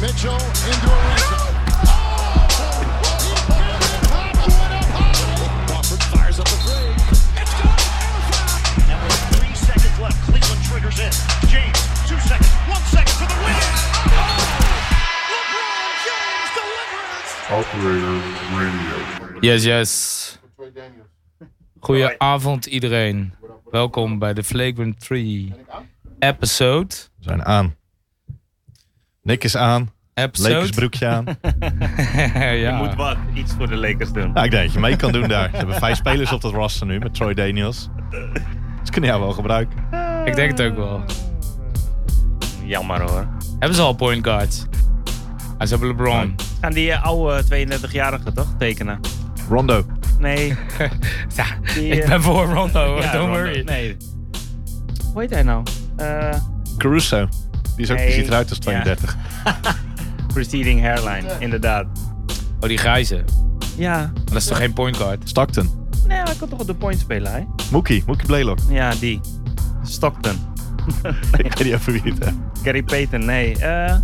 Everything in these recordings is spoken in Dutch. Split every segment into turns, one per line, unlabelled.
Nacho into Ariza.
Crawford fires up the break.
And with three seconds left, Cleveland triggers in. James, two seconds, one second for the win.
Operator Radio.
Yes, yes. Goedenavond iedereen. Welkom bij de Flagrant 3 episode.
We zijn aan. Nick is aan. Lekers
Episode.
broekje aan.
ja.
Moet wat iets voor de Lakers doen.
Nou, ik denk dat je mee kan doen daar. Ze hebben vijf spelers op dat roster nu met Troy Daniels. Ze kunnen jou wel gebruiken.
Ik denk het ook wel.
Jammer hoor.
Hebben ze al point guards? Ah, ze hebben LeBron.
Gaan die eh, oude 32-jarigen toch tekenen?
Rondo.
Nee.
Ja,
Die,
ik
eh,
ben voor Rondo,
ja,
don't
Rondo.
worry.
Nee. Hoe heet hij nou? Eh
Caruso. Die, is ook, die
Nee.
ziet eruit als
Ja.
32.
receding hairline, inderdaad.
Oh, die grijze.
Ja.
Dat is toch geen point guard?
Stockton.
Nee, hij kan toch op de point spelen, hè?
Mookie. Mookie Blaylock.
Ja, die. Stockton.
Ik weet niet over wie het is.
Gary Payton, nee. Eh,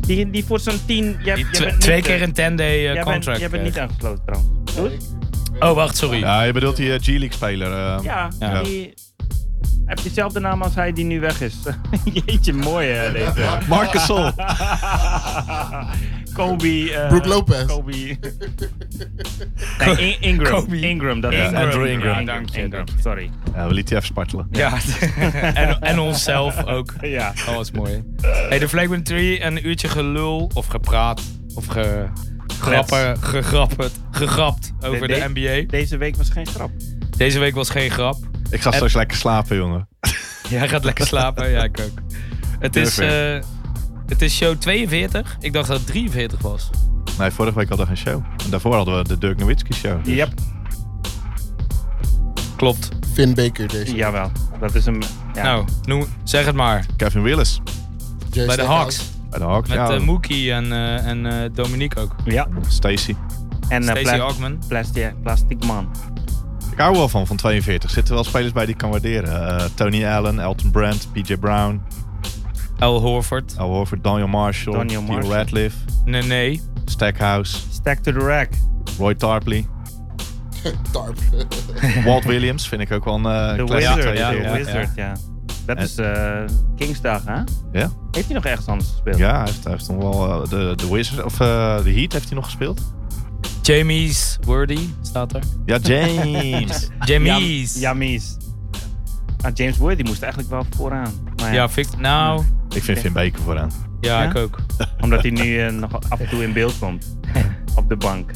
die, die voor zo'n 10. jij- jij
Die tw-
bent niet,
twee
eh,
keer een 10 day eh,
jij bent-
contract.
Jij bent niet
kreeg.
aangesloten trouwens.
Oh, wacht, sorry.
Ja, je bedoelt die eh, G-League speler. eh,
Ja,
Ja.
die heeft dezelfde naam als hij die nu weg is. Jeetje, mooi hè, deze.
Marcus Sol.
Kobe. eh,
Brook Lopez.
Kobe. Nee, In- Ingram. Ingram, dat
Ja,
is
Andrew Ingram.
Ja, dank je, Ingram. Sorry.
Ja, we lieten die even spartelen.
Ja, en, en onszelf ook.
Ja.
Oh, dat is mooi. Hey, de Flagman 3, een uurtje gelul of gepraat of ge, grappen, gegrapperd, gegrapt over de
Nee,
NBA.
Deze week was geen grap.
Deze week was geen grap.
Ik ga straks lekker slapen, jongen.
Jij gaat lekker slapen, ja ik ook. Het is, eh, het is show 42. Ik dacht dat het 43 was.
Nee, vorige week hadden we geen show. En daarvoor hadden we de Dirk Nowitzki show.
Yep.
Klopt.
Finn Baker deze.
Jawel. Dat is een. Ja.
Nou, noem, zeg het maar.
Kevin Willis.
Jay
Bij de
Stackhouse.
Hawks.
Bij de Hawks.
Met
ja.
Nou.
eh, Mookie en, eh, en eh, Dominique ook.
Ja.
Stacy.
En eh,
Stacey
pla-
Hogman.
plastic, plastic man.
Ik hou wel van, van 42. Zitten wel spelers bij die ik kan waarderen. Eh, Tony Allen, Elton Brand, PJ Brown,
Al Horford.
Oh.
Al Horford, Daniel Marshall,
Daniel
Theo
Marshall.
Radcliffe,
Nee, nee.
Stackhouse,
Stack to the rack.
Roy Tarpley,
Tarp.
Walt Williams vind ik ook wel een eh,
The
classic
Wizard.
ja,
The
42.
ja.
Wizard, ja. Dat is eh Kingsdag, hè?
Ja?
Heeft hij nog ergens anders gespeeld?
Ja, hij heeft, hij heeft nog wel eh, de, de Wizard of eh, de Heat heeft hij nog gespeeld.
Jamie's Worthy staat er.
Nou
Ja, James.
Jamie's. Ja,
Jamies. Ah, James Wood die moest eigenlijk wel vooraan. Maar ja,
ja fix. Nou,
ik vind Finn Baker vooraan.
ja,
Ja?
ik ook.
omdat hij nu eh, nog af en toe in beeld komt. Op de bank.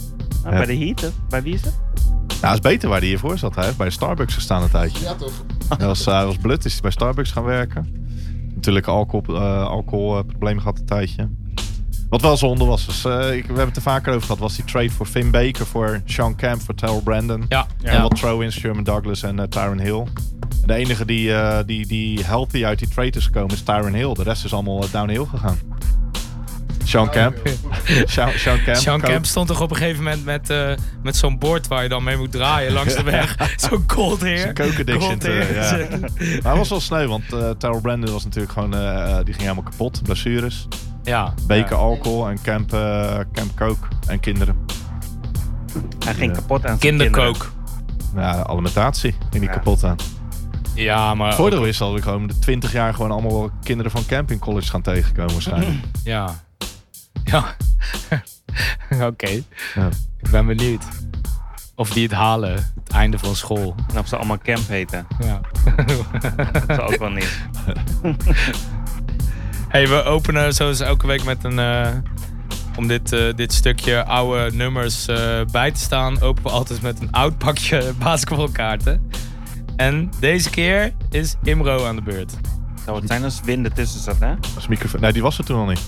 Ah,
Ja.
Bij de Heat, hè? bij wie is het?
Nou, hij is beter waar hij hiervoor zat. Hij heeft bij Starbucks gestaan een tijdje.
Ja toch.
Hij was, hij was eh, blut, is hij bij Starbucks gaan werken. Natuurlijk een alcohol, eh, alcoholprobleem gehad een tijdje. Wat wel zonde was, was eh, ik, we hebben het er vaker over gehad, was die trade voor Finn Baker, voor Sean Camp, voor Terrell Brandon.
Ja,
En
ja.
wat throw-ins, Sherman Douglas en eh, Tyron Hill. En de enige die, eh, die, die healthy uit die trade is gekomen is Tyron Hill. De rest is allemaal eh, downhill gegaan.
Oh,
Sean Camp. Sean, Sean Camp.
Sean
coach.
Camp stond toch op een gegeven moment met, eh, met zo'n bord waar je dan mee moet draaien langs de weg. zo'n cold hair.
Zijn coke addiction
Cold
te-
hair.
ja. Ah, Maar het was wel sneu, want eh Terrell Brandon was natuurlijk gewoon, eh, die ging helemaal kapot. Blessures.
ja.
Beker alcohol en camp, eh, camp coke en kinderen.
Hij ging
Ja.
kapot aan zijn
Kinderkook.
Ja, alimentatie ging die
Ja.
kapot aan.
Ja, maar...
Het voordeel is dat we gewoon de 20 jaar gewoon allemaal wel kinderen van camp in college gaan tegenkomen zijn.
Ja. Ja. Oké.
Ja.
Ik ben benieuwd. Of die het halen. Het einde van school.
kinderen. En of ze allemaal Camp heten.
Ja.
Dat zou ook wel niet.
Hey, we openen zoals elke week met een. eh, om dit, eh, dit stukje oude nummers eh, bij te staan, openen we altijd met een oud pakje basketbalkaarten. En deze keer is Imro aan de beurt.
Zou het zijn als winden tussen zat, hè?
Als microfoon. Nee, die was er toen al niet.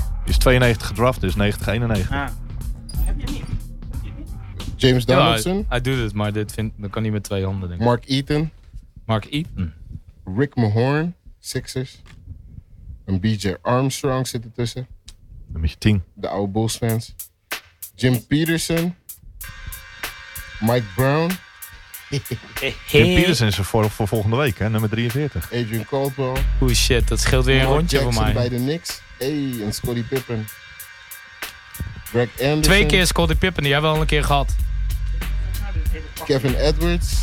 Die is 92 gedraft, dus 90, 91.
Ah. Heb je niet?
James
Ja,
Donaldson.
hij, hij doet het, maar dit vind, dat kan niet met twee handen, denk ik.
Mark Eaton.
Mark Eaton.
Rick Mahorn. Sixers. Een BJ Armstrong zit ertussen.
Nummer 10.
De oude Bulls fans. Jim Peterson. Mike Brown.
Jim Peterson is er voor, voor volgende week, hè? nummer 43.
Adrian Caldwell.
Oeh shit, dat scheelt weer een
Mark
rondje
Jackson
voor mij.
bij de Knicks. Hey, en Scottie Pippen. Greg Anderson.
Twee keer Scottie Pippen, die hebben we al een keer gehad.
Kevin Edwards,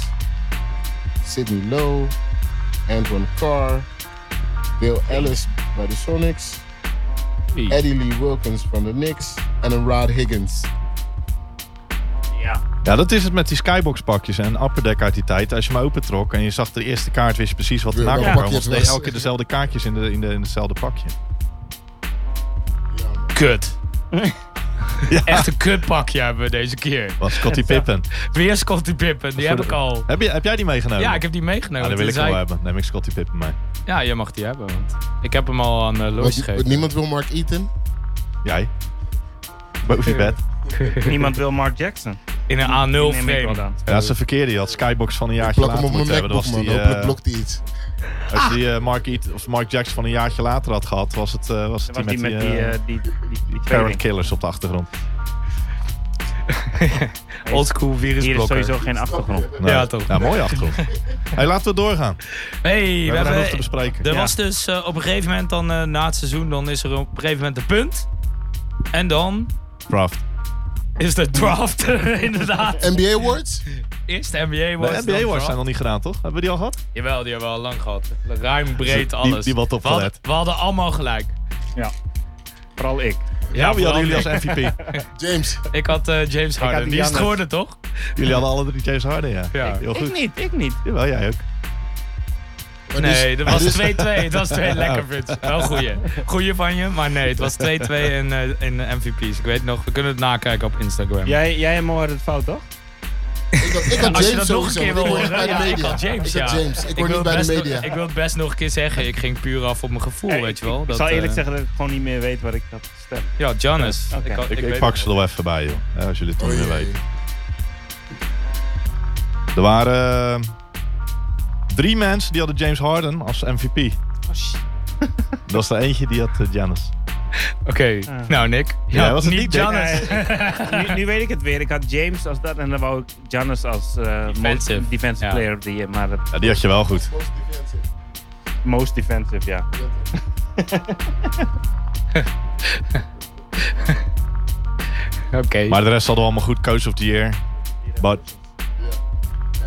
Sidney Lowe, Antoine Carr, Bill Ellis by the Sonics,
Hey.
Eddie Lee Wilkins from the Knicks en een Rod Higgins.
Ja.
Ja, dat is het met die skybox pakjes en upper deck uit die tijd. Als je hem opentrok en je zag de eerste kaart, wist je precies wat erna
Welk
kwam.
pakje
Want
het
ze deden
was.
elke keer dezelfde kaartjes in, de, in, de, in hetzelfde pakje.
Kut. Echt een kutpakje hebben we deze keer.
Was Scottie Pippen.
Weer Scottie Pippen, die heb ik al.
Heb, je, heb jij die meegenomen?
Ja, ik heb die meegenomen.
Ah, dan wil ik
Toen
hem wel
zei
hebben. Neem ik Scottie Pippen mee.
Ja, je mag die hebben, want ik heb hem al aan eh Lois
Want
gegeven.
niemand wil Mark Eaton.
Jij? Boven je bed.
Niemand wil Mark Jackson.
In een
Die
A0
neem ik wel
frame.
dan.
Ja, dat is een verkeerde. Je had Skybox van een jaartje
Plak hem
later
op mijn
moeten hebben. Dan
MacBook,
was
man.
die, eh,
Hopelijk blokt hij iets.
als die eh, Mark, Eat, of Mark Jackson van een jaartje later had gehad, was het, eh, was het
Dat was
die
die
met die,
met die,
eh,
eh, die, die, die
Parent
tweeling.
Killers op de achtergrond.
Oldschool
Hier is sowieso
virusblokker.
geen achtergrond.
Nee.
Ja, toch.
Nou, mooie achtergrond. hey, laten we doorgaan.
Hey,
We
we
hebben nog
hebben...
te bespreken.
Er
Ja.
was dus eh, op een gegeven moment dan eh, na het seizoen, dan is er op een gegeven moment een punt. En dan
Draft.
is de draft inderdaad.
NBA Awards?
Eerst de NBA
De
was.
NBA Awards zijn nog niet gedaan, toch? Hebben we die al gehad?
Jawel, die hebben we al lang gehad. Ruim, breed,
Die-
alles.
die wat
we, hadden,
opgelet.
we hadden allemaal gelijk.
Vooral ik.
Ja,
Wie hadden
vooral
jullie als
ik.
MVP?
James.
Ik had eh, James Harden.
die
Die is het
Giannis.
geworden, toch?
jullie hadden alle drie James Harden, ja.
Ja.
Heel goed.
Ik niet, ik niet.
Jawel, jij ook.
Maar
Nee,
dus-
dat was
dus-
2-2. Het was 2 lekker, Frits. Wel goeie. Goeie van je, maar nee, het was 2-2 in, eh, in de MVP's. Ik weet nog, we kunnen het nakijken op Instagram.
Jij, jij en Mo hadden het fout, toch?
Ik had, ik had
Als je
James
dat nog een
sowieso,
keer wil
want
horen.
ik hoor niet bij
Ja,
de
ik
media.
had James,
Ik had
ja.
James. Ik word
wil
niet bij de
best nog-
media.
ik wil het best nog een keer zeggen. Ik ging puur af op mijn gevoel,
Hey,
weet je
ik-
wel.
Ik
dat,
zal eerlijk
eh,
zeggen dat ik gewoon niet meer weet wat ik had gestemd.
Ja, Giannis.
Oké.
had-
Ik, ik
weet
pak
het
ze
nog.
er wel even bij, joh. Ja, Als jullie het toch
Oei.
niet meer weten. Er waren eh, drie mensen die hadden James Harden als MVP. Dat was er eentje die had eh, Giannis.
Oké, nou Nick.
Ja,
Ja,
was het niet,
niet
Nick?
Giannis.
nu, nu weet ik het weer. Ik had James als dat en dan wou ik Giannis als eh,
Defensive.
most defensive
Ja.
player of the year. Maar dat-
Ja, die had je wel goed.
Most defensive.
most defensive, ja.
Oké.
Maar de rest hadden we allemaal goed. Coach of the Year. But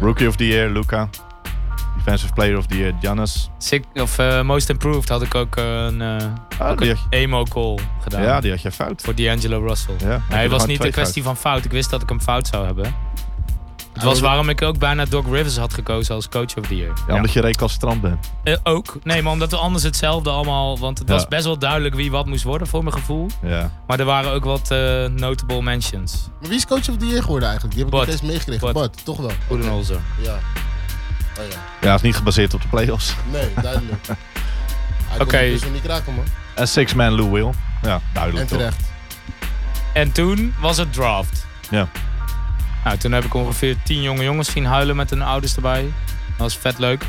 Rookie of the Year, Luca. Defensive Player of the Year, Giannis.
Sick- of eh, Most Improved had ik ook een eh,
Ah, die had,
emo call gedaan.
ja, die had je fout.
Voor D'Angelo Russell.
Ja, heb je
nee,
er
het was
gewoon
niet
twee
een kwestie van fout. Ik wist dat ik hem fout zou hebben. Het was waarom ik ook bijna Doc Rivers had gekozen als coach of the year.
Ja, omdat je recalcitrant bent.
Eh, ook. Nee, maar omdat we anders hetzelfde allemaal... Want het
Ja.
was best wel duidelijk wie wat moest worden, voor mijn gevoel.
Ja.
Maar er waren ook wat eh, notable mentions.
Maar wie is coach of the year geworden eigenlijk? Die heb ik
Bart.
niet eens meegekregen.
Bart.
Bart, toch wel.
Poedenholzer.
Ja. Oh ja.
ja, is niet gebaseerd op de playoffs.
Nee, duidelijk. Hij kon
Oké.
die persoon niet kraken, man.
En Six Man Lou Will. Ja,
En
duidelijk toch.
terecht.
En toen was het draft.
Ja.
Nou, toen heb ik ongeveer tien jonge jongens zien huilen met hun ouders erbij. Dat was vet leuk. Ik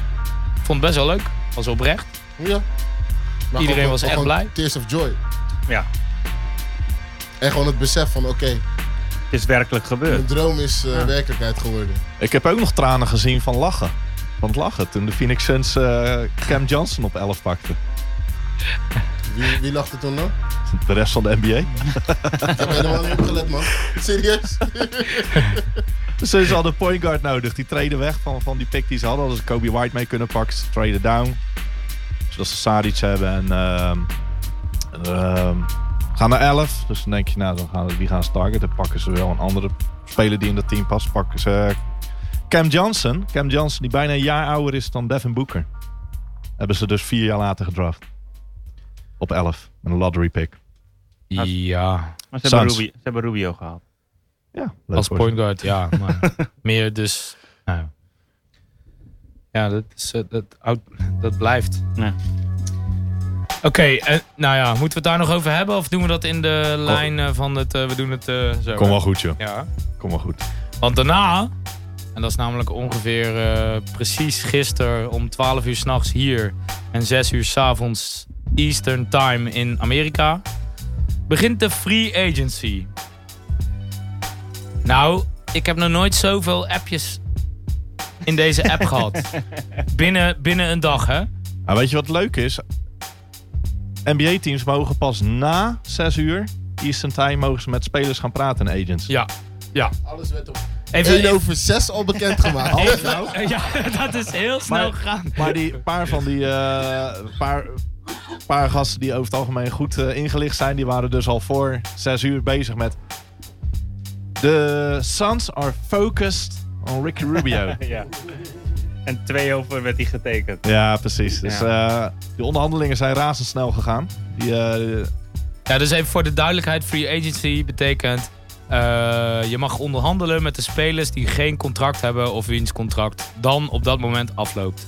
vond het best wel leuk. Was oprecht.
Ja. Maar
Iedereen
gewoon-
was echt
gewoon
blij.
Tears of joy.
Ja,
En gewoon het besef van, oké,
het is werkelijk
mijn
gebeurd.
droom is eh,
Ja.
werkelijkheid geworden.
Ik heb ook nog tranen gezien van lachen. Van het lachen. Toen de Phoenix Suns eh, Cam Johnson op 11 pakte.
Wie, wie lachte toen dan?
De rest van de NBA.
Ik heb helemaal niet opgelet, man. Serieus?
De Suns hadden een point guard nodig. Die treden weg van, van die pick die ze hadden. Hadden ze Kobe White mee kunnen pakken. Ze traden down. Zodat ze Sadic hebben. En ehm, ehm, gaan naar 11. Dus dan denk je, nou, dan gaan, we- wie gaan ze targeten? Dan pakken ze wel een andere speler die in dat team past. Pakken ze eh, Cam Johnson. Cam Johnson, die bijna een jaar ouder is dan Devin Booker. Hebben ze dus vier jaar later gedraft. Op 11. Met een lottery pick.
Ja.
Maar ze hebben,
Suns.
Rubio, ze hebben Rubio gehaald.
Ja, leuk
Als
voor
point guard, ja. Maar meer dus... nou ja. Ja, dat, is, eh, dat, oud- dat blijft.
Ja.
Oké, eh, nou ja, moeten we het daar nog over hebben? Of doen we dat in de lijn eh, van het... eh, we doen het eh, zo.
ze. Kom wel goed, joh.
Ja.
Kom wel goed.
Want daarna, en dat is namelijk ongeveer eh, precies gisteren om 12 uur s'nachts hier en 6 uur s'avonds Eastern Time in Amerika, begint de free agency. Nou, ik heb nog nooit zoveel appjes in deze app gehad. Binnen, binnen een dag, hè?
Maar weet je wat leuk is? NBA-teams mogen pas na 6 uur Eastern Time mogen ze met spelers gaan praten en agents.
Ja. Ja.
Alles werd om
Even,
1 over 6 al bekendgemaakt.
Alles
gemaakt.
nou?
Ja, dat is heel snel gegaan.
Maar die paar van die eh, paar, paar gasten die over het algemeen goed eh, ingelicht zijn, die waren dus al voor zes uur bezig met. The Suns are focused on Ricky Rubio.
ja. En twee over werd hij getekend.
ja, precies. Dus eh, die onderhandelingen zijn razendsnel gegaan. Die, eh,
Ja, dus even voor de duidelijkheid: free agency betekent. eh, je mag onderhandelen met de spelers die geen contract hebben of wiens contract dan op dat moment afloopt.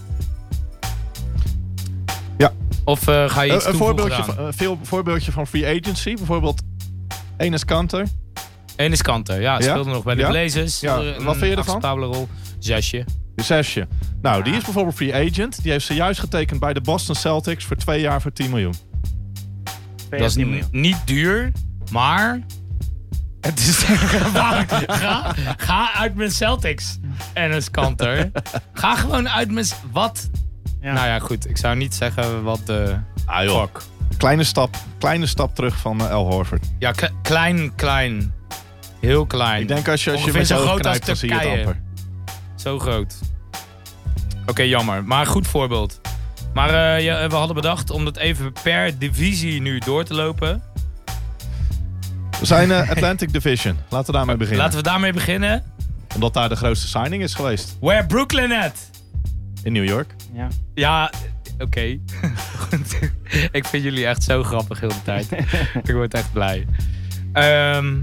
Ja.
Of eh, ga je
een,
iets
een
toevoegen
voorbeeldje,
aan?
van, een veel, voorbeeldje van free agency. Bijvoorbeeld Enes Kanter.
Eén is Kanter, ja.
Ja?
Speelde nog bij de
Ja?
Blazers.
Ja,
Een
wat vind je ervan?
acceptabele rol. Zesje.
Zesje. Nou,
Ah.
die is bijvoorbeeld free agent. Die heeft zojuist getekend bij de Boston Celtics voor twee jaar voor 10 miljoen.
Twee
Dat is
niet
n- niet duur, maar... Het is ga, ga uit mijn Celtics, Enes Kanter. Ga gewoon uit mijn... s- Wat?
Ja.
Nou ja, goed. Ik zou niet zeggen wat de...
Ah, joh.
Fuck.
Kleine stap, kleine stap terug van El Al Horford.
Ja, k- klein, klein. Heel klein.
Ik denk als je, als je
Ongeveer
met je
zo
ogen
groot als
knijpt, dan zie je het
Turkije.
amper.
Zo groot. Oké, jammer. Maar een goed voorbeeld. Maar eh, ja, we hadden bedacht om dat even per divisie nu door te lopen.
We zijn eh, Atlantic Division. Laten we daarmee beginnen.
Laten we daarmee beginnen.
Omdat daar de grootste signing is geweest.
Where Brooklyn at?
In New York.
Ja.
Ja, oké. Goed. ik vind jullie echt zo grappig heel de tijd. ik word echt blij. Ehm,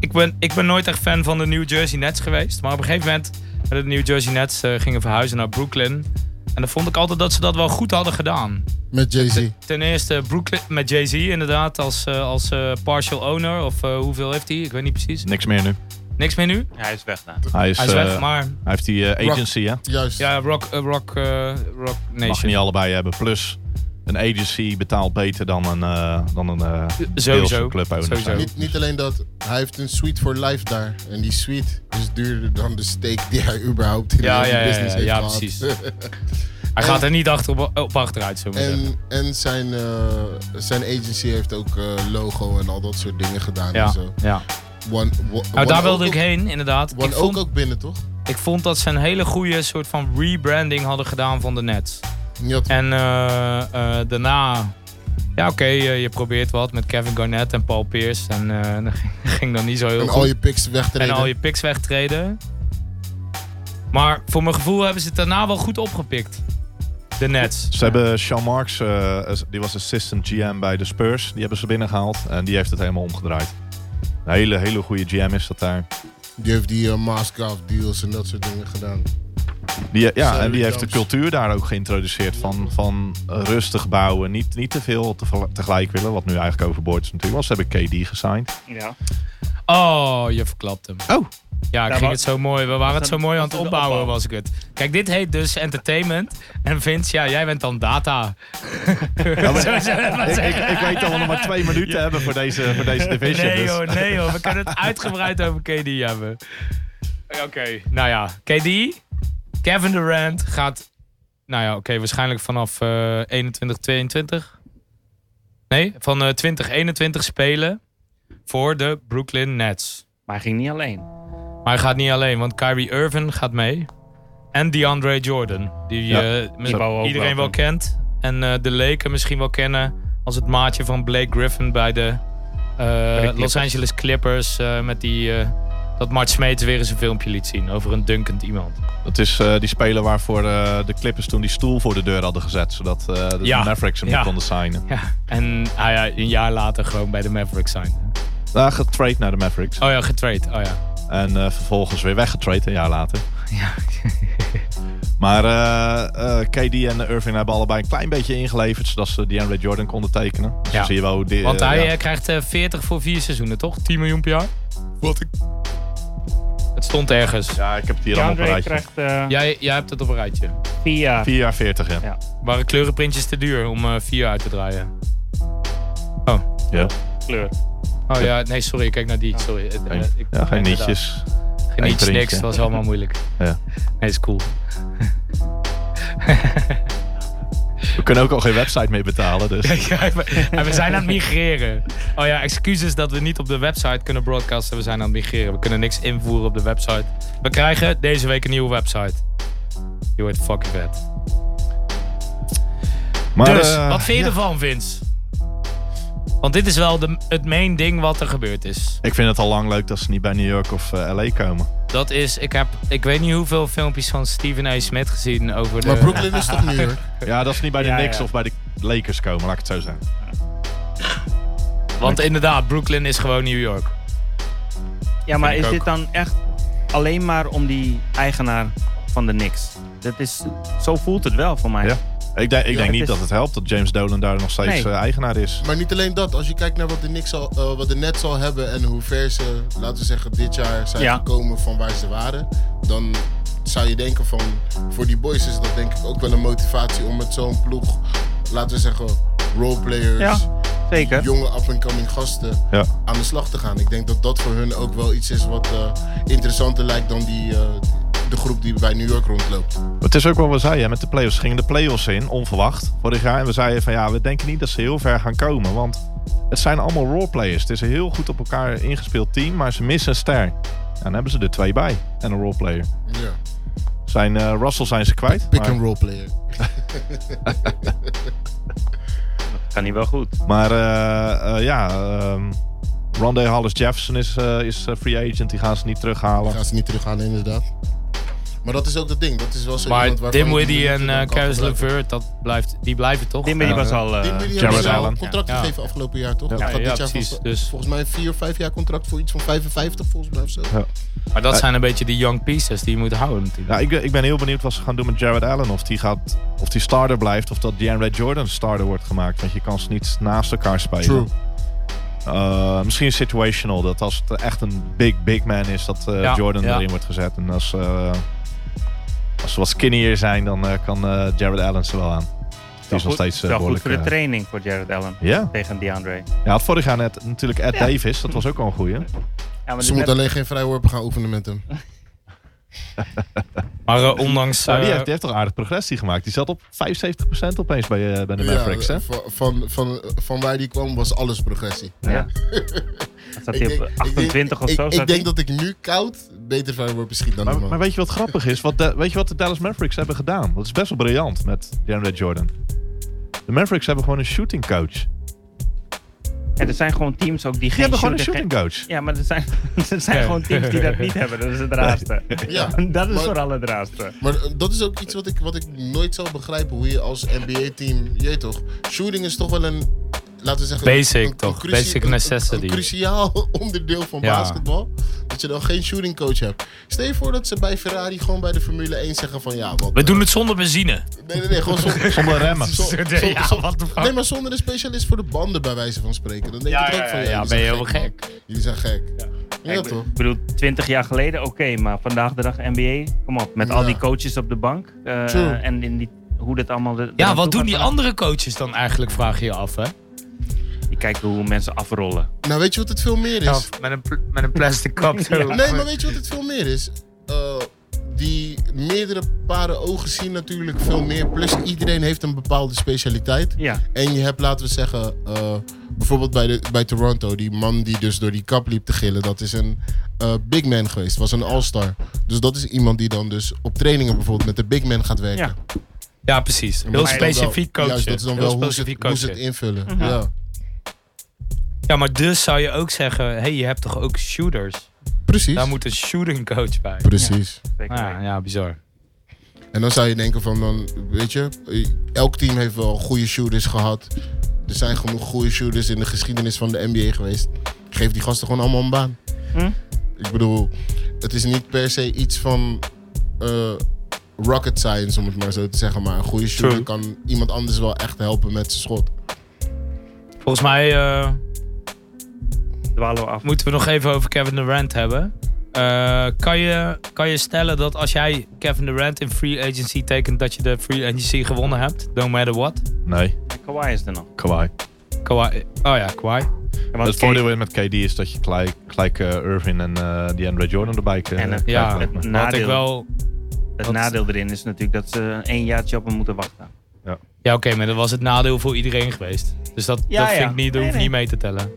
ik, ben, ik ben nooit echt fan van de New Jersey Nets geweest. Maar op een gegeven moment de New Jersey Nets eh, gingen verhuizen naar Brooklyn. En dan vond ik altijd dat ze dat wel goed hadden gedaan.
Met Jay-Z.
Ten eerste Brooklyn met Jay-Z inderdaad als, eh, als eh, partial owner. Of eh, hoeveel heeft hij? Ik weet niet precies.
Niks meer nu.
Niks meer nu?
Ja, hij is weg nou.
Hij, is,
Hij is
eh,
weg, maar...
hij heeft die eh, agency, hè?
Juist.
Ja, Rock, eh, rock, eh, rock Nation.
Mag je niet allebei hebben. Plus, een agency betaalt beter dan een, eh dan een eh, deels
Sowieso.
een club owner.
Sowieso.
zijn.
Niet, niet alleen dat, hij heeft een suite voor life daar. En die suite is duurder dan de steak die hij überhaupt in
Ja,
de hele
ja, ja,
business
ja,
heeft
ja,
gehad.
precies. Hij gaat er niet achter op, op achteruit, zo zeggen.
en en zijn, eh, zijn agency heeft ook eh, logo en al dat soort dingen gedaan
Ja,
en zo.
ja.
One,
Nou, daar wilde ik heen, inderdaad. Ik
One ook,
vond,
ook binnen, toch?
ik vond dat ze een hele goede soort van rebranding hadden gedaan van de Nets.
Je had-
En eh, eh, daarna... Ja, oké, eh, je probeert wat met Kevin Garnett en Paul Pierce. En eh, dat ging- ging dan niet zo heel
en
goed.
al je picks wegtreden.
En al je picks wegtreden. Maar voor mijn gevoel hebben ze het daarna wel goed opgepikt. De Nets.
Ze hebben Sean Marks, eh, als- die was assistant GM bij de Spurs. Die hebben ze binnengehaald. En die heeft het helemaal omgedraaid. Een hele, hele goede GM is dat daar.
Die heeft die eh, Maskov deals en dat soort dingen gedaan.
Die, ja,
Salary
en die heeft de
dumps.
cultuur daar ook geïntroduceerd van, van rustig bouwen. Niet, niet te veel te- tegelijk willen, wat nu eigenlijk overboord is natuurlijk. Want ze hebben KD gesigned.
Ja.
Oh, je verklapt hem.
Oh.
Ja, ik
Ja,
ging
maar-
het zo mooi. We waren het zo
dan-
mooi aan het
dan de
opbouwen,
opbouw.
was ik het. Kijk, dit heet dus entertainment. En Vince, ja, jij bent dan data. Zo zou je het maar
Ik, ik,
zeggen.
ik weet dat we nog maar twee minuten hebben voor deze, voor deze division.
Nee
dus-
hoor, nee hoor. We kunnen het uitgebreid over KD hebben. Oké, nou ja. KD, Kevin Durant gaat... Nou ja, oké, waarschijnlijk vanaf eh 21, 22. Nee, van eh 2021 spelen voor de Brooklyn Nets.
Maar hij ging niet alleen.
Maar hij gaat niet alleen, want Kyrie Irving gaat mee. En DeAndre Jordan, die
Ja,
eh, met-
die wou ook
iedereen
wel
wel kent. En eh, de Laker misschien wel kennen als het maatje van Blake Griffin bij de, eh, Los
Clippers.
Angeles Clippers. eh, met die, eh, dat Mart Smeets weer eens een filmpje liet zien over een dunkend iemand.
Dat is eh, die speler waarvoor eh, de Clippers toen die stoel voor de deur hadden gezet. Zodat eh, de
Ja.
Mavericks hem
Ja.
niet konden signen.
Ja. En ah ja, een jaar later gewoon bij de Mavericks zijn.
Daar getrade naar de Mavericks.
Oh ja, getrade. Oh ja.
En eh, vervolgens weer weggetraind een jaar later. Maar eh, eh, KD en Irving hebben allebei een klein beetje ingeleverd. Zodat ze DeAndre Jordan konden tekenen. Dus
Ja.
dan zie je wel hoe die,
Want
eh,
hij
ja.
eh, krijgt eh, 40 voor vier seizoenen, toch? 10 miljoen per jaar? Wat ik... Het stond ergens.
Ja, ik heb het hier allemaal op een
DeAndre
rijtje.
krijgt eh
Jij, jij hebt het op een rijtje.
vier jaar.
4 jaar 40, ja.
Ja.
Waren kleurenprintjes te duur om eh vier uit te draaien?
Ja,
kleur.
Oh ja, nee, sorry, ik kijk naar die. Sorry. Eh, eh, ik-
ja geen
inderdaad.
nietjes.
Geen niets,
printje.
niks. Het was allemaal moeilijk.
Ja.
Nee, is cool.
We kunnen ook al geen website meer betalen, dus...
Ja, we- en we zijn aan het migreren. Oh ja, excuses dat we niet op de website kunnen broadcasten. We zijn aan het migreren. We kunnen niks invoeren op de website. We krijgen deze week een nieuwe website. Je wordt fucking vet.
Maar,
dus,
eh,
wat vind je
ja.
ervan, Vince? Want dit is wel de, het main ding wat er gebeurd is.
Ik vind het al lang leuk dat ze niet bij New York of eh, LA komen.
Dat is, ik heb, ik weet niet hoeveel filmpjes van Steven A. Smith gezien over de...
Maar Brooklyn is toch New York?
Ja, dat ze niet bij de
Ja,
Knicks
ja.
of bij de Lakers komen, laat ik het zo zeggen.
Want inderdaad, Brooklyn is gewoon New York.
Ja, maar
Vind
is
ik
dit
ook.
dan echt alleen maar om die eigenaar van de Knicks? Dat is, zo voelt het wel voor mij.
Ja. Ik, denk- ik denk
het
niet
is-
dat het helpt dat James Dolan daar nog steeds
Nee.
eh, eigenaar is.
Maar niet alleen dat, als je kijkt naar wat de, Knicks al, eh, wat de Nets al hebben en hoe ver ze, laten we zeggen, dit jaar zijn
Ja.
gekomen van waar ze waren, dan zou je denken van, voor die boys is dat denk ik ook wel een motivatie om met zo'n ploeg, laten we zeggen, roleplayers,
Ja, zeker.
jonge up-and-coming gasten
Ja.
aan de slag te gaan. Ik denk dat dat voor hun ook wel iets is wat eh, interessanter lijkt dan die, eh, de groep die bij New York rondloopt.
Het is ook wat we zeiden hè, met de playoffs. Ze gingen de playoffs in, onverwacht, vorig jaar. En we zeiden van ja, we denken niet dat ze heel ver gaan komen. Want het zijn allemaal roleplayers. Het is een heel goed op elkaar ingespeeld team, maar ze missen een ster. Ja, dan hebben ze er twee bij en een roleplayer.
Ja,
Zijn, eh, Russell zijn ze kwijt.
pick
maar-
and roleplayer.
Kan niet wel goed.
Maar eh, eh, ja, ehm Rondé Hollis Jefferson is, eh, is eh, free agent. Die gaan ze niet terughalen.
Gaan ze niet terughalen, inderdaad. Maar dat is ook dat ding. Dat is wel zo iemand
Maar
waarvan je die
Dimwitty en
minuten
eh
dan kan
Caris
gebruiken.
LeVert, dat blijft, die blijven toch?
Dimmy die was al... eh,
Dimwitty
Jarrett
hebben ze al
Allen.
een contract
Ja.
gegeven afgelopen jaar, toch?
Ja.
Hij gaat
Ja,
dit jaar
precies,
volgens,
dus-
volgens mij een 4 of 5 jaar contract voor iets van 55, volgens mij of zo.
Maar dat zijn een beetje die young pieces die je moet houden natuurlijk.
Ja, ik, ben- ik ben heel benieuwd wat ze gaan doen met Jared Allen. Of die, gaat, of die starter blijft. Of dat DeAndre Jordan starter wordt gemaakt. Want je kan ze niet naast elkaar spelen.
True.
Eh, misschien situational. Dat als het echt een big, big man is. Dat eh,
Ja,
Jordan
ja.
erin wordt gezet. En als, eh, als ze wat skinnier zijn. Dan eh, kan eh, Jared Allen ze wel aan. Die is nog
goed-
steeds eh,
wel goed
behoorlijk...
voor de
eh,
training voor Jared Allen
ja.
tegen DeAndre.
ja, had vorig jaar net natuurlijk Ed Davis. Dat was ook al een goeie.
Eh,
Oh,
Ja, maar
Ze moeten alleen geen vrijworpen gaan oefenen met hem.
Maar eh, ondanks...
Nou, die,
eh,
heeft, die heeft toch aardig progressie gemaakt. Die zat op 75% opeens bij, eh, bij de Mavericks. hè?
van, van, van, van waar die kwam was alles progressie.
Ja. Dan Zat
Ik
hij
denk-
op
ik denk-
28 of
ik-
zo?
Ik,
zat
denk
hij?
dat ik nu koud beter vrijworpen schiet dan
Maar,
normaal.
maar weet je wat grappig is? Wat de- weet je wat de Dallas Mavericks hebben gedaan? Dat is best wel briljant met DeAndre Jordan. De Mavericks hebben gewoon een shooting coach. Die
En er zijn gewoon teams ook die geen
hebben gewoon een
shooter-
shooting coach.
Ja, maar er zijn, er zijn
Ja.
gewoon teams die dat niet hebben. Dat is het raarste.
Ja,
dat is
maar-
vooral het raarste.
Maar eh, dat is ook iets wat ik, wat ik nooit zal begrijpen. Hoe je als NBA-team, je weet toch, shooting is toch wel een, laten we zeggen,
Basic, toch? Basic
een- een-
necessity.
Een, cruciaal onderdeel van
Ja.
basketbal. Dat je dan geen shooting coach hebt. Stel je voor dat ze bij Ferrari gewoon bij de Formule 1 zeggen van ja, wat.
We doen het zonder benzine.
Nee, nee, nee, gewoon zonder,
Zonder remmen.
Ja, what the fuck?
Nee, maar zonder een specialist voor de banden, bij wijze van spreken. Dan denk
Ja,
ik
ja,
ook van
ja,
jullie
ja, ben
zijn
je helemaal
man. Jullie zijn gek. Ja,
Ik
toch?
bedoel, 20 jaar geleden oké, maar vandaag de dag NBA, kom op. Met al
Ja.
die coaches op de bank eh,
True.
en in die, hoe dat allemaal... de-
Ja,
eraan toe
wat doen
gaat
die
vandaag.
andere coaches dan eigenlijk, vraag je je af, hè?
Je kijkt hoe mensen afrollen.
Nou, weet je wat het veel meer is?
met, een met een plastic kap.
Nee, maar weet je wat het veel meer is? Eh, die meerdere paren ogen zien natuurlijk veel meer. Plus iedereen heeft een bepaalde specialiteit.
Ja,
En je hebt, laten we zeggen, eh, bijvoorbeeld bij, de, bij Toronto, die man die dus door die kap liep te gillen, dat is een eh, big man geweest, was een all-star. Dus dat is iemand die dan dus op trainingen bijvoorbeeld met de big man gaat werken.
ja.
Ja, precies.
Maar
Heel
dat is dan wel-
specifiek coachen.
Juist, dat is dan
Heel
wel hoe ze, het-
specifiek
hoe ze het
coachen.
invullen. Ja,
Ja, maar dus zou je ook zeggen, hé, hey, je hebt toch ook shooters?
precies.
Daar moet een shooting coach bij.
Precies.
zeker.
Ah,
Ja, ja, bizar.
En dan zou je denken van, dan, weet je, elk team heeft wel goede shooters gehad. Er zijn genoeg goede shooters in de geschiedenis van de NBA geweest. Geef die gasten gewoon allemaal een baan.
Hm?
Ik bedoel, het is niet per se iets van eh, rocket science, om het maar zo te zeggen. Maar een goede shooter
True.
kan iemand anders wel echt helpen met zijn schot.
Volgens mij eh,
Dwalen we af.
moeten we nog even over Kevin Durant hebben. Eh, kan, je, kan je stellen dat als jij Kevin Durant in free agency tekent, dat je de free agency gewonnen hebt? No matter what.
Nee,
Kawhi is er nog.
Kawhi.
Kawhi, oh ja, Kawhi.
Ja, want
Het
Kate-
voordeel met KD is dat je gelijk, gelijk eh, Irving en eh DeAndre Jordan erbij kan
En, eh,
Ja,
het
had ik
nadeel,
wel
het
dat-
nadeel erin is natuurlijk dat ze een jaartje op hem moeten wachten.
Ja, oké, maar dat was het nadeel voor iedereen geweest. Dus dat,
Ja,
dat
ja.
vind ik niet,
Nee,
dat hoef ik
nee.
niet mee te tellen.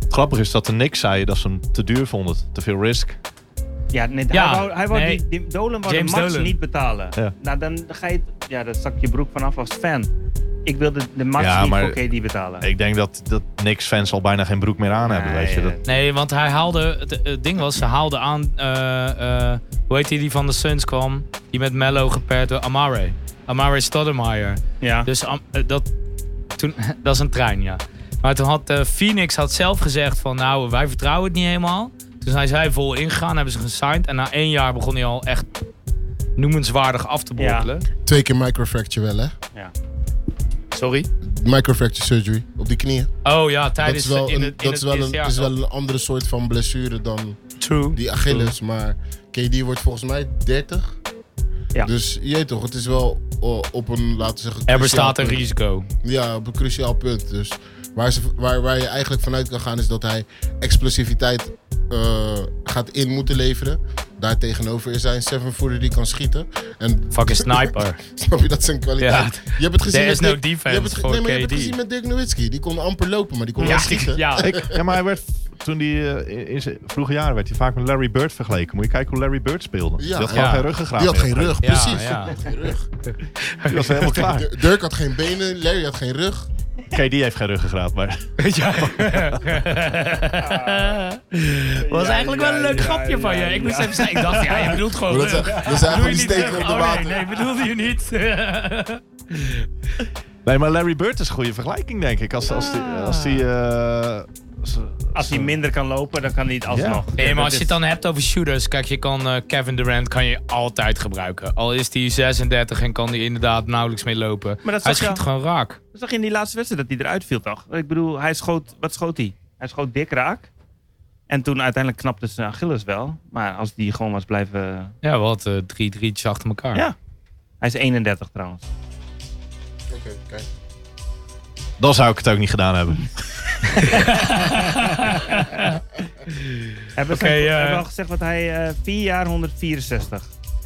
Het grappige is dat er niks zei dat ze hem te duur vonden. Te veel risk.
Ja, nee,
Ja,
hij wou, hij wou
nee.
die, die Dolan wou
James
de max
Dolan.
niet betalen.
Ja.
Nou, dan ga je... Ja, dan zak je broek vanaf als fan. Ik wilde de max
Ja,
niet
maar-
voor KD betalen.
Ik denk dat, dat niks fans al bijna geen broek meer aan hebben.
Nee,
Weet je.
ja.
Dat,
Nee, want hij haalde. Het, het ding was, ze haalde aan. eh, eh, hoe heet die die van de Suns kwam? Die met Mello geperd door Amare. Amare Stoudemire.
ja.
Dus am- eh, dat, toen, dat is een trein, ja. Maar toen had eh, Phoenix had zelf gezegd van nou, wij vertrouwen het niet helemaal. Toen zijn zij vol ingegaan, hebben ze gesigned. En na één jaar begon hij al echt noemenswaardig af te
Ja.
borrelen.
Twee keer microfracture wel, hè?
ja.
Sorry?
Microfracture surgery op die knieën.
Oh ja,
Dat
tijdens
is wel
in
een-
het- in
dat
het
is wel een-
eerste jaar.
is wel een andere soort van blessure dan
True.
die
Mm.
Achilles. Maar KD wordt volgens mij 30.
Ja.
Dus je weet toch, het is wel o- op een, laten we zeggen... cruciaal
Er bestaat een
punt.
risico.
Ja, op een cruciaal punt. Dus waar, ze, waar, waar je eigenlijk vanuit kan gaan is dat hij explosiviteit eh, gaat in moeten leveren. Daartegenover is hij een seven footer die kan schieten. En
Fucking sniper.
snap je dat zijn kwaliteit?
Ja.
Je hebt het gezien
There
met
is no
Dirk- je hebt
defense
het ge-
voor
nee, maar je hebt
KD.
het gezien met Dirk Nowitzki. Die kon amper lopen, maar die kon
Ja,
wel schieten.
ja.
ja, maar hij werd, toen hij eh, in zijn vroege jaren werd hij vaak met Larry Bird vergeleken. Moet je kijken hoe Larry Bird speelde.
Ja.
die had gewoon
Ja.
geen ruggengraat
Die had
meer.
geen rug,
Ja,
precies.
ja.
Die had geen rug.
Die was helemaal klaar.
D- Dirk had geen benen, Larry had geen rug.
KD heeft geen ruggengraat, maar...
Ja. was eigenlijk wel een leuk
ja,
grapje van je.
ja,
Ik moest
ja.
even zeggen, ik dacht, Oh, ja, je bedoelt gewoon
Maar dat
rug.
zijn- dat zijn
Doe je
gewoon die
niet
steken
rug?
op de
Oh, nee,
water.
nee, bedoelde je niet.
Nee, maar Larry Bird is een goede vergelijking, denk ik. Als, als die... Als die eh, als-
Als hij minder kan lopen, dan kan hij het alsnog.
Nee, maar
Dat
als je
is-
het dan hebt over shooters, kijk, je kan eh, Kevin Durant kan je altijd gebruiken. Al is die 36 en kan die inderdaad nauwelijks mee lopen.
Maar dat
Hij
zag je
schiet
al.
gewoon raak.
Dat zag je in die laatste wedstrijd dat hij eruit viel, toch? Ik bedoel, hij schoot, wat schoot hij? Hij schoot dik raak. En toen uiteindelijk knapte zijn Achilles wel. Maar als die gewoon was blijven...
Ja, wat eh, drie drietjes achter elkaar.
Ja. Hij is 31 trouwens.
Oké, kijk.
Dan zou ik het ook niet gedaan hebben.
Hebben we
Oké,
gezegd-
eh,
hebben we al gezegd wat hij... eh 4 jaar 164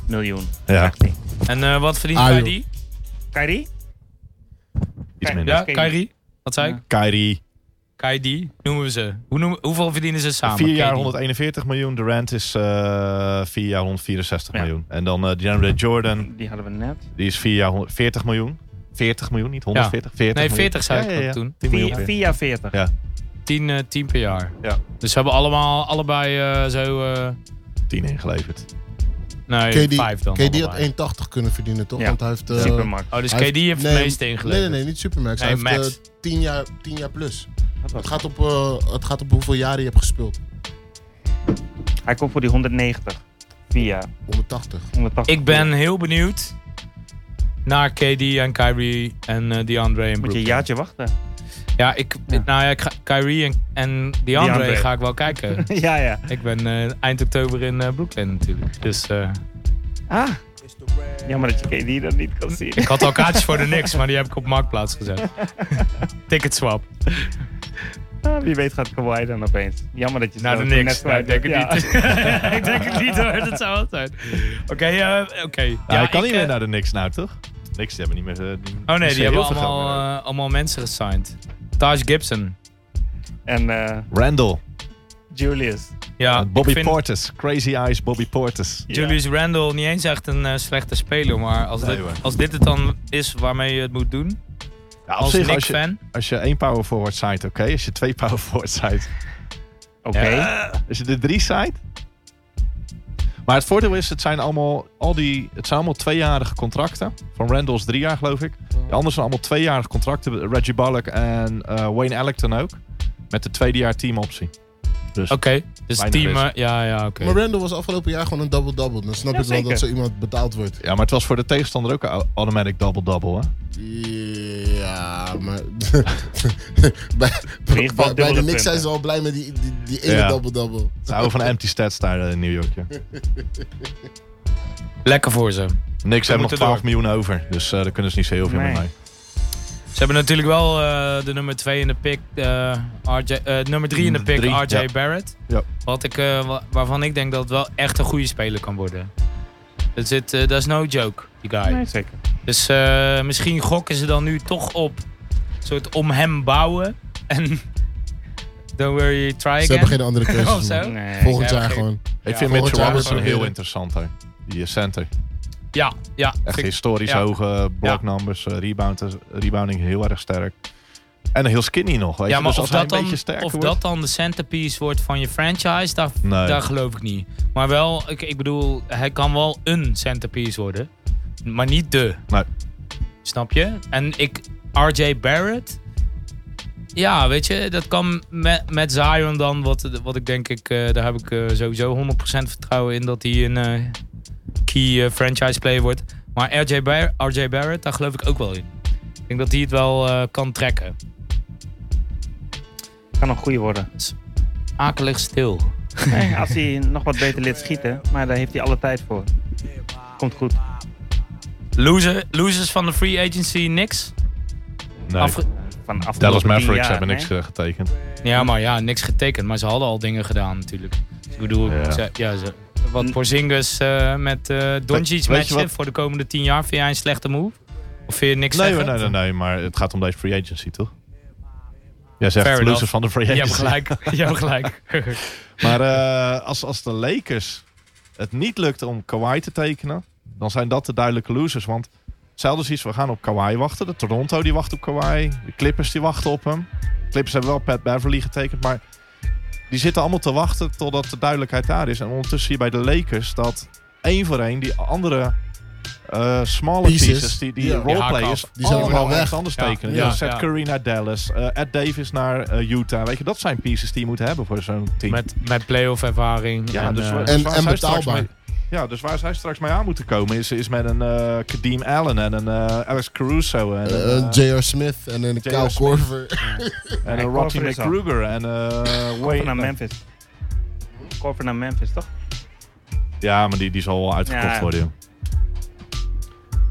miljoen.
Ja,
Krijgt hij.
En eh, wat verdient
Ah, joh.
Kyrie?
Kyrie?
iets
Ja.
minder.
Ja,
Ja.
Kyrie? Wat zei
Ja.
ik?
Kyrie,
Kyrie noemen we ze. Hoe noemen, hoeveel verdienen ze samen?
4 jaar
KD?
141 miljoen. Durant is eh 4 jaar 164
Ja.
miljoen. En dan eh DeAndre Jordan,
Die hadden we net.
die is 4 jaar 140 miljoen. 40 miljoen, niet 140. 40
Nee,
miljoen.
40 zei ik
Ja, ja,
ook
ja.
toen.
10 miljoen.
4 jaar 40.
Ja.
10, eh, 10 per jaar.
Ja.
Dus ze hebben allemaal, allebei eh, zo. eh
10 ingeleverd.
nee,
KD,
5 dan.
KD had
allebei.
1,80 kunnen verdienen, toch?
Ja.
Want hij heeft... eh,
Supermarkt.
Oh, dus
Hij
KD heeft
nee,
het meeste
Nee,
ingeleverd.
nee, nee, niet Supermax.
Nee,
hij
Max.
heeft eh, 10, jaar, 10 jaar plus.
Wat was
Het gaat, op, eh, het gaat op hoeveel jaren je hebt gespeeld.
het? Hij komt voor die 190. 4 jaar.
180.
180.
Ik ben heel benieuwd naar KD en Kyrie en eh DeAndre
Moet
en
je een
Brook.
jaartje wachten.
Ja, ik,
Ja.
Nou ja, ik ga- Kyrie en, en DeAndre,
DeAndre.
ga ik wel kijken.
ja, ja.
ik ben eh, eind oktober in eh, Brooklyn natuurlijk. Dus eh,
Ah. Jammer dat je KD dat niet kan zien.
ik had al kaartjes voor de niks, maar die heb ik op marktplaats gezet. Ticket swap.
Ah, wie weet gaat Kawhi dan opeens. Jammer dat je
Naar de
zo
niks. Nou, ik
kwijt
denk het
bent. Ja.
niet. ik denk het niet hoor, dat zou het zijn. Oké, eh, oké.
Ja, hij kan
ik,
niet meer
eh,
naar de Knicks nou, toch? Knicks, die hebben niet meer... eh, die-
Oh nee,
die
die hebben
heel veel geld
allemaal,
meer.
eh, allemaal mensen gesigned. Taj Gibson.
En eh,
Randall.
Julius.
Ja,
En Bobby
ik vind
Portis. Crazy Eyes Bobby Portis.
Julius Randle niet eens echt een eh, slechte speler, maar als,
Nee,
dit,
hoor.
als dit het dan is waarmee je het moet doen,
Ja, op
als
zich, als je,
Nick-fan,
als je één power forward site, oké. Als je twee power forward site.
Oké.
Als je de drie site. Maar het voordeel is, het zijn allemaal, al die, het zijn allemaal tweejarige contracten. Van Randall's drie jaar, geloof ik. De anderen zijn allemaal tweejarige contracten. Reggie Bullock en eh, Wayne Ellington ook. Met de tweede jaar teamoptie. Dus
oké, dus
Weinig
team,
risk.
eh, ja, ja, oké.
Maar Randall was afgelopen jaar gewoon een double-double. Dan snap
Ja,
ik wel
zeker.
dat zo iemand betaald wordt.
Ja, maar het was voor de tegenstander ook een automatic double-double, hè?
Ja, maar... bij, bij,
geval
bij de
dubbele
Knicks zijn
punten.
ze al blij met die, die, die ene
Ja.
double-double.
Ze houden van empty stats daar eh, in New York, ja.
Lekker voor ze.
Niks hebben nog
moeten
12
door.
miljoen over. Dus eh, daar kunnen ze niet zo heel veel
Nee.
mee.
Ze hebben natuurlijk wel eh, de nummer 2 in de pick, eh, RJ, eh, nummer 3 in de pick,
Drie,
RJ
ja.
Barrett.
Ja.
Wat ik, eh, wa- waarvan ik denk dat het wel echt een goede speler kan worden. Dat zit, eh, that's no joke, die guy.
Nee, zeker.
Dus eh, misschien gokken ze dan nu toch op een soort om hem bouwen. En don't worry, try again.
Ze hebben geen andere keuzes.
Of zo.
man.
Nee.
Volgend
Ja,
jaar
oké.
gewoon.
Ik
Ja,
vind
volgend
Mitchell
jaar
Robinson
proberen.
heel interessant, hè. Die center.
Ja, ja.
Echt
Vind ik-
historisch
ja.
hoge bloknumbers, eh, rebound, rebounding heel erg sterk. En heel skinny nog, weet
ja,
je.
maar
Dus
of,
als hij
dat
een
dan,
beetje sterker
of
wordt...
dat dan de centerpiece wordt van je franchise, daar,
Nee.
daar geloof ik niet. Maar wel, ik, ik bedoel, hij kan wel een centerpiece worden, maar niet de.
Nee.
Snap je? En ik, RJ Barrett, ja, weet je, dat kan met, met Zion dan, wat, wat ik denk ik, eh, daar heb ik eh, sowieso 100% vertrouwen in dat hij een eh, key eh, franchise player wordt. Maar RJ, Bar- RJ Barrett, daar geloof ik ook wel in. Ik denk dat hij het wel eh, kan trekken.
Kan nog goeie worden.
akelig stil.
Nee, als hij nog wat beter lid schieten, maar daar heeft hij alle tijd voor. Komt goed.
Loser, losers van de free agency, niks.
Nee,
Afge-
Van de afgelopen
Dallas
tien
Mavericks
jaar,
hebben
nee?
niks eh, getekend.
ja, maar ja, niks getekend. Maar ze hadden al dingen gedaan natuurlijk. Dus ik bedoel,
Ja.
ze- ja, ze, wat Porzingis eh, met eh
weet
Doncic
je
matchen
wat-
voor de komende tien jaar. Vind jij een slechte move? Of vind je niks
Nee,
zeggen?
nee, nee, nee, maar het gaat om deze free agency, toch? Jij zegt
Fair
losers
enough.
van de free
Je
agency.
hebt gelijk. Je hebt gelijk.
Maar eh, als, als de Lakers het niet lukt om Kawhi te tekenen, dan zijn dat de duidelijke losers. Want ze hadden zoiets, we gaan op Kawhi wachten. De Toronto die wacht op Kawhi. De Clippers die wachten op hem. De Clippers hebben wel Pat Beverly getekend, maar die zitten allemaal te wachten totdat de duidelijkheid daar is. En ondertussen zie je bij de Lakers dat één voor één die andere eh smaller
Pieces.
pieces, die, die
Ja. Die
roleplayers,
haken
Die zijn
allemaal
allemaal
ergens
weg.
anders
Ja.
tekenen.
Ja.
Dus Seth
Ja.
Curry naar Dallas, eh, Ed Davis naar eh, Utah. Weet je, dat zijn pieces die je moet hebben voor zo'n team.
met, met playoff ervaring.
Ja,
en,
dus,
eh,
waar-
En-
waar
en
zij straks
betaalbaar.
mee- ja, dus waar zij straks mee aan moeten komen is, is met een eh Kadeem Allen en een eh, Alex Caruso en,
Eh,
een,
eh,
eh,
J.R. Smith en een
J.R.
Kyle
Smith.
Korver.
en
Nee,
een
Corver
Rodney
is al.
McGruger en eh
Corver naar
Wayne-
Memphis. Corver naar Memphis, toch?
Ja, maar die, die zal wel uitgekocht
Ja.
worden, joh.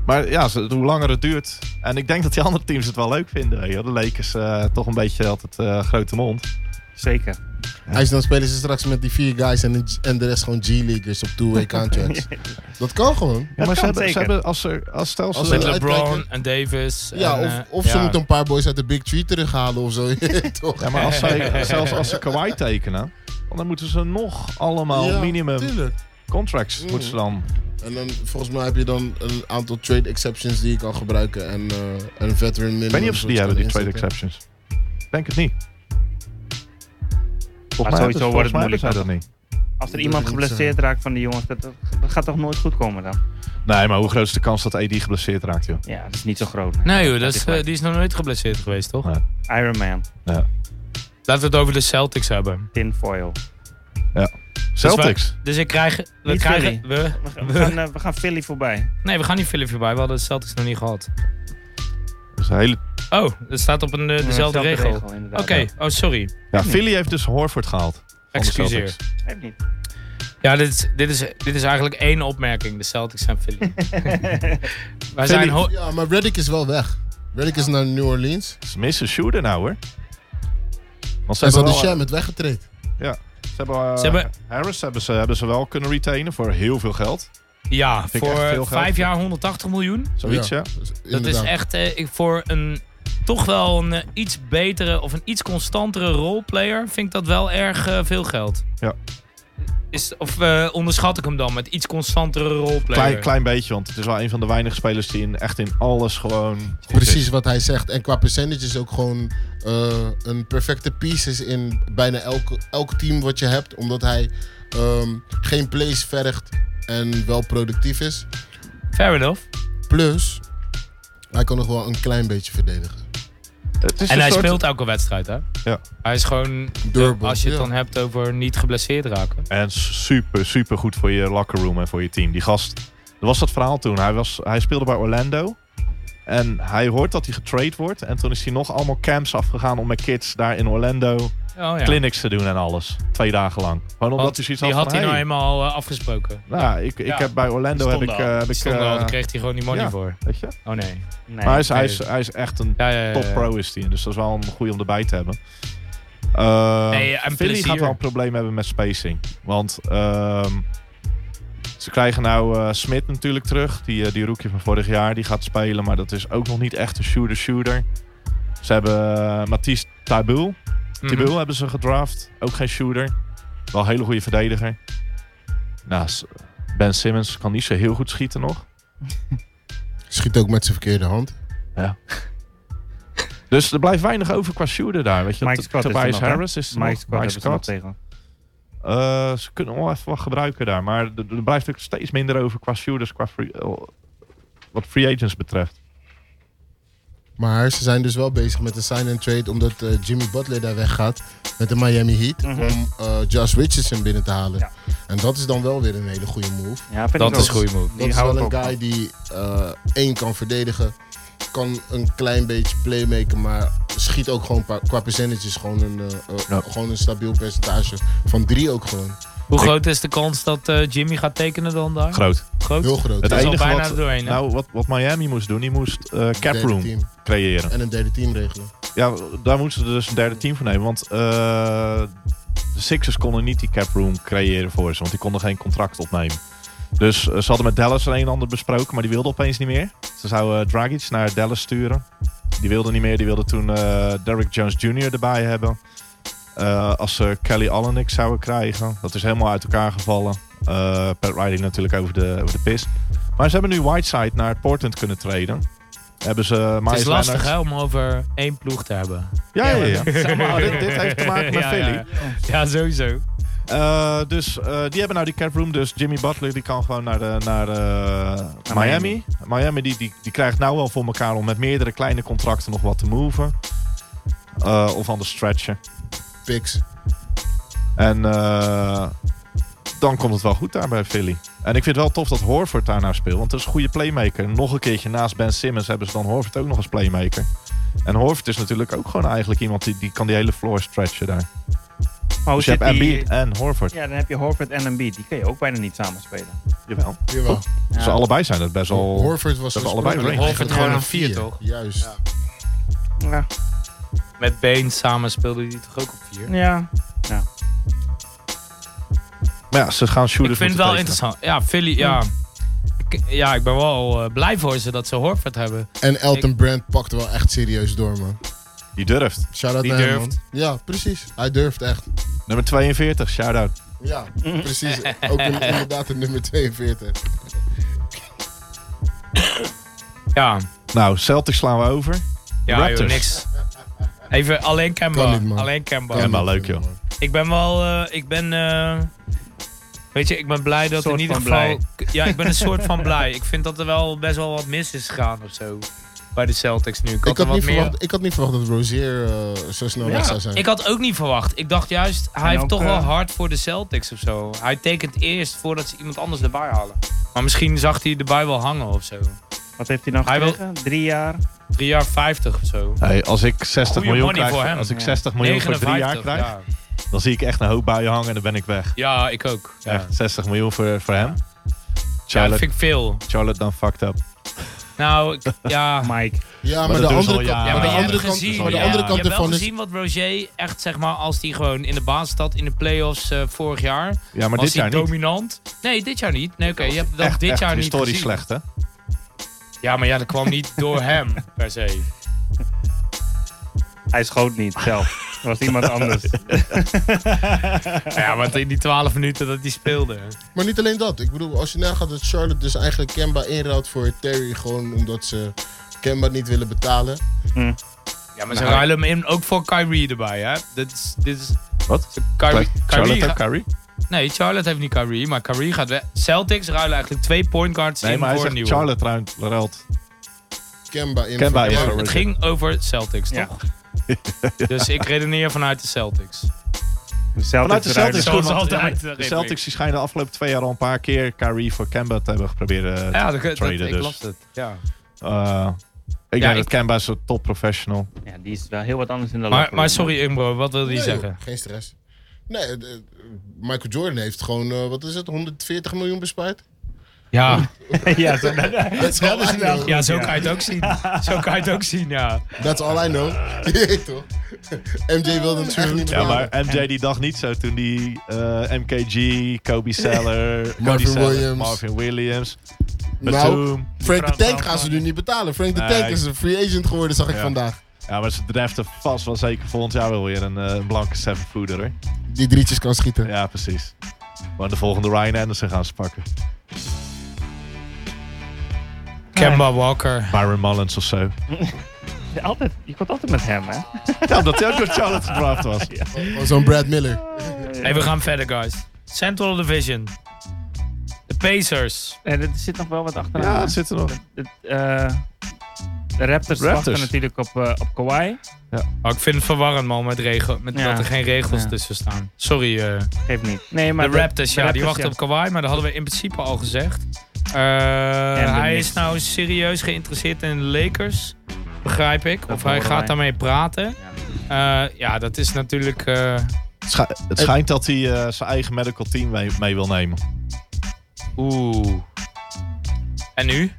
Maar ja, ze- hoe langer het duurt. En ik denk dat die andere teams het wel leuk vinden. weet je wel. De Lakers eh, toch een beetje altijd eh, grote mond.
Zeker.
Hij dan spelen ze straks met die vier guys en, de- en de rest gewoon G-leaguers op two-way contracts. Dat kan gewoon.
Ja, maar ze
kan
hebben, ze
zeker.
hebben als, er, als stel ze...
Als
met
eh,
LeBron
uitkijken.
en Davis.
Ja,
en,
of,
eh,
of ze
ja.
moeten een paar boys uit de Big Tree terughalen of zo. Toch?
ja, maar als zij, zelfs als ze Kawhi tekenen, dan moeten ze nog allemaal
Ja,
minimum
tuurlijk.
contracts
Mm.
moeten ze dan.
En dan volgens mij heb je dan een aantal trade exceptions die je kan gebruiken. En eh, en een veteran minimum.
Ik weet niet of ze die
soort
hebben, die
kan
trade
inzetten.
exceptions. Ik Denk het niet. Volgens
Maar
hebben
sowieso
ze-
wordt het
volgens mij
moeilijk,
hebben zij dat niet.
Als er
Dat
iemand
wil ik
geblesseerd raakt van de jongens, dat, dat gaat toch nooit goed komen dan?
Nee, maar hoe groot is de kans dat AD geblesseerd raakt, joh?
Ja, dat is niet zo groot.
Nee joh, dat is,
gelijk.
eh, die is nog nooit geblesseerd geweest, toch?
Nee.
Iron Man,
Laten we het over de Celtics hebben.
tinfoil.
Celtics.
Dus ik krijg... We
Niet Philly.
krijgen... We,
We gaan, we gaan, eh, we gaan Philly voorbij.
nee, we gaan niet Philly voorbij. We hadden de Celtics nog niet gehad.
Dat is een hele
Oh, dat staat op een, eh, dezelfde
Dezelfde
regel. Oké,
inderdaad.
oh sorry.
Ja, Philly heeft dus Horford gehaald. van de
Excuseer.
Celtics.
Geeft niet.
Ja, dit is, dit, is, dit is eigenlijk één opmerking. De Celtics en Philly. Wij zijn... ho-
Ja, maar Reddick is wel weg. Reddick is naar New Orleans.
Ze missen shooter nou hoor. Want ze
Hij zat
hebben,
de
wel,
Sham met weggetraind.
ze hebben, eh,
Ze hebben-
Harris hebben ze, hebben ze wel kunnen retainen voor heel veel geld.
ja,
ik echt veel
voor
geld.
vijf jaar 180 miljoen.
Zoiets, ja.
Dat is echt eh, ik- voor een... Toch wel een eh, iets betere of een iets constantere roleplayer vind ik dat wel erg eh, veel geld.
Ja.
Is, of eh, onderschat ik hem dan met iets constantere roleplayer?
Klein, klein beetje, want het is wel een van de weinige spelers die in, echt in alles gewoon... goed is.
Precies wat hij zegt. En qua percentages ook gewoon eh, een perfecte piece is in bijna elk, elk team wat je hebt. Omdat hij ehm, geen plays vergt en wel productief is.
Fair enough.
Plus, hij kan nog wel een klein beetje verdedigen.
Het is
En
een
hij
soort-
speelt elke wedstrijd, hè?
Ja.
Hij is gewoon,
Durable,
als je het
ja.
dan hebt over niet geblesseerd raken.
En super, super goed voor je locker room en voor je team. Die gast, er was dat verhaal toen. Hij, was, hij speelde bij Orlando. En hij hoort dat hij getrade wordt. En toen is hij nog allemaal camps afgegaan om met kids daar in Orlando
Oh, ja.
clinics te doen en alles. Twee dagen lang. Gewoon omdat
Want
hij zoiets
die
had
had hij
van,
nou
hey,
eenmaal eh, afgesproken.
nou, ik, ik
Ja.
heb bij Orlando heb ik,
Stonden al.
eh, heb ik,
Stond er al,
eh,
daar kreeg hij gewoon die money
ja.
voor.
weet je.
Oh nee.
Nee.
Maar hij is, hij,
nee.
is, hij is echt een
Ja, ja,
Eh.
ja, ja.
top pro is die. Dus dat is wel een goeie om erbij te hebben. Eh,
Nee, en
Philly
plezier.
gaat wel een probleem hebben met spacing. Want ehm, Ze krijgen nou eh Smit natuurlijk terug. Die, eh, die roekje van vorig jaar. Die gaat spelen. Maar dat is ook nog niet echt een shooter-shooter. Ze hebben eh, Mathies Tabul.
Mhm.
Tibul hebben ze gedraft. Ook geen shooter. Wel een hele goede verdediger. Nou, S- Ben Simmons kan niet zo heel goed schieten nog.
Schiet ook met zijn verkeerde hand.
Dus er blijft weinig over qua shooter daar. Weet je,
Mike
T-
Scott is er
Tobias
nog, hè?
Harris is er
Mike
nog.
Scott
Mike
hebben ze nog
Scott.
tegen.
Eh, ze kunnen wel even wat gebruiken daar. Maar er er blijft ook steeds minder over qua shooters, qua free- eh, wat free agents betreft.
Maar ze zijn dus wel bezig met een sign and trade. Omdat eh, Jimmy Butler daar weggaat met de Miami Heat.
Mhm.
Om eh, Josh Richardson binnen te halen.
Ja.
En dat is dan wel weer een hele goede move.
Ja, vind ik
Dat
ook.
is een goede move.
Dat is wel een guy die eh één kan verdedigen. Kan een klein beetje playmaken, maar schiet ook gewoon pa- qua percentages gewoon een, eh, eh,
Ja.
gewoon een stabiel percentage. Van drie ook gewoon.
Hoe groot is de kans dat eh, Jimmy gaat tekenen dan daar?
Groot.
Groot?
Heel groot.
Het
is al
enige
bijna
wat,
doorheen, hè?
nou, wat, wat Miami moest doen, die moest eh
Derde
caproom
team.
creëren.
En een derde team regelen.
Ja, daar moeten ze dus een derde team voor nemen. Want eh, de Sixers konden niet die cap room creëren voor ze. Want die konden geen contract opnemen. Dus eh, ze hadden met Dallas een en ander besproken. Maar die wilde opeens niet meer. Ze zouden eh, Dragic naar Dallas sturen. Die wilde niet meer. Die wilde toen eh Derrick Jones Jr. erbij hebben. Eh, als ze Kelly Olenek zouden krijgen. Dat is helemaal uit elkaar gevallen. Eh Pat Riley natuurlijk over de, over de pist. Maar ze hebben nu Whiteside naar Portland kunnen treden. Hebben ze
Het is
Myers
lastig
Leonard-
hè, om over één ploeg te hebben.
ja, ja, ja.
Zeg maar,
dit, dit heeft te maken met
Ja,
Philly.
ja. Ja, sowieso.
Eh, dus eh, die hebben nou die cap room. Dus Jimmy Butler die kan gewoon naar, de, naar, eh, Miami.
Miami.
Miami die, die, die krijgt nou wel voor elkaar om met meerdere kleine contracten nog wat te moven. Eh, of anders stretchen.
Picks.
En eh, dan komt het wel goed daar bij Philly. En ik vind het wel tof dat Horford daar nou speelt. Want dat is een goede playmaker. Nog een keertje naast Ben Simmons hebben ze dan Horford ook nog als playmaker. En Horford is natuurlijk ook gewoon eigenlijk iemand die, die kan die hele floor stretchen daar.
Maar hoe
Dus je
Oh, zit
hebt
die-
Embiid en Horford.
Ja, dan heb je Horford en Embiid. Die kun je ook bijna niet samen spelen.
Jawel.
Jawel.
Ze allebei zijn dat best wel.
Horford was
ze hebben
oorspronkelijk
allebei
eigenlijk
Horford
range.
gewoon
een
een vier,
vier.
toch?
Juist.
Ja.
Met Bane samen speelde hij toch ook op vier?
ja.
Maar ja, ze gaan shooters
Ik vind het wel
moeten
interessant. Ja, Philly, ja. Ik, ja, ik ben wel eh, blij voor ze dat ze Horford hebben.
En Elton Brand pakt wel echt serieus door, man.
tekenen. Die durft.
Shout out
Die
naar hem, man.
durft.
Ja, precies. Hij durft echt.
Nummer 42, shout-out.
Ja, precies. Ook in- inderdaad de nummer 42.
Ja,
Nou, Celtics slaan we over.
ja
Raptors.
joh, niks. Even alleen Kemba.
Kan niet, man.
alleen Kemba.
Kemba. maar leuk, joh.
Man.
Ik ben wel, eh, ik ben, eh, weet je, ik ben blij dat
Soort
in ieder
van
geval, ja, ik ben een soort van blij. Ik vind dat er wel best wel wat mis is gegaan of zo bij de Celtics nu.
Ik
er
had,
wat
niet
meer-
verwacht, ik had niet verwacht dat Rozier eh, zo snel weg zou zijn.
Ik had ook niet verwacht. Ik dacht juist, hij
En
heeft
ook,
toch wel
eh,
hard voor de Celtics of zo. Hij tekent eerst voordat ze iemand anders erbij halen. Maar misschien zag hij erbij wel hangen of zo.
Wat heeft hij nou
Hij wil-
gekregen? Drie jaar.
3 jaar 50 of zo.
Hey, als ik 60
Goeie
miljoen
money
krijg,
voor hem.
als ik
Ja.
60 miljoen voor drie jaar
59,
krijg,
ja.
dan zie ik echt een hoop buien hangen en dan ben ik weg.
ja, ik ook. Ja.
Echt, 60 miljoen voor, voor hem.
Ja, dat
Charlotte,
vind ik veel.
Charlotte dan fucked up.
Nou, ik- ja.
Mike.
Ja,
dat
maar de
doen ze
andere
al
kant,
jaren.
Ja,
maar de
maar je
andere
hebt
kant,
gezien,
maar de
ja.
andere
je
kant
hebt wel
ervan is...
gezien wat Roger echt, zeg maar, als hij gewoon in de baas staat in de playoffs eh, vorig jaar.
Ja, maar
was
dit jaar
hij
niet.
dominant. Nee, dit jaar niet. Nee, oké, je hebt dat
echt,
dit
echt
jaar niet
historisch
gezien.
slecht, hè?
Ja, maar ja, dat kwam niet door hem, per se.
Hij schoot niet zelf. Er was iemand anders.
Ja, want in die 12 minuten dat hij speelde.
Maar niet alleen dat. Ik bedoel, als je nagaat dat Charlotte dus eigenlijk Kemba inruilt voor Terry... gewoon omdat ze Kemba niet willen betalen.
Ja, maar ze
Nou,
ruilen hem in, ook voor Kyrie erbij, hè? Dit is, dit is
Wat?
Kyrie, Kyrie
Charlotte ook
ga-
Kyrie?
Nee, Charlotte heeft niet Kyrie, maar Kyrie gaat weg. Celtics ruilen eigenlijk twee point guards
Nee,
in
maar hij
voor een
zegt
nieuwe.
Charlotte ruilt- ruilt.
Kemba in
Kemba
voor
in
Terry.
voor-
Het ging over Celtics,
Ja.
toch? Dus ik redeneer vanuit de Celtics.
De Celtics
Vanuit de
eruit.
Celtics.
Zoals
want-
altijd. eh,
ja, maar De Celtics die schijnen de afgelopen twee jaar al een paar keer Kyrie voor Kemba te hebben geprobeerd eh,
Ja, dat, dat,
Traden
ik
dus.
las het. Ja.
Eh, ik
Ja,
denk
ik-
dat Kemba is een top professional.
Ja, die is wel heel wat anders in de
Maar,
locker
maar
room.
sorry, Imbro, wat wilde je
Nee,
zeggen?
joh, geen stress. Nee, eh, eh, Michael Jordan heeft gewoon, eh, wat is het, 140 miljoen bespaard?
Ja,
ja, zo, dat,
That's all I know.
ja zo kan je het ook zien. Zo kan je het ook zien, ja.
That's all I know. Jeet, toch? MJ wilde hem echt niet
Ja,
meer
maar MJ die dag niet zo toen die eh, MKG, Kobe Seller, Cody
Marvin
Seller,
Williams.
Marvin Williams,
eh,
Nou,
Batum.
Frank de
vrouw-
Tank gaan ze nu niet betalen. Frank de
Nee.
Tank is een free agent geworden, zag ik
Ja.
vandaag.
Ja, maar ze draften vast wel zeker volgend jaar wel weer een, eh, een blanke seven footer. Hoor.
Die drietjes kan schieten.
Ja, precies. Maar de volgende Ryan Anderson gaan ze pakken.
Kemba Walker.
Byron Mullins of zo.
altijd, je komt altijd met hem, hè?
Ja, omdat hij ook door Charlotte gedraft was.
Oh, Zo'n Brad Miller.
Hey, we gaan verder, guys. Central Division. De Pacers.
En er zit nog wel wat achteraan.
Ja, het zit er nog.
Het, eh, de Raptors, wachten natuurlijk op, eh, op Kawhi.
Oh, ik vind het verwarrend, man, met, regel, met
Ja.
dat er geen regels
Ja.
tussen staan. Sorry, eh,
Geeft niet. Nee,
de
maar
Raptors, ja, die wachten op
Raptors,
Kawhi, maar dat hadden we in principe al gezegd. Eh, hij
Knicks.
is nou serieus geïnteresseerd in de Lakers, begrijp ik. of hij
horen
gaat
wij.
daarmee praten. Eh, ja, dat is natuurlijk... eh,
Het, scha- het schijnt dat hij eh, zijn eigen medical team mee, mee wil nemen.
Oeh. En nu?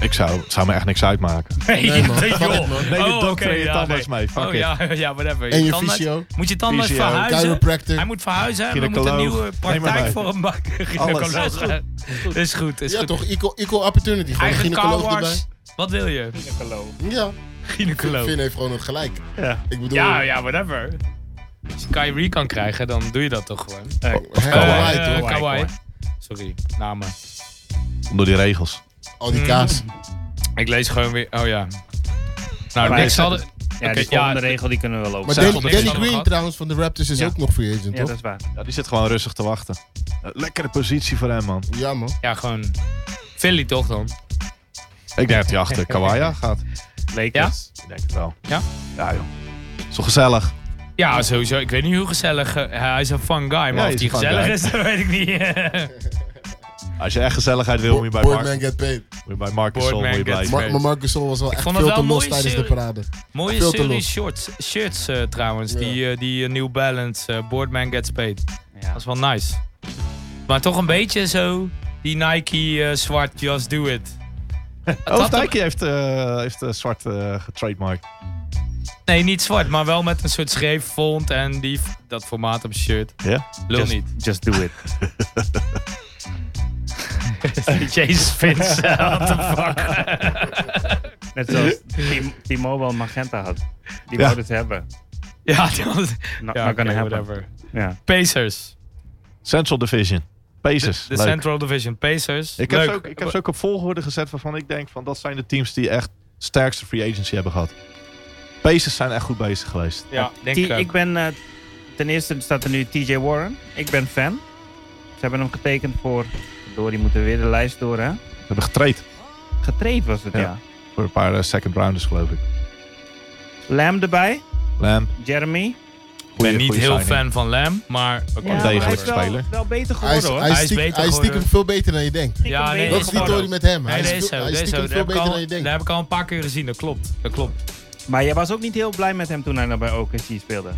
Ik zou, het zou me echt niks uitmaken.
Nee,
man.
joh.
Fuck it, man.
Nee, de
Oh,
dokter
oké,
en je
ja,
tandarts
nee.
mee. Fuck
oh,
it.
ja, ja, whatever.
En je
tandarts-
fysio.
Moet je tandarts
Fysio,
verhuizen? Hij
Chiropractor.
moet verhuizen. We moeten een
Gynaecoloog.
nieuwe
Neem maar
praktijk
mee.
voor hem maken. Gynaecoloog.
Alles. Is
Is goed, is
Ja,
goed.
toch? Equal, equal opportunity. Gewoon een
Eigen
gynaecoloog
carwash.
erbij.
Wat wil je?
Ja,
Gynaecoloog.
Finn heeft gewoon nog gelijk.
Ja. Eh,
Ik bedoel,
Ja, ja, Oh, whatever. Als je Kyrie kan krijgen, dan doe je dat toch gewoon.
hè,
Eh,
Kawaii,
Kawhi, toch?
Kawhi. Sorry, namen.
Door die regels.
Al die kaas.
Ik lees gewoon weer... Oh ja. Nou,
Maar
niks
hij-
hadden...
Ja,
Oké,
die volgende
ja,
regel die kunnen we wel lopen.
Maar
Zij
Danny,
hebben niks
Danny
aan
Green
gehad.
trouwens van de Raptors is
Ja.
ook nog free agent,
ja, dat
toch?
is waar.
Ja, die zit gewoon rustig te wachten. Eh, Lekkere positie voor hem, man.
Ja, man.
ja, gewoon... Philly toch dan?
Ik denk dat hij achter Kawhi aan gaat.
Lakers.
Ik denk het wel.
Ja?
Ja, joh. Zo gezellig.
Ja, sowieso. Ik weet niet hoe gezellig... eh, hij is een fun guy, maar
hij
of
is
hij
een
gezellig
fun guy.
is, dat weet ik niet.
Als je echt gezelligheid wil, moet je bij
Boardman
Mark,
get paid.
moet je bij Mark
Boardman
Gasol, moet je
gets
blijven.
Maar,
paid.
maar Marcus Sol was wel echt
vond
veel
het
te
wel
los
een mooie
tijdens de
serie.
parade.
Mooie
Veel te
serie
los.
shorts, shirts eh, trouwens.
Ja.
Die, eh, die eh, New Balance eh, Boardman Gets Paid.
Ja.
Dat is wel nice. Maar toch een beetje zo die Nike eh, zwart Just Do It.
Oh, Nike heeft, eh heeft eh, zwart eh getrademarkt.
Nee, niet zwart, maar wel met een soort schreeffont en die, dat formaat op je shirt.
Ja?
Lul
Just,
niet.
just do it.
Jezus Vince, what the fuck.
Net zoals T- T-Mobile Magenta had. Die
Ja.
wouden het hebben.
ja,
Not,
dat, ja
not
oké,
gonna happen.
whatever.
Ja.
Pacers.
Central Division. Pacers.
De
Leuk.
Central Division Pacers.
Ik heb,
Leuk.
ze ook, ik heb ze ook op volgorde gezet waarvan ik denk van dat zijn de teams die echt sterkste free agency hebben gehad. Pacers zijn echt goed bezig geweest.
Ja, denk
T-
ik,
ik
ook.
ben, eh, ten eerste staat er nu TJ Warren. Ik ben fan. Ze hebben hem getekend voor, door, die moeten weer de lijst door hè.
Ze hebben getraind
Getraind was het, ja.
Ja. voor een paar eh, second rounders geloof ik.
Lam erbij,
Lamb,
Jeremy.
Ik ben niet heel
fan.
fan van Lam, maar... oké.
maar degelijke hij is
wel,
wel- speler.
wel beter geworden
Hij is,
hoor.
hij is
Hij is
stiek-
beter
hij is stiekem
geworden.
veel beter dan je denkt.
Ja, nee,
Dat is
geworden.
Victorie met hem. Hij
Nee,
is,
dat is
veel-
zo.
hij is
Dat is zo.
stiekem
Dat
veel
heb, ik
beter dan
al,
je
dat
denkt.
heb ik al een paar keer gezien, dat klopt. Dat klopt.
Maar jij was ook niet heel blij met hem toen hij nog bij OKC speelde.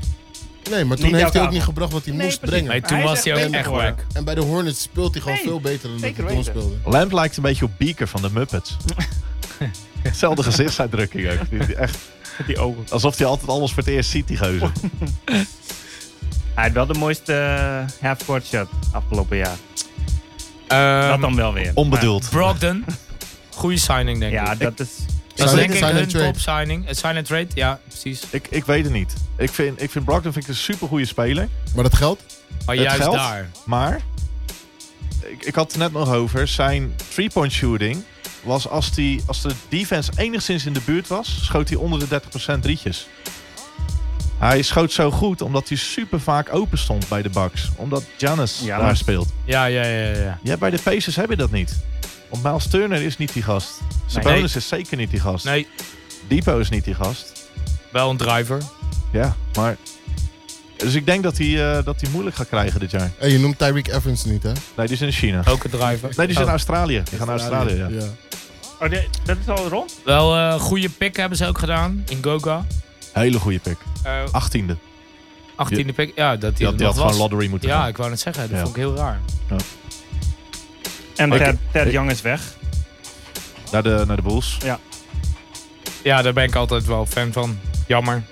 Nee, maar toen
Niet
heeft hij ook
elkaar.
niet gebracht wat hij
Nee,
moest
precies.
Nee,
brengen.
toen
Hij is
was hij
echt
ook
beter
echt
geworden.
wack.
En bij de Hornets speelt hij gewoon
Nee,
veel beter dan dat
zeker
hij toen
weten.
speelde.
Lamp lijkt een beetje op Beaker van de Muppets. Hetzelfde gezichtsuitdrukking ook. Die- die Echt,
Die ogen.
alsof hij altijd alles voor het eerst ziet, die gozer.
Hij had wel de mooiste eh, half-court shot afgelopen jaar. dat
Ehm,
dan wel weer.
Onbedoeld.
Brogdon. Goede signing, denk
Maar- ja,
ik.
dat is...
Dat is
Sign-
denk ik
sign and
hun
trade.
top signing. Eh, sign and trade, ja, precies.
Ik, ik weet het niet. Ik vind, ik vind Brogdon vind ik een supergoeie speler.
Maar dat geldt?
Maar
Het
juist
geld?
daar.
Maar, ik, ik had het net nog over, zijn three-point shooting was als, die, als de defense enigszins in de buurt was, schoot hij onder de 30% drietjes. Hij schoot zo goed omdat hij super vaak open stond bij de Bucks. Omdat Giannis
Ja, maar-
daar speelt.
Ja, ja, ja, ja, ja.
Ja, bij de Pacers heb je dat niet. Want Miles Turner is niet die gast. Sabonis
Nee.
is zeker niet die gast.
Nee,
Depot is niet die gast.
wel een driver.
Ja, maar... Dus ik denk dat hij, eh, dat hij moeilijk gaat krijgen dit jaar.
Hey, je noemt Tyreek Evans niet, hè?
Nee, die is in China.
Ook een driver.
Nee, die is in
Oh.
Australië. Die gaan naar Australië, ja.
ja.
Oh, die- dat is al rond?
Wel eh goede pick hebben ze ook gedaan in Goga.
Hele goede pick.
Eh
18e.
18e pick. Ja, dat hij
Die had,
er
die
nog
had
was.
gewoon lottery moeten
ja,
gaan.
ik wou net zeggen. Dat
Ja.
vond ik heel raar.
En
Oké.
Ted, Ted Young is weg.
Naar de, naar de Bulls.
Ja, daar ben ik altijd wel fan van. Jammer.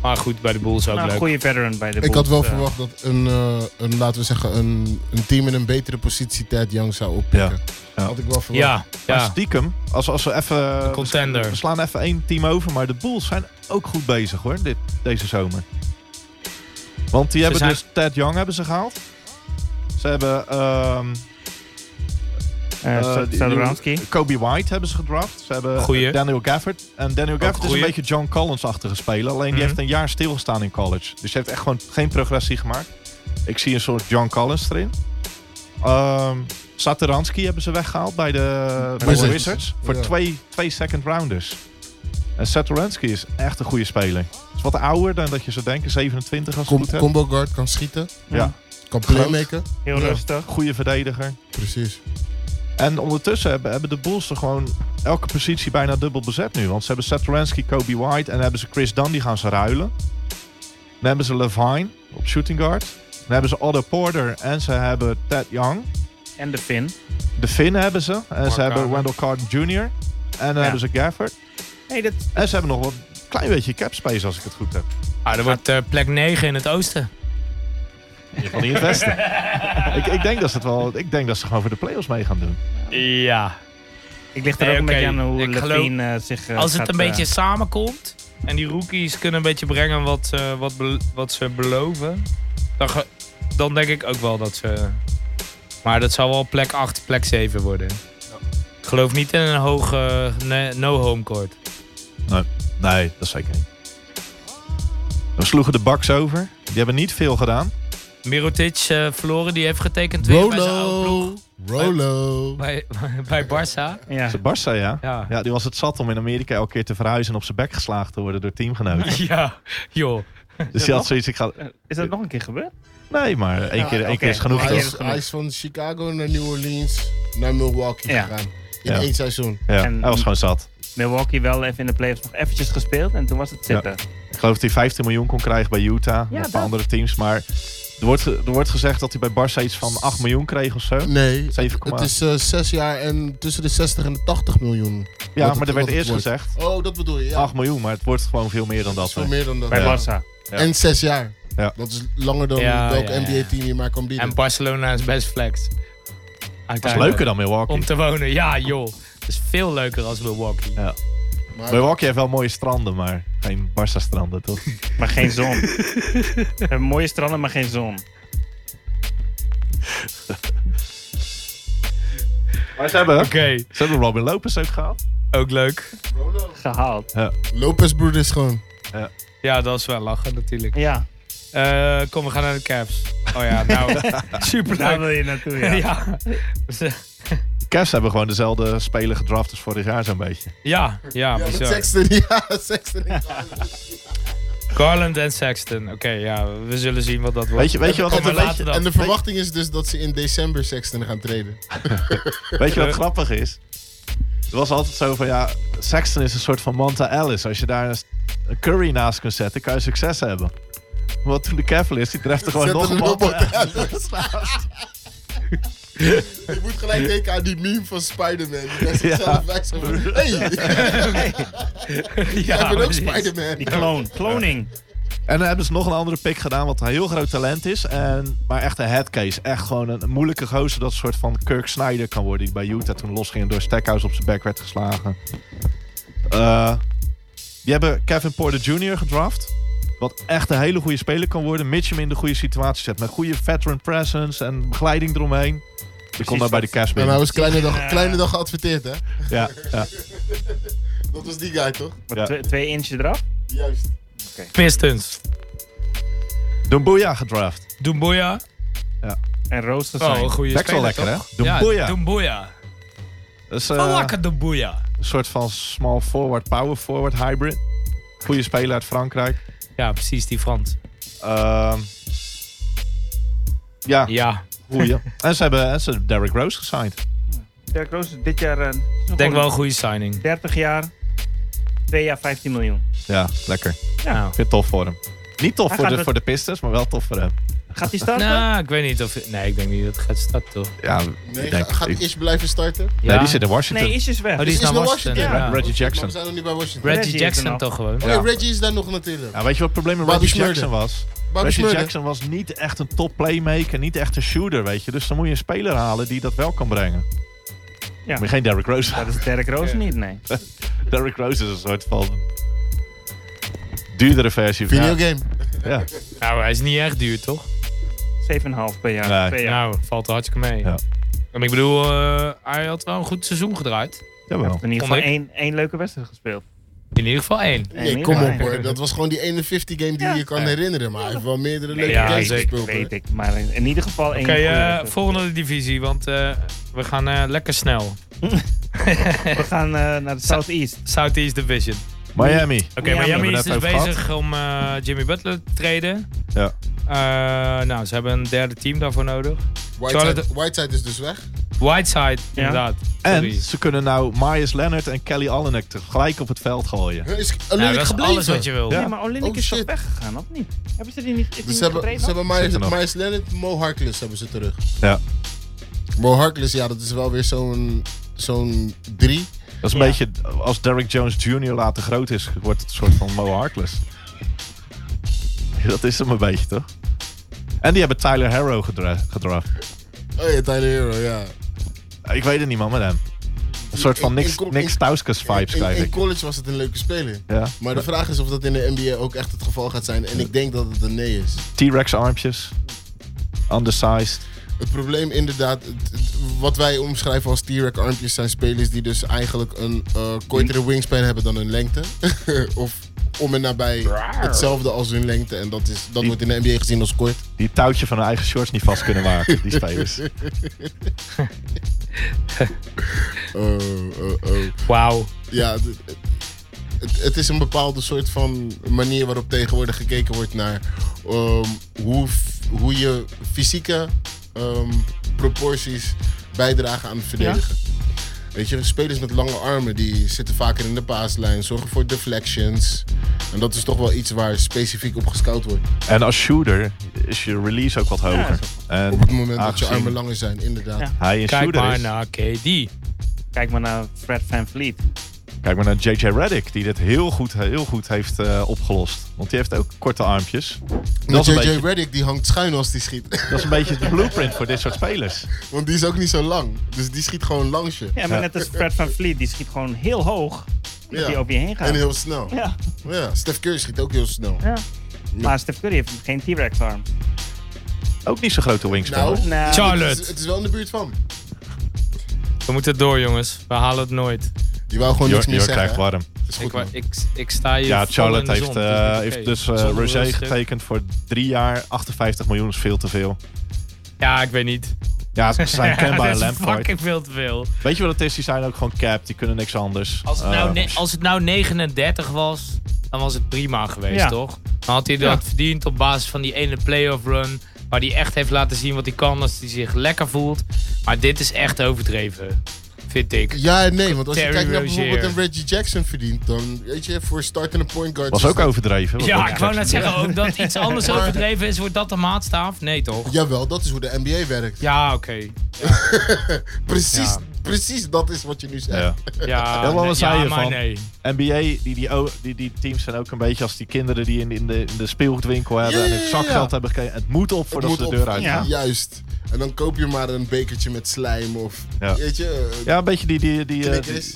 Maar goed, bij de Bulls ook
Nou, een
leuk.
goede veteran bij de
Ik
Bulls.
had wel
eh.
verwacht dat een, eh, een, laten we zeggen, een, een team in een betere positie Ted Young zou oppikken.
Ja.
Had ik wel verwacht.
Ja,
Maar
ja.
stiekem, als, als we even...
contender.
We slaan even één team over, maar de Bulls zijn ook goed bezig hoor, dit, deze zomer. Want die hebben
zijn-
dus Ted Young hebben ze gehaald. Ze hebben ehm,
Eh,
eh,
Sa-
die-
Satoransky.
Kobe White hebben ze gedraft. Ze hebben eh,
Goeie.
Daniel Gafford. En Daniel Gafford is een
goeie.
beetje John Collins-achtige speler. Alleen die
Mhm.
heeft een jaar stilgestaan in college. Dus hij heeft echt gewoon geen progressie gemaakt. Ik zie een soort John Collins erin. Ehm Satoransky hebben ze weggehaald bij de, bij de
Wizards.
Wizards. Voor
Ja.
twee, twee second rounders. En Satoransky is echt een goede speler. Is wat ouder dan dat je zou denken. 27 als ik
Com-
het goed heb.
combo guard kan schieten,
Ja,
kan playmaken.
Heel
Ja.
rustig.
goede verdediger.
Precies.
En ondertussen hebben, hebben de Bulls er gewoon elke positie bijna dubbel bezet nu. Want ze hebben Satoransky, Kobe White en hebben ze Chris Dunn, die gaan ze ruilen. Dan hebben ze Levine op shooting guard. Dan hebben ze Otto Porter en ze hebben Ted Young.
En de Finn.
De Finn hebben ze. En ze hebben
Carter.
Randall Carter Jr. En dan hebben ze Gafford.
Hey, dat,
En ze hebben nog wel een klein beetje cap space als ik het goed heb.
Ah, dat wordt eh, plek 9 in het oosten.
In ieder geval niet het westen. ik, ik, denk dat ze het wel, ik denk dat ze gewoon voor de playoffs mee gaan doen.
Ja.
ik ligt er
Nee,
ook
oké.
een beetje aan hoe
Ik
Levine eh, zich eh,
Als het
gaat,
een
eh,
beetje samenkomt en die rookies kunnen een beetje brengen wat, eh, wat, bel- wat ze beloven, dan, ge- dan denk ik ook wel dat ze. Maar dat zal wel plek 8, plek 7 worden. Ik geloof niet in een hoge no-home court.
Nee, dat is zeker niet. We sloegen de Bucks over. Die hebben niet veel gedaan.
Mirotic eh, verloren, die heeft getekend weer bij zijn oude ploeg.
Rolo. Rolo.
Bij, bij Barça.
ja.
De Barça, ja.
Ja.
Ja, die was het zat om in Amerika elke keer te verhuizen en op zijn bek geslagen te worden door teamgenoten.
Ja, joh.
Dus die had zoiets, ik ga...
Is dat nog een keer gebeurd?
Nee, maar één keer, één
oké.
keer is genoeg.
Hij
toch?
is, hij is van Chicago naar New Orleans, naar Milwaukee
Ja.
gegaan. In
Ja.
één seizoen.
Ja,
En-
hij was gewoon zat.
Milwaukee wel even in de playoffs nog eventjes gespeeld en toen was het zitten.
Ik geloof dat hij 15 miljoen kon krijgen bij Utah en
Ja,
een paar
dat.
andere teams. Maar er wordt, ge- er wordt gezegd dat hij bij Barça iets van 8 miljoen kreeg of zo.
Nee,
7,
het is eh, zes jaar en tussen de 60 en de 80 miljoen.
ja,
wat
maar
het- wat
er werd
het
eerst
wordt.
gezegd
Oh, dat bedoel je. Ja,
8 miljoen, maar het wordt gewoon veel meer dan
dat is
dat.
veel
hè.
meer dan dat.
Bij
Ja.
Barça.
En zes jaar.
Ja.
Dat is langer dan
Ja,
welk
ja, ja.
NBA-team je maar kan bieden.
En Barcelona is best flex.
Dat is leuker dan
Om
Milwaukee.
te wonen, ja joh. Het is veel leuker als Milwaukee.
Maar-
Milwaukee heeft wel mooie stranden, maar geen Barça-stranden, toch?
Maar geen zon. We hebben mooie stranden, maar geen zon.
Maar ze hebben,
Oké,
ze hebben Robin Lopez ook gehaald.
ook leuk.
Gehaald.
Lopez Brothers gewoon.
Ja, dat is wel lachen natuurlijk.
Ja,
Eh, kom, we gaan naar de Caps. Oh ja, nou,
daar
superleuk.
wil je naartoe. Ja.
Ja.
De Cavs hebben gewoon dezelfde speler gedraft als vorig jaar zo'n beetje.
Ja, ja,
Ja, met
bizar.
Sexton. Ja, Sexton.
Garland en Sexton. Oké, ja, we zullen zien wat dat wordt.
Weet je, weet je, wat,
en, de,
maar laten we dat.
en de verwachting is dus dat ze in december Sexton gaan treden.
weet je wat grappig is? Er was altijd zo van, ja, Sexton is een soort van Manta Ellis. Als je daar een s- een Curry naast kunt zetten, kan je succes hebben. Want toen de Cavaliers, die treft er gewoon
Zet
nog
er
een
nog
Manta Ellis.
Je moet gelijk denken aan die meme van Spider-Man. Die best
Ja.
zelf weg zo van, Hey,
ja,
ik ben ook
precies.
Die
Spider-Man.
kloon. Kloning.
En dan hebben ze nog een andere pick gedaan, wat een heel groot talent is. En, maar echt een headcase. Echt gewoon een, een moeilijke gozer dat een soort van Kirk Snyder kan worden. Die bij Utah toen losging en door Stackhouse op zijn bek werd geslagen. Eh, die hebben Kevin Porter Jr. gedraft. Wat echt een hele goede speler kan worden. Mitchum in de goede situatie zet. Met goede veteran presence en begeleiding eromheen. Die kon daar bij de Cavs
En Nou, hij
nou,
binnen.
was kleine dag, kleine dag geadverteerd, hè?
Ja, ja.
Dat was die guy, toch?
Wat,
Ja.
twee, twee inches eraf.
Juist.
Pistons.
Dumbuya gedraft.
Dumboya.
En roosters
Oh,
zijn.
een goede
Dat is wel
speler,
lekker, hè?
toch? Ja,
Dumbuya.
Dumboya.
Dat is, eh,
Oh, lekker Dumboya.
een soort van small forward, power forward, hybrid. Goede speler uit Frankrijk.
Ja, precies, die Frans.
Ehm, ja,
Ja,
goeie. en ze hebben, en ze hebben Derrick Rose gesigned.
Dirk Roos is dit jaar... eh, nog
denk wel een goede signing.
30 jaar. 2 jaar 15 miljoen.
Ja, lekker. Ik
Ja.
vind het tof voor hem. Niet tof voor
gaat
de,
het-
voor de Pistons, maar wel tof voor hem.
Gaat hij starten?
Nou, ik weet niet of... Nee, ik denk niet dat het gaat starten, toch?
Ja,
Nee,
ik denk,
ga- gaat
ik-
hij eerst blijven starten?
nee,
Ja.
die zit in Washington.
Nee, is dus weg.
Oh, die is
Is- is
naar
naar
Washington.
Washington,
ja.
ja.
Reggie
Maar
Jackson.
we zijn nog niet bij Washington.
Reggie
Reggie
is
Jackson
ernaar.
toch gewoon.
Oh,
Ja.
nee, Reggie is daar nog natuurlijk.
Ja, weet je wat het probleem met
Bobby
Reggie
Smurder.
Jackson was?
Bobby
Reggie
Smurder.
Jackson was niet echt een top playmaker, niet echt een shooter, weet je. Dus dan moet je een speler halen die dat wel kan brengen.
Ja.
Ja. Maar geen Derrick Rose.
Dat is Derek Roos niet, nee.
Derrick Rose is een soort van duurdere versie van. Ja.
Videogame.
ja.
Nou, hij is niet echt duur, toch?
7,5 per jaar.
Nee.
Per jaar.
Nou, valt er hartstikke mee.
Ja.
En ik bedoel, eh, hij had wel een goed seizoen gedraaid.
In
Jawel.
ieder
Vond
geval
Nou, ik.
één, één leuke wedstrijd gespeeld.
In ieder geval één.
Nee,
Eén
kom
meer.
op hoor. Dat was gewoon die ene 50 game die
Ja.
je kan
Ja.
herinneren. Maar hij heeft wel meerdere leuke
ja,
games
zeker.
gespeeld.
Weet
hoor.
ik, maar in, in ieder geval één
Oké,
goede
eh,
wedstrijd.
volgende divisie, want eh, we gaan eh, lekker snel.
We gaan eh, naar de Southeast.
Southeast Division.
Miami.
Oké,
Miami.
Miami
Hebben
is
we
dus
net over
bezig om eh, Jimmy Butler te treden.
Ja.
Eh, nou, ze hebben een derde team daarvoor nodig.
Whiteside, Whiteside is dus weg.
Whiteside,
Ja.
inderdaad.
En
Sorry.
ze kunnen nou Myers Leonard en Kelly Allenek tegelijk op het veld gooien.
Is
Nou,
Olenek
dat is
gebleven?
alles wat je wil.
Ja.
Nee, maar Olinik
Oh,
is toch
shit.
weggegaan, of niet? Hebben ze die niet, is die
Dus
niet
ze hebben,
getraind
ze
nog?
hebben
Zit er
Myers,
nog.
Myers Leonard, Mo Harkless hebben ze terug.
Ja.
Mo Harkless, ja, dat is wel weer zo'n zo'n drie.
Dat is een
Ja.
beetje als Derrick Jones Jr. later groot is, wordt het een soort van Mo Harkless. Ja, Dat is hem een beetje, toch? En die hebben Tyler Harrow gedra- gedraft.
Oh ja, Tyler Hero, ja.
Ik weet het niet, man, met hem. Een soort van
In- in
niks,
co-
niks
in-
Stauskas vibes,
in,
krijg
in
ik.
college was het een leuke speler.
Ja.
Maar de vraag is of dat in de NBA ook echt het geval gaat zijn. En ik denk dat het een nee is.
T-Rex armpjes. Undersized.
Het probleem inderdaad, het- het- wat wij omschrijven als T-Rex armpjes zijn spelers die dus eigenlijk een eh kortere wingspan hebben dan hun lengte. of om en nabij hetzelfde als hun lengte. En dat, is, dat wordt in de NBA gezien als kort.
Die het touwtje van hun eigen shorts niet vast kunnen maken, die spelers.
Oh, oh, oh.
Wauw.
Ja, het, het, het is een bepaalde soort van manier waarop tegenwoordig gekeken wordt naar ehm, hoe, f- hoe je fysieke ehm, proporties bijdragen aan het verdedigen. Weet je, spelers met lange armen die zitten vaker in de paaslijn, zorgen voor deflections. En dat is toch wel iets waar specifiek op gescout wordt.
En als shooter is je release ook wat hoger. En
Op het moment dat je
aangezien
armen langer zijn, inderdaad.
Ja.
Hij een
Kijk
shooter
maar
is.
naar KD.
Kijk maar naar Fred Van Vliet.
Kijk maar naar JJ Reddick, die dit heel goed, heel goed heeft eh, opgelost. Want die heeft ook korte armpjes.
Maar
Dat is, een
JJ
beetje,
Reddick die hangt schuin als die schiet.
dat is een beetje de blueprint voor dit soort spelers.
Want die is ook niet zo lang. Dus die schiet gewoon langs je.
Ja, maar
Ja.
net als Fred Van Vliet, die schiet gewoon heel hoog. Dat
Ja.
die over je heen gaat.
En heel snel.
Ja.
Ja, Stef Curry schiet ook heel snel.
ja. Maar Steph Curry heeft geen T-Rex arm.
Ook niet zo'n grote wingspan.
Nou,
hoor.
Nou,
Charles.
Het is, het is wel in de buurt van.
We moeten door, jongens. We halen het nooit.
Die wou gewoon niks
Jor,
meer
Jor
zeggen.
krijgt warm.
hè. Is goed,
Ik, wa-
man.
ik, ik sta hier
Ja,
vol in
Charlotte
de
heeft,
zon.
eh,
Dat is niet
heeft
oké.
dus eh,
Zonder
Rosé
rustig.
getekend voor drie jaar. 58 miljoen is veel te veel.
Ja, ik weet niet.
Ja, ze zijn Kemba en
dat is
Lampard.
fucking veel te veel.
Weet je wat het is? Die zijn ook gewoon capped. Die kunnen niks anders.
Als het, nou,
Eh,
ne- als het nou 39 was, dan was het prima geweest,
Ja.
toch? Dan had hij dat verdiend op basis van die ene playoff run. Waar hij echt heeft laten zien wat hij kan als hij zich lekker voelt. Maar dit is echt overdreven, vind ik.
Ja en nee, want als je
Terry
kijkt naar
Rozier.
bijvoorbeeld een Reggie Jackson verdient, dan weet je, voor startende point guard...
was
is
ook
dat-
overdreven. Wat
Ja,
dat
ik wou net
betreft.
zeggen, ook dat iets anders
Maar-
overdreven is, wordt dat de maatstaaf? Nee, toch?
Jawel, dat is hoe de NBA werkt.
Ja, oké.
Precies,
Ja.
precies dat is wat je nu zegt.
Ja.
Ja,
Ja, wat
nee,
zei
ja,
je
maar
van?
nee.
NBA, die, die, o- die, die teams zijn ook een beetje als die kinderen die in, in, de, in de speelgoedwinkel hebben
Ja,
en
ja,
het
ja,
zakgeld
ja.
hebben gekregen. Het moet op voordat
moet
ze de
op-
deur uitgaan.
Ja.
Ja.
Juist. En dan koop je maar een bekertje met slijm of,
Ja.
weet je, eh,
een beetje die, die, die, eh, die,
knikkers.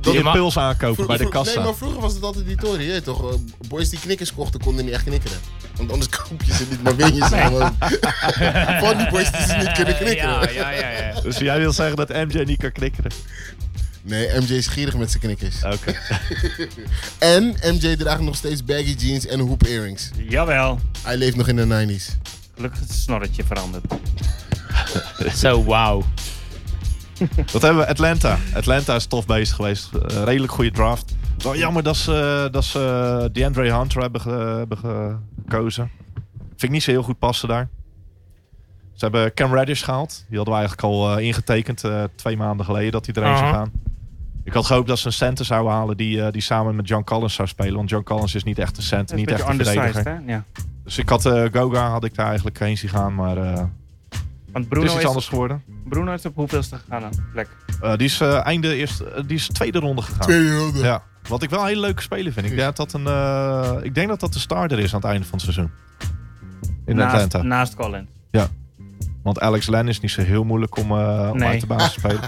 die
Je mag-
impuls aankopen
Vro-
bij de
vro-
kassa.
Nee, maar vroeger was het altijd die toren, je weet toch? eh, Boys die knikkers kochten, konden niet echt knikkeren. Want anders koop je ze niet, maar win je ze gewoon. Van die boys die ze niet kunnen knikkeren.
Eh, Ja, ja, ja. ja.
Dus jij wil zeggen dat MJ niet kan knikkeren?
Nee, MJ is gierig met zijn knikkers.
Oké.
En MJ draagt nog steeds baggy jeans en hoop earrings.
Jawel.
Hij leeft nog in de 90s.
Gelukkig is het snorretje veranderd.
Zo, wauw.
Wat hebben we? Atlanta. Atlanta is tof bezig geweest. Eh, redelijk goede draft. Wel jammer dat ze, eh, dat ze eh, DeAndre Hunter hebben, ge- hebben ge- gekozen. Vind ik niet zo heel goed passen daar. Ze hebben Cam Reddish gehaald. Die hadden we eigenlijk al eh, ingetekend eh, twee maanden geleden dat hij erheen zou
Aha.
gaan. Ik had gehoopt dat ze een center zouden halen die, eh, die samen met John Collins zou spelen. Want John Collins is niet echt een center,
Dat is
niet
een
echt
beetje
een verdediger.
undersized, hè? Ja.
Dus ik had eh, Goga had ik daar eigenlijk heen zien gaan, maar eh,
Want
het
Bruno
is
is,
iets anders geworden.
Bruno is op hoeveelste gegaan dan? plek?
Eh, die is eh, einde eerst, eh, die is tweede ronde gegaan.
Tweede ronde.
Ja. Wat ik wel een hele leuke speler vind. Ik denk dat dat, een, eh, ik denk dat dat de starter is aan het einde van het seizoen. In
naast,
Atlanta.
naast Collins.
Want Alex Len is niet zo heel moeilijk om, eh, om
Nee.
uit de baas te spelen.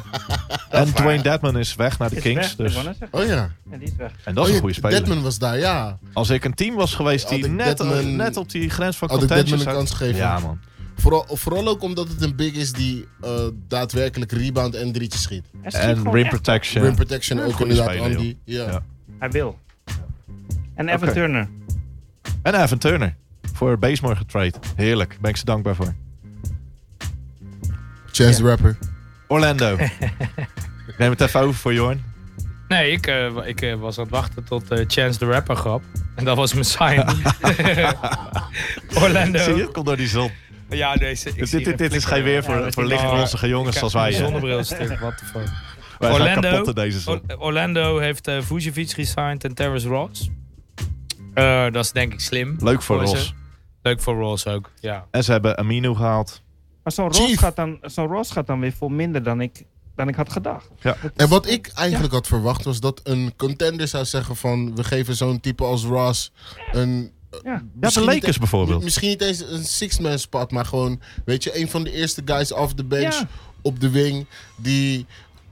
en Dwayne Dedman is weg naar de
Is
Kings.
weg, ik
Dus,
wou net zeggen.
Oh ja.
Ja, die is weg.
en dat is
oh,
een
ja,
goede speler.
Deadman was daar, ja.
Als ik een team was geweest
Had
die
ik
net,
Dedman-
net op die grens van
Had ik Deadman
contention
een
zat-
kans gegeven.
Ja man.
Vooral, vooral ook omdat het een big is die eh, daadwerkelijk rebound en drietjes schiet.
Hij schiet
En
gewoon
rim
echt.
protection.
Rim protection ook
goede
inderdaad,
speler,
Andy. Ja.
Ja.
Hij wil. En Evan
Oké.
Turner.
En Evan Turner. Voor Basemore getrade. Heerlijk. Ben ik ze dankbaar voor.
Chance the Rapper.
Orlando. ik neem het even over voor Jorn.
Nee, ik, eh, wa- ik eh, was aan het wachten tot eh, Chance the Rapper grap. En dat was mijn sign. Orlando.
Zie je? Kom door die zon.
Ja, deze. Ik
Dit,
zie
Dus dit, dit is geen weer voor,
Ja,
voor
dat
licht
is-
rossige jongens zoals wij. eh. hè.
Zonnebril stuk, what the fuck.
Wij zijn
Orlando.
kapot in deze zon.
Or- Orlando heeft eh Vucevic gesigned en Terrence Ross. Eh, dat is denk ik slim.
Oh.
Leuk voor
ze.
Ross.
Leuk voor Ross ook, ja.
En ze hebben Aminu gehaald.
Maar zo'n Ross,
Chief.
gaat dan, zo'n Ross gaat dan weer veel minder dan ik, dan ik had gedacht.
Ja.
Dat is-
En wat ik eigenlijk had verwacht was dat een contender zou zeggen van... we geven zo'n type als Ross een...
Ja.
Ja, de
misschien niet e-
Lakers bijvoorbeeld.
Misschien niet eens een six-man spot, maar gewoon, weet je, een van de eerste guys off the bench
Ja.
op de wing. Die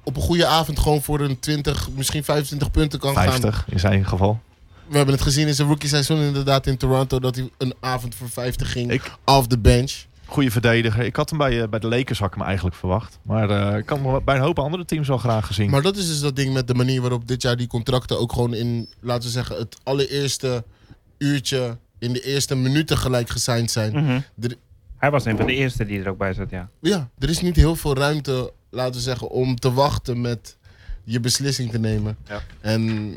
op een goede avond gewoon voor een 20, misschien 25 punten kan gaan.
50 in zijn geval.
We hebben het gezien in zijn rookie seizoen inderdaad in Toronto, dat hij een avond voor 50 ging
Ik-
off the bench.
Goede verdediger. Ik had hem bij, eh, bij de Lakers had ik hem eigenlijk verwacht. Maar eh, ik had hem wel bij een hoop andere teams al graag gezien.
Maar dat is dus dat ding met de manier waarop dit jaar die contracten ook gewoon in, laten we zeggen, het allereerste uurtje, in de eerste minuten gelijk gesigned zijn.
Hm.
Mhm.
Er-
Hij was een van de eerste die er ook bij zat, ja.
Ja, er is niet heel veel ruimte, laten we zeggen, om te wachten met je beslissing te nemen.
Ja.
En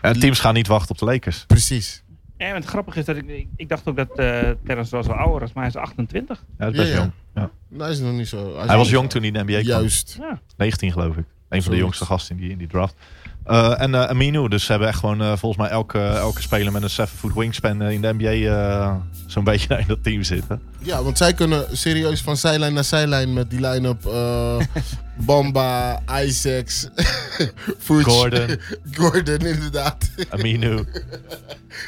En teams gaan niet wachten op de Lakers.
precies.
En het grappige is dat ik, ik, ik dacht ook dat eh Terrence Ross wel ouder was, maar hij is 28.
Ja, dat is best
Ja, ja.
jong. Ja.
Nou, hij is nog niet zo.
Hij was jong toen hij in de NBA kwam.
Juist.
Ja.
19 geloof ik. Een van de
Zoiets.
jongste gasten in die, in die draft. Eh, en eh Aminu, dus ze hebben echt gewoon eh, volgens mij elke, elke speler met een 7-foot wingspan eh, in de NBA eh, zo'n beetje in dat team zitten.
Ja, want zij kunnen serieus van zijlijn naar zijlijn met die line-up. eh, Bamba, Isaacs, Fuchs,
Gordon.
Gordon, inderdaad.
Aminu.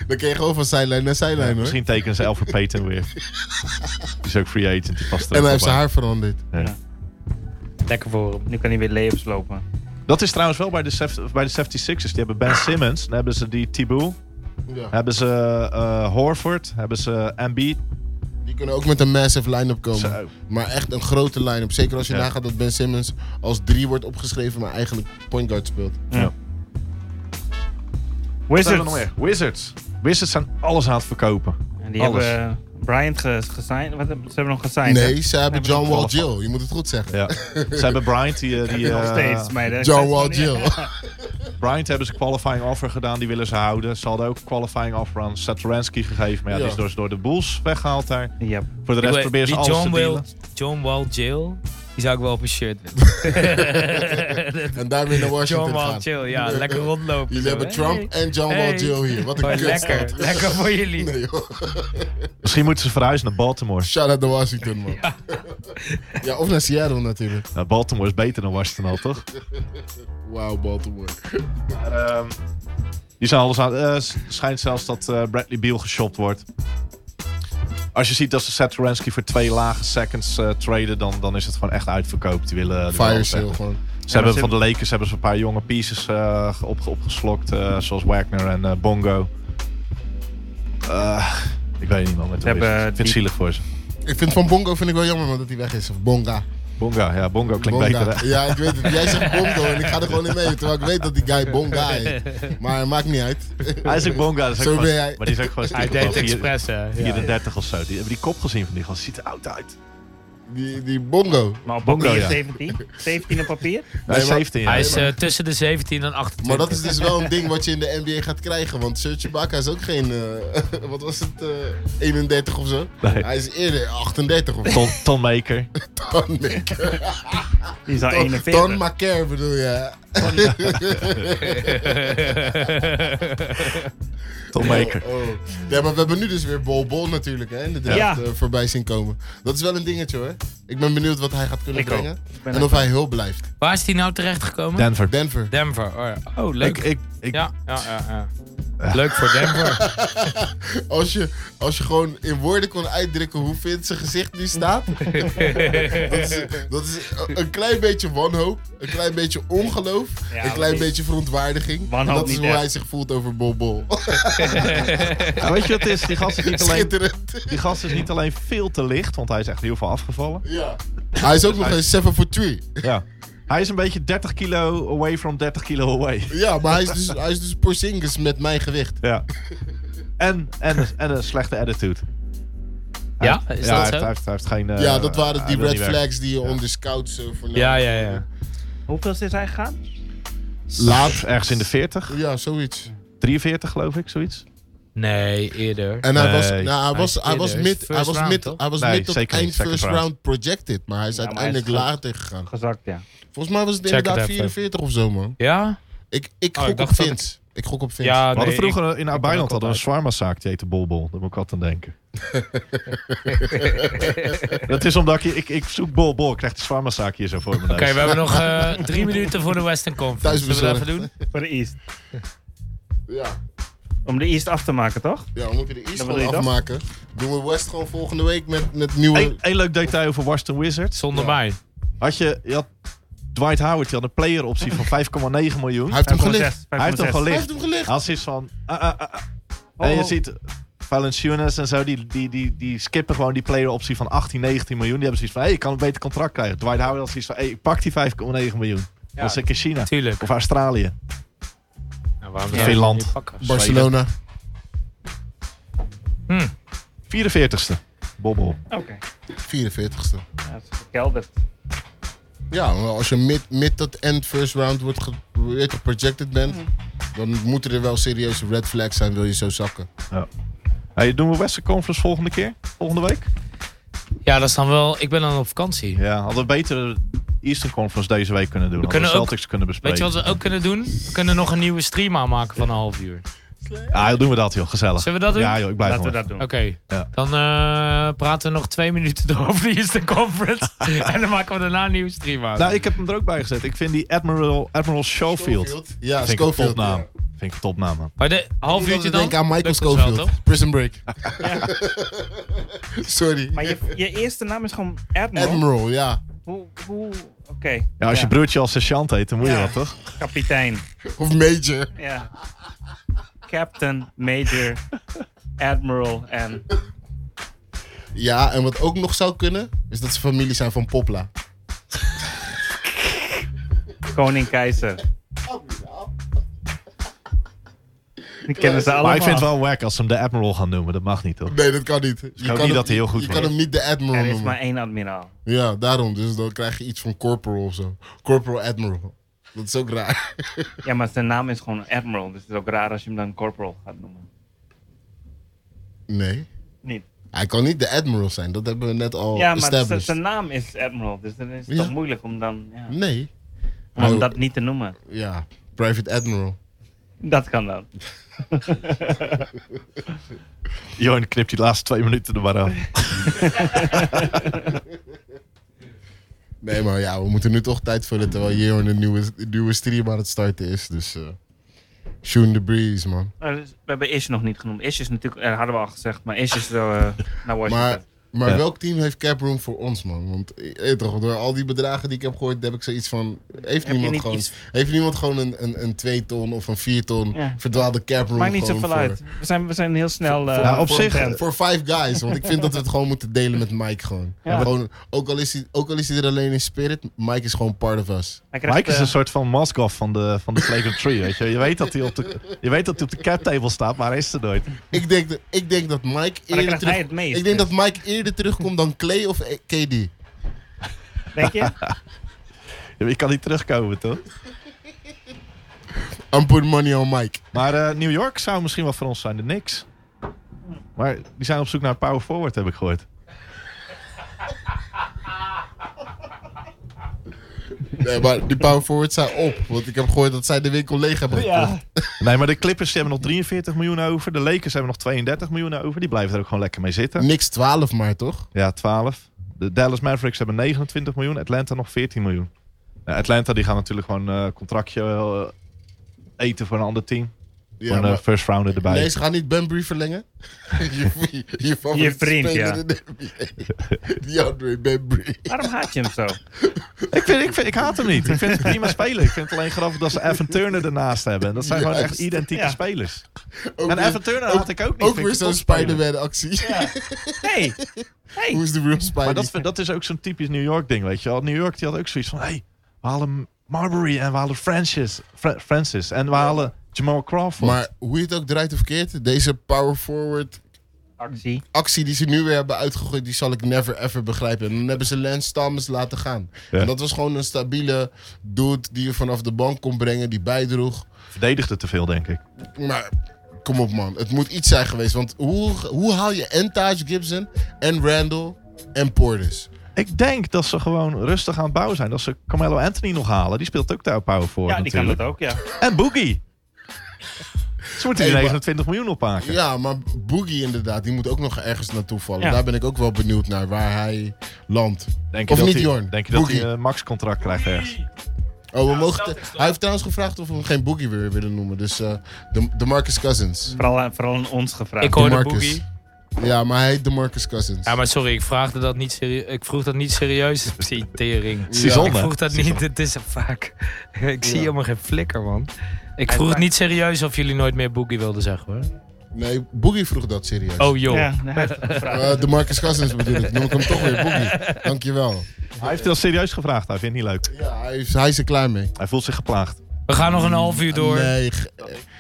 Dan kun je gewoon van zijlijn naar zijlijn hoor.
Misschien tekenen ze Alfred Payton weer. die is ook free agent. Die
En
past er ook
hij
wel
heeft zijn
bij.
haar veranderd.
Lekker voor hem.
Nu kan hij weer layups lopen.
Dat is trouwens wel bij de, sef- bij de 76ers. Die hebben Ben Simmons. Dan hebben ze die Thibault.
Ja.
Hebben ze eh, Horford. Hebben ze Embiid.
Die kunnen ook met een massive line-up komen.
Zo.
Maar echt een grote line-up. Zeker als je
Ja.
nagaat dat Ben Simmons als drie wordt opgeschreven, maar eigenlijk point guard speelt.
Wat hebben we
Wizards.
nog meer? Wizards. Wizards zijn alles aan het verkopen.
En die
Alles.
hebben eh, Bryant ge- gesigned. Wat, hebben- ze hebben nog gesigned, hè?
Nee, ze hebben
hebben
John Wall
nog gevallen
Jill. Je moet het goed zeggen.
Ja. ze hebben Bryant. Die, eh, die,
Nog
eh,
steeds, meiden.
John Wall Jill.
Bryant hebben ze qualifying offer gedaan, die willen ze houden. Ze hadden ook qualifying offer aan Satoransky gegeven, maar ja,
Ja.
die is dus door, door de Bulls weggehaald daar.
Ja.
Voor de rest
Anyway,
proberen ze
die
alles
John
te
Wall,
dealen.
John Wall Jail, die zou ik wel op een shirt willen.
En daarmee naar Washington
John Wall
gaan.
Jail, ja, lekker rondlopen.
Jullie
zo,
hebben
hè?
Trump en John
Hey.
Wall Jill hier. Wat een
Hey,
kutstad.
lekker, lekker voor jullie.
Nee, joh.
Misschien moeten ze verhuizen naar Baltimore.
Shout out naar Washington, man. Ja. of naar Seattle natuurlijk.
Nou, Baltimore is beter dan Washington al, toch?
Wauw, Baltimore.
Ehm, die zijn alles aan. eh, s- schijnt zelfs dat eh, Bradley Beal geshopt wordt. Als je ziet dat ze Satoransky voor twee lage seconds eh, traden, dan, dan is het gewoon echt uitverkoopt. Die willen die willen
Fire
alles
sale
weg.
gewoon.
Ze hebben
ze
van de Lakers hebben ze een paar jonge pieces eh, op, opgeslokt, eh, zoals Wagner en eh, Bongo. Eh, ik weet niet man, met de
hebben,
Wizards.
eh,
ik vind het
die-
zielig voor ze.
Ik vind Van Bongo vind ik wel jammer man, dat hij weg is. Of Bonga.
Bongo, ja, Bongo klinkt
Bonga.
beter. hè?
Ja, ik weet het. Jij zegt Bongo en ik ga er gewoon in mee. Terwijl ik weet dat die guy Bonga is. Maar maakt niet uit.
Hij is ook Bongo, dat is ook
Zo
gewoon-
ben jij.
maar die is ook gewoon
Hij
stiekem
deed het
wel vier-
expres, hè. Ja.
34 of zo. Die hebben die kop gezien van die gast, ziet er oud uit.
Die, die Bongo.
Maar op
Bongo,
papier
ja.
17. 17 op papier.
Hij is
maar-
17 jaar.
Hij is eh, tussen de 17 en 28.
Maar dat is dus wel een ding wat je in de NBA gaat krijgen. Want Serge Ibaka is ook geen, eh, wat was het, eh, 31 of zo?
Nee.
Hij is eerder 38 of zo.
Ton, Tonmaker.
Don, Mac-
Die is al
Don,
41.
Macaire bedoel je.
Tom Maker.
Oh, oh. Ja, maar we hebben nu dus weer Bol Bol natuurlijk, hè, in de draft
Ja.
eh, voorbij zien komen. Dat is wel een dingetje hoor. Ik ben benieuwd wat hij gaat kunnen
Ik ook.
brengen.
Ik ben
En of hij heel blijft.
Waar is die nou terechtgekomen?
Denver.
Denver.
Denver. Oh, ja. oh leuk.
Ik, ik, ik,
ja, ja, ja, ja. Leuk voor Denver.
Als je, als je gewoon in woorden kon uitdrukken hoe vindt zijn gezicht nu staat. dat, is, dat is een klein beetje wanhoop, een klein beetje ongeloof,
Ja,
een klein
maar-
beetje verontwaardiging.
Wanhoop
dat is
niet
hoe
echt.
hij zich voelt over Bol Bol.
Ja, weet je wat het is? Die gast is, niet alleen,
Schitterend.
die gast is niet alleen veel te licht, want hij is echt heel veel afgevallen.
Ja. Hij is ook nog eens 7 for 3.
Ja. Hij is een beetje 30 kilo away from 30 kilo away.
Ja, maar hij is dus, hij is dus Porzingis met mijn gewicht.
Ja. En, en, en een slechte attitude. Hij
Ja?
heeft-
Is
ja,
dat zo?
hij Heeft, hij, heeft, hij heeft geen... eh,
ja, dat waren
hij
die
wil
red
niet werken.
flags die je onder scouts eh, voornamelijk-
ja, ja, ja.
Hoeveel is hij gegaan?
Laat.
Ergens in de 40,
Ja, zoiets.
43 geloof ik, zoiets.
Nee, eerder. Eh,
En hij was,
Nee.
nou, hij was, hij
eerder.
was
Hij is
mid,
first
hij was
round,
mid,
toch?
hij was
Nee,
mid tot
zeker niet,
eind
second
first round.
round.
projected, maar hij is
Ja, maar hij is
uiteindelijk
goed.
later gegaan.
Gezakt, ja.
Volgens mij was het
Check it
inderdaad
even.
44 of zo, man.
Ja?
Ik, ik
Oh, ik
gok op
dacht dat
Vince. Ik... gok op Vince.
Ja,
We hadden
nee,
vroeger in
ben ook
Arbeiland hadden we een
altijd-
zwaarmazaak die heette Bolbol. Daar moet ik altijd aan denken. dat is omdat ik, ik, ik zoek Bolbol. Ik krijg de zwaarmazaak hier zo voor mijn neus.
Oké, we hebben nog eh, drie minuten voor de Western Conference. Zullen we dat even doen?
Voor de East.
ja.
Om de East af te maken, toch?
Ja, we moeten de East
Dan
gewoon
wil je dat?
afmaken. Doen we West gewoon volgende week met, met nieuwe...
Eén één leuk detail over Washington Wizards.
Zonder mij.
Had je, je had Dwight Howard, die had een player optie van 5,9 miljoen.
Hij heeft hem gelicht.
5,6,
Hij heeft hem
5,6.
Hij
gelicht.
heeft hem gelicht.
Als is van... ah, ah, ah, ah. En je
oh.
ziet Valanciunas en zo, die, die, die, die skippen gewoon die player optie van 18, 19 miljoen. Die hebben zoiets van, hé, hey, ik kan een beter contract krijgen. Dwight Howard had zoiets van, hé, ik pak die 5,9 miljoen. dat is ik in China.
Tuurlijk.
Of Australië.
Nou, waarom
Veel land.
Barcelona.
Hm.
44ste. Bobbel.
Oké.
44ste.
Ja, dat is gekelderd.
Ja, maar als je mid, mid tot end first round wordt ge- weet je, projected bent,
Mhm.
dan moeten er wel serieuze red flags zijn, wil je zo zakken.
Hey, doen we Western Conference volgende keer? Volgende week?
Ja, dat is dan wel... Ik ben dan op vakantie.
Ja, hadden we beter Eastern Conference deze week kunnen doen. We
kunnen
de
ook-
Celtics kunnen bespreken.
Weet je wat we ook kunnen doen? We kunnen nog een nieuwe stream aanmaken van een half uur.
Ja, joh, doen we dat, joh. Gezellig.
Zullen we dat doen?
Ja, joh, ik blijf
Laten we
wel.
dat doen.
Oké,
Ja.
dan eh, praten we nog twee minuten door over de Eastern Conference. en dan maken we daarna een nieuwe stream aan.
Nou, ik heb hem er ook bij gezet. Ik vind die Admiral, Admiral Schofield.
Ja,
vind ik een
Schofield.
topnaam.
Ja.
Vind ik een topnaam, man.
maar de half uurtje dan?
Denk aan Michael
Lukt ons wel, toch?
Schofield. Prison Break. Sorry.
Maar je, je eerste naam is gewoon Admiral.
Admiral, ja.
Hoe, hoe, oké.
Ja, als je broertje al sergeant heet, dan moet je
Ja.
wat, toch?
Kapitein.
Of Major.
Ja. Captain, Major, Admiral en...
Ja, en wat ook nog zou kunnen, is dat ze familie zijn van Popla.
Koning Keizer. Die kennen ze allemaal.
Maar ik vind het wel wack als ze hem de Admiral gaan noemen. Dat mag niet, toch?
Nee, dat kan niet. Je
hoop niet dat hij heel goed
Je
wordt.
kan hem niet de Admiral
Er is
noemen.
maar één admiraal.
Ja, daarom. Dus dan krijg je iets van Corporal of zo. Corporal Admiral. Dat is ook raar.
Ja, maar zijn naam is gewoon Admiral. Dus het is ook raar als je hem dan Corporal gaat noemen.
Nee.
Niet.
Hij kan niet de Admiral zijn. Dat hebben we net al
Ja, maar z-
Oh, established.
zijn naam is Admiral. Dus dan is het
Ja. Hmm.
toch moeilijk om dan... Ja,
Nee.
om
Oh.
dat niet te noemen.
Ja, Private Admiral.
Dat kan dan.
Johan knipt die laatste twee minuten er maar af.
Nee, maar ja, we moeten nu toch tijd vullen terwijl Jeroen een nieuwe, nieuwe stream aan het starten is. Dus eh shoot the breeze, man.
Maar dus- We hebben Ish nog niet genoemd. Ish is natuurlijk... eh, hadden we al gezegd. Maar Ish is zo eh, naar
Maar,
Washington.
maar
Ja.
welk team heeft cap room voor ons, man? Want eh, eh, toch, door al die bedragen die ik heb gehoord, heb ik zoiets van... Heeft,
je
niemand
niet
gewoon,
iets-
heeft niemand gewoon een, een, een 2 ton of een 4 ton
Ja.
verdwaalde cap room
Maakt niet
gewoon
zoveel
voor-
uit. We zijn, we zijn heel snel... eh,
Nou, op
voor-
zich,
Voor, voor five guys, want ik vind dat we het gewoon moeten delen met Mike gewoon.
Ja.
gewoon ook, al is hij, ook al is hij er alleen in spirit, Mike is gewoon part of us.
hij krijgt,
Mike is
eh,
een soort van Moskov van de, van de Flagrant Tree, weet je. Je weet dat hij op de, je weet dat hij op de cap table staat, maar hij is er nooit.
Ik denk, dat- ik denk dat Mike
krijgt
eerder
hij
terug,
het meest,
Ik denk
dus.
dat Mike eerder terugkomt dan Clay of eh, KD.
Denk je?
Je kan niet terugkomen, toch?
I'm putting money on Mike.
Maar eh, New York zou misschien wel voor ons zijn, de Knicks. Maar die zijn op zoek naar een power forward, heb ik gehoord.
Nee, maar die power forwards zijn op. Want ik heb gehoord dat zij de winkel leeg hebben gekocht.
Ja. Nee, maar de Clippers die hebben nog 43 miljoen over. De Lakers hebben nog 32 miljoen over. Die blijven er ook gewoon lekker mee zitten.
Niks 12 maar, toch?
Ja, 12. De Dallas Mavericks hebben 29 miljoen. Atlanta nog 14 miljoen. Nou, Atlanta die gaan natuurlijk gewoon eh contractje eh, eten voor een ander team.
Ja,
Voor een eh,
maar-
first rounder erbij.
Nee, ze gaan niet Bembry verlengen. je, je, favoriete
Je vriend,
speler
ja.
in de NBA. DeAndre Bembry.
Waarom haat je hem zo?
Ik, vind, ik, vind, ik haat hem niet. Ik vind het prima spelen. Ik vind het alleen grappig dat ze Evan Turner ernaast hebben. En dat zijn gewoon echt
Juist.
identieke
Ja.
spelers.
Ook
En
weer-
Evan Turner had ik ook niet.
Ook
Vind
weer
ik
zo'n
een topspeler.
Spider-Man actie.
Hey, hey.
Hoe is de real Spider?
Maar dat, vind- dat is ook zo'n typisch New York ding, weet je wel. New York die had ook zoiets van... Hey, we halen Marbury en we halen Francis. Fra- Francis en we halen Jamal Crawford.
Maar hoe je het ook draait of keert, deze power forward
Actie.
actie die ze nu weer hebben uitgegooid, die zal ik never ever begrijpen. En dan hebben ze Lance Thomas laten gaan.
Ja.
En dat was gewoon een stabiele dude die je vanaf de bank kon brengen, die bijdroeg.
Verdedigde te veel, denk ik.
Maar kom op man, het moet iets zijn geweest. Want hoe, hoe haal je en Taj Gibson en Randall en Portis?
Ik denk dat ze gewoon rustig aan het bouwen zijn. Dat ze Carmelo Anthony nog halen. Die speelt ook daar op power voor
Ja, die kan
natuurlijk.
dat ook, ja.
En Boogie. Ze moeten die
Hey, maar-
29 miljoen opmaken.
Ja, maar Boogie inderdaad, die moet ook nog ergens naartoe vallen.
Ja.
Daar ben ik ook wel benieuwd naar, waar hij landt.
Denk je
Of
dat
niet,
hij-
Jorn?
Denk je dat
Boogie.
hij een max-contract krijgt ergens?
Oh, we mogen te- hij heeft trouwens gevraagd of we hem geen Boogie weer willen noemen. Dus eh, de, de Marcus Cousins.
Vooral, vooral aan ons gevraagd.
Ik hoor- hoorde
DeMarcus.
Boogie.
Ja, maar hij heet de Marcus Cousins.
Ja, maar sorry, ik, vraagde dat niet serie- ik vroeg dat niet serieus. Zie, tering.
Ja.
Ik
Suzanne.
vroeg dat niet, het is een vaak. Ik zie
Ja.
helemaal geen flikker, man. Ik vroeg het niet serieus of jullie nooit meer boogie wilden zeggen, hoor.
Nee, Boogie vroeg dat serieus.
Oh, joh.
Ja, nee, hij heeft het gevraagd.
Eh, de Marcus Cousins bedoel ik. Noem ik hem toch weer Boogie. Dankjewel.
Hij heeft heel serieus gevraagd. Hij vindt het niet leuk.
Ja, hij is, hij is er klaar mee.
Hij voelt zich geplaagd.
We gaan nog een half uur door.
Nee, ge-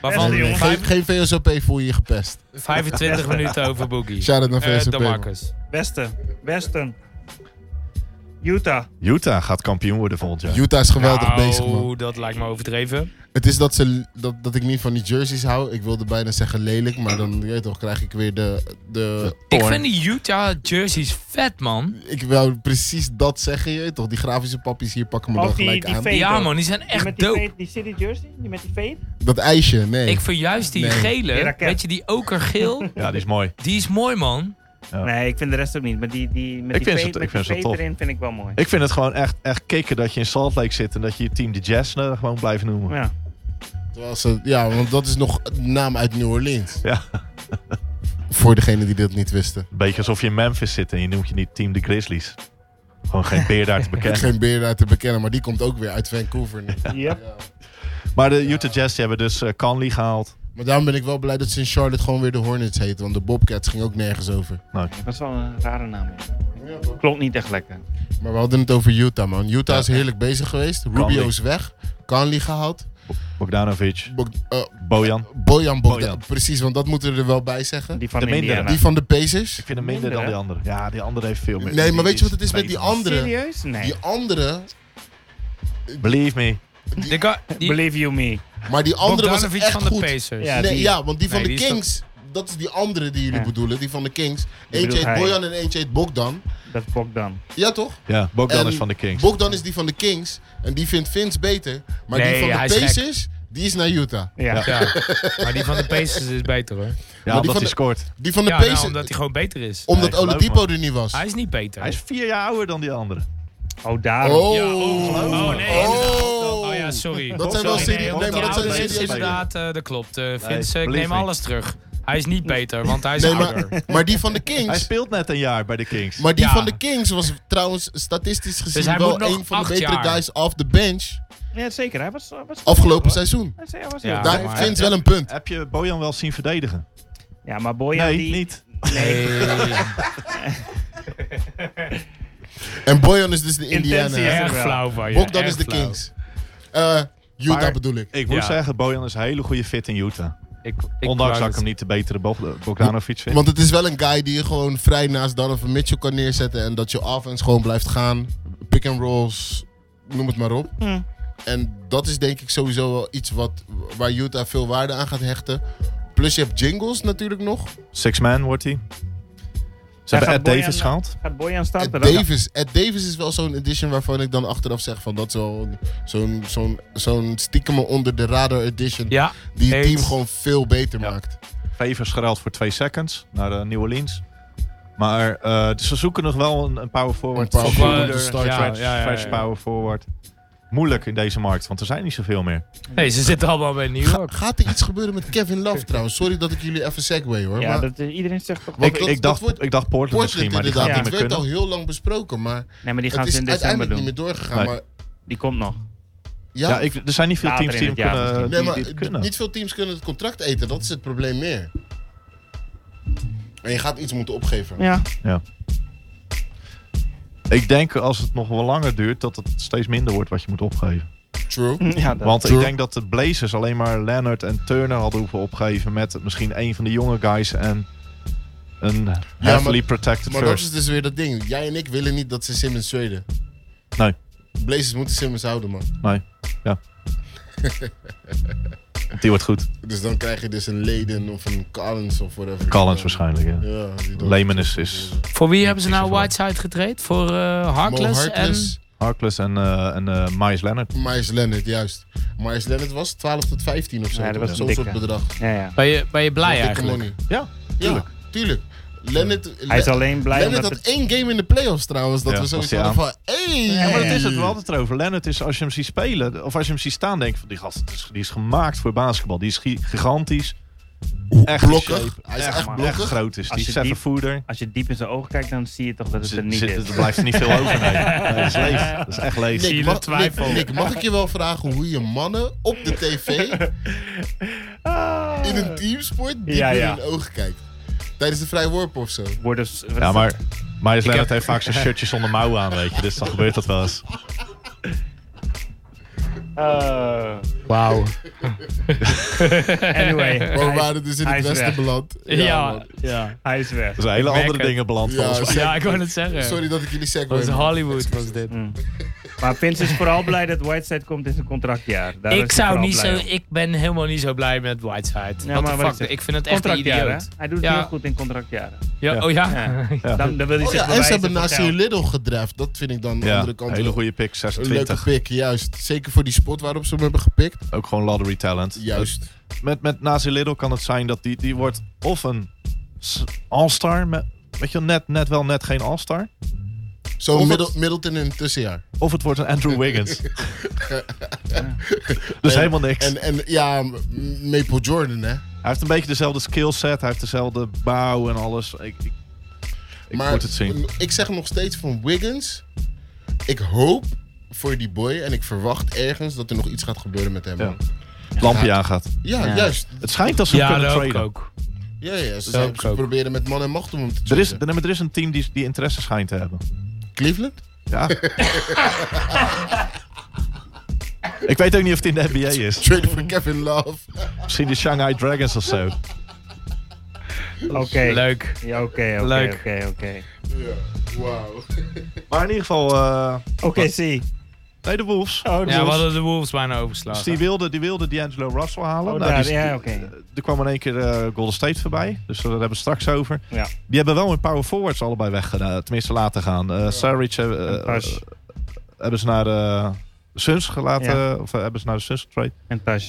Waarvan
Nee,
nee,
jongen.
vijf-
geen, geen VSOP voel je je gepest.
Eh, 25 minuten over boogie.
Shout-out naar
Eh,
VSOP.
de
man.
Marcus.
Westen. Westen. Utah.
Utah gaat kampioen worden volgend jaar.
Utah is geweldig
Nou,
bezig, man.
dat lijkt me overdreven.
Het is dat, ze, dat, dat ik niet van die jerseys hou. Ik wilde bijna zeggen lelijk, maar dan je weet toch, krijg ik weer de... de
Ik
porn.
vind die Utah jerseys vet, man.
Ik wou precies dat zeggen, je weet toch. Die grafische pappies hier pakken me
Of
dan
die-
gelijk
die
aan.
fake-
Ja,
toch?
man, die zijn
Die
echt
met die,
dope.
fade- die City Jersey? Die met die fade?
Dat ijsje, nee.
Ik vind juist die
Nee.
gele,
Die raket.
weet je, die okergeel,
Ja, die is mooi.
die is mooi, man.
Ja.
Nee, ik vind de rest ook niet. Maar die, die met
Ik
die
vind ze-
fade,
ik
met
vind ze
die
tof.
fade erin vind ik wel mooi.
Ik vind het gewoon echt, echt kicken dat je in Salt Lake zit en dat je je team de Jazz eh, gewoon blijft noemen.
Ja.
Terwijl ze- ja, want dat is nog een naam uit New Orleans.
Ja.
Voor degenen die dat niet wisten.
Een beetje alsof je in Memphis zit en je noemt je niet Team de Grizzlies. Gewoon geen beer daar te
Ik
bekennen.
geen beer uit te bekennen, maar die komt ook weer uit Vancouver. nu.
Yep.
Maar de Utah Jazz die hebben dus eh, Conley gehaald.
Maar daarom ben ik wel blij dat ze in Charlotte gewoon weer de Hornets heet. Want de Bobcats ging ook nergens over.
Nou,
Dat is wel een rare naam. Klopt niet echt lekker.
Maar we hadden het over Utah, man. Utah is heerlijk bezig geweest. Rubio
Conley.
is weg. Conley gehaald.
Bogdanovic,
Bog- eh,
Bojan.
Bojan Bogdan.
Bojan.
Precies, want dat moeten we er wel bij zeggen.
Die van
De mindere.
Indiana.
Die van de Pacers.
Ik vind hem minder dan die andere. Ja, die andere heeft veel meer.
Nee, maar
Die
weet je wat het is met die
beter.
andere?
Serieus? Nee.
Die andere,
Believe me.
Die, ga- die
Believe you me.
maar die andere was
Bogdanovic
echt
van de
goed.
Pacers.
Ja,
nee,
die-
ja, want die van
Nee,
de
die is toch-
Kings, dat is die andere die jullie
Ja.
bedoelen, die van de Kings. Eentje
bedoelt
heet
hij.
Bojan en eentje heet Bogdan.
Dat klopt dan.
Ja, toch?
Ja, Bogdan
En
is van de Kings.
Bogdan is die van de Kings en die vindt Vince beter. Maar
Nee,
die van
hij
de
is gek.
Pacers, die is naar Utah.
Ja.
Ja. Maar die van de Pacers is beter, hoor.
ja,
die
omdat
van
hij
de-
scoort.
Die van de
Ja, nou,
Pacers,
omdat hij gewoon beter is.
omdat
Nee, geloof
Oladipo er niet was.
Hij is niet beter.
Hij is vier jaar ouder dan die andere.
Oh, daarom.
Oh,
Ja, oh,
oh,
oh, nee,
oh.
Oh ja, sorry.
Dat zijn wel
Sorry,
serie-
want
nee, maar
die
dat zijn
ouder is
serieuze
Inderdaad, eh, dat klopt. eh Vince, ik neem
believe me.
alles terug. Hij is niet beter, want hij is
Nee,
ouder.
maar, maar die van de
Hij
Kings.
speelt net een jaar bij de Kings.
Maar die
Ja. Dus
van de Kings was trouwens statistisch gezien
hij moet
wel
nog
een van de
acht
betere
jaar.
guys off the bench
Ja, zeker. Hij was, hij was
afgelopen
Hij
seizoen.
was- hij was
Ja.
heel
Daar
maar-
heeft Vince wel een punt.
Heb je Bojan wel zien verdedigen?
Ja, maar Bojan
Nee,
die...
niet.
Nee.
En Boyan is dus de Indiana.
Intentie, hè?
Erg flauw van je.
Bogdan is
erg
de
flauw.
Kings. Eh, Utah
Maar-
bedoel ik.
Ik moet
Ja.
zeggen, Bojan is een hele goede fit in Utah.
Ik,
Ondanks
wou
dat ik hem niet de betere Bog- Bogdanovic vind.
Want het is wel een guy die je gewoon vrij naast Donovan Mitchell kan neerzetten. En dat je offense gewoon blijft gaan. Pick and rolls, noem het maar op.
Hmm.
En dat is denk ik sowieso wel iets wat, waar Utah veel waarde aan gaat hechten. Plus je hebt Jingles natuurlijk nog.
Six man wordt hij. hebben Ed
Boyan-
Davis gehaald.
Gaat Boyan staan?
Ed
er ook?
Davis, Ed Davis is wel zo'n edition waarvan ik dan achteraf zeg van dat is wel zo'n zo'n zo'n stiekem onder de radar edition
Ja,
die het
eens.
team gewoon veel beter
Ja.
maakt.
Favors geruild voor twee seconds naar eh, New Orleans. Maar eh, dus ze zoeken nog wel een, een power forward.
Een power
Een
forward,
moeder,
een starter.
fresh,
eh, Ja, ja, ja,
fresh
ja.
power forward. Moeilijk in deze markt, want er zijn niet zoveel meer.
Nee, ze zitten allemaal bij New
Ga-
York.
gaat er iets gebeuren met Kevin Love trouwens? Sorry dat ik jullie even segway hoor.
Ja,
maar
dat, eh, iedereen zegt toch...
Wat-
ik,
dat-
ik,
dat
dacht,
wordt-
ik dacht Portland, misschien,
Portland
maar die
inderdaad,
gaat
dit
niet
het
meer
werd
kunnen.
al heel lang besproken, maar
Nee, maar die gaan
het
ze
is
in december
uiteindelijk
doen.
niet meer doorgegaan.
Nee.
Maar
Die komt nog.
ja,
Ja, ik, er zijn niet veel
Later
teams
in
die hem
het jaar
kunnen.
misschien.
nee,
die
maar
dit
d-
kunnen.
niet veel teams kunnen het contract eten, dat is het probleem meer. En je gaat iets moeten opgeven.
Ja.
Ik denk als het nog wel langer duurt, dat het steeds minder wordt wat je moet opgeven.
True.
Mm.
ja dat,
Want ik
True.
denk dat de Blazers alleen maar Leonard en Turner hadden hoeven opgeven met misschien een van de jonge guys en een heavily protected
Maar dat
first.
is dus weer dat ding. Jij en ik willen niet dat ze Simmons traden.
Nee.
Blazers moeten Simmons houden, man.
Nee, ja. Die wordt goed.
Dus dan krijg je dus een Leden of een Collins of whatever.
Collins waarschijnlijk, ja.
Ja, die dan-
Lehman is, is
Voor wie hebben ze nou
Precies.
Whiteside getraind? Voor eh
Mo
Harkless en...
Harkless,
Harkless en, eh en eh, Myers Leonard.
Miles Leonard, juist. Miles Leonard was 12 tot 15 of zo.
Ja, dat
toch?
was een
Zo'n
dikke.
soort bedrag.
ja, ja.
Ben je, ben je blij
Dikke
eigenlijk?
money.
Ah, Ja,
Ja, tuurlijk. Leonard,
Hij is alleen blij
Leonard
omdat
had
het...
één game in de playoffs trouwens. Dat
Ja,
we
was
zoiets
hij
hadden van... Hey,
Ja, maar dat is het wel altijd over. Leonard is, als je hem ziet spelen, of als je hem ziet staan, denk je van die gast, het is- die is gemaakt voor basketbal. Die is gi- gigantisch. Echt
blokkig.
in shape.
Hij is echt
maar
blokkig.
Echt groot is.
Als
Die
je
seven
diep-
footer.
Als je diep in zijn ogen kijkt, dan zie je toch dat het er niet
Zit-
is.
Er blijft niet veel over. Nee. Nee, dat is leeg. Dat is echt leeg.
Zie je
Nick,
de
mag,
twijfel?
Nick, Nick, mag ik je wel vragen hoe je mannen op de tv in een teamsport diep
Ja, ja.
in hun ogen kijkt? Tijdens de vrije worp of zo.
Worden ze-
Ja, maar Myers Leonard
heb-
heeft vaak zijn shirtje zonder mouwen aan, weet je. Dus dan gebeurt dat wel eens.
Eh,
Wauw.
anyway,
Maar we
hij,
waren dus in
hij
het
is
westen
weg.
beland.
Ja,
man.
ja.
hij is weg.
Dat zijn hele andere
merk het.
dingen beland
Ja,
volgens mij.
zeker.
Ja, ik wou het zeggen.
Sorry dat ik jullie
Dat
segway
was
maak.
Hollywood was dit.
Maar Vince is vooral blij dat Whiteside komt in zijn contractjaar. Daar is
Ik
hij
zou
vooral
niet
blij
zo,
om.
ik ben helemaal niet zo blij met Whiteside.
Ja, maar
What the
wat ik
fuck,
zeg,
ik vind het echt een
Contractjaren,
idioot.
hè? Hij doet het
Ja.
heel goed in contractjaren.
Ja, oh ja.
Ja.
Dan, dan wil hij
Oh
zich
ja, en ze
bewijzen
hebben
voor
Nasir
geld.
Little gedraft. Dat vind ik dan de
Ja,
andere kant
hele
wel
goede pick,
een leuke
26.
pick. Juist. Zeker voor die spot waarop ze hem hebben gepikt.
Ook gewoon lottery talent. Eh,
Juist.
met, met Nazi Lidl kan het zijn dat die, die wordt of een s- all-star, met, weet je wel, net, net wel net geen all-star.
Zo'n
Of
middel,
het-
Middleton in een tussenjaar.
Of het wordt een Andrew Wiggins. dus
En-
helemaal niks.
En, en ja, M- Maple Jordan, hè.
hij heeft een beetje dezelfde skillset, hij heeft dezelfde bouw en alles. Ik, ik, ik
maar
moet het zien.
m- ik zeg nog steeds van Wiggins. Ik hoop voor die boy en ik verwacht ergens dat er nog iets gaat gebeuren met hem.
Ja.
man.
Het lampje aangaat.
Ja,
Ja.
juist.
Het schijnt dat ze hem
Ja,
kunnen
dat hoop ik
traden.
ook.
Ja, ja, ze,
Dat
zijn-
ook
ze
ook.
proberen met man en macht om hem te
Er is,
chosen.
er, maar er is een team die, die interesse schijnt te hebben.
Cleveland?
Ja. ik weet ook niet of het in de NBA is.
Trade voor Kevin Love.
Misschien de Shanghai Dragons of zo.
Oké, ja,
Leuk.
oké, oké,
Leuk.
oké, oké.
ja, wauw.
Maar in ieder geval, eh,
Oké, zie.
nee, de Wolves.
Oh,
Ja, we
dus-
hadden de Wolves bijna
Dus
overslagen.
die wilde, die wilde D'Angelo Russell halen.
Oh,
Nou,
daar,
die-
ja,
die-
oké.
Er kwam in één keer eh, Golden State voorbij. Dus daar hebben we het straks over.
Ja.
Die hebben wel hun power forwards allebei weggedaan. Tenminste, laten gaan. Eh Saric eh, eh,
Pas.
hebben ze naar de Suns gelaten.
Ja.
Of eh, hebben ze naar de Suns getrade.
En Tash.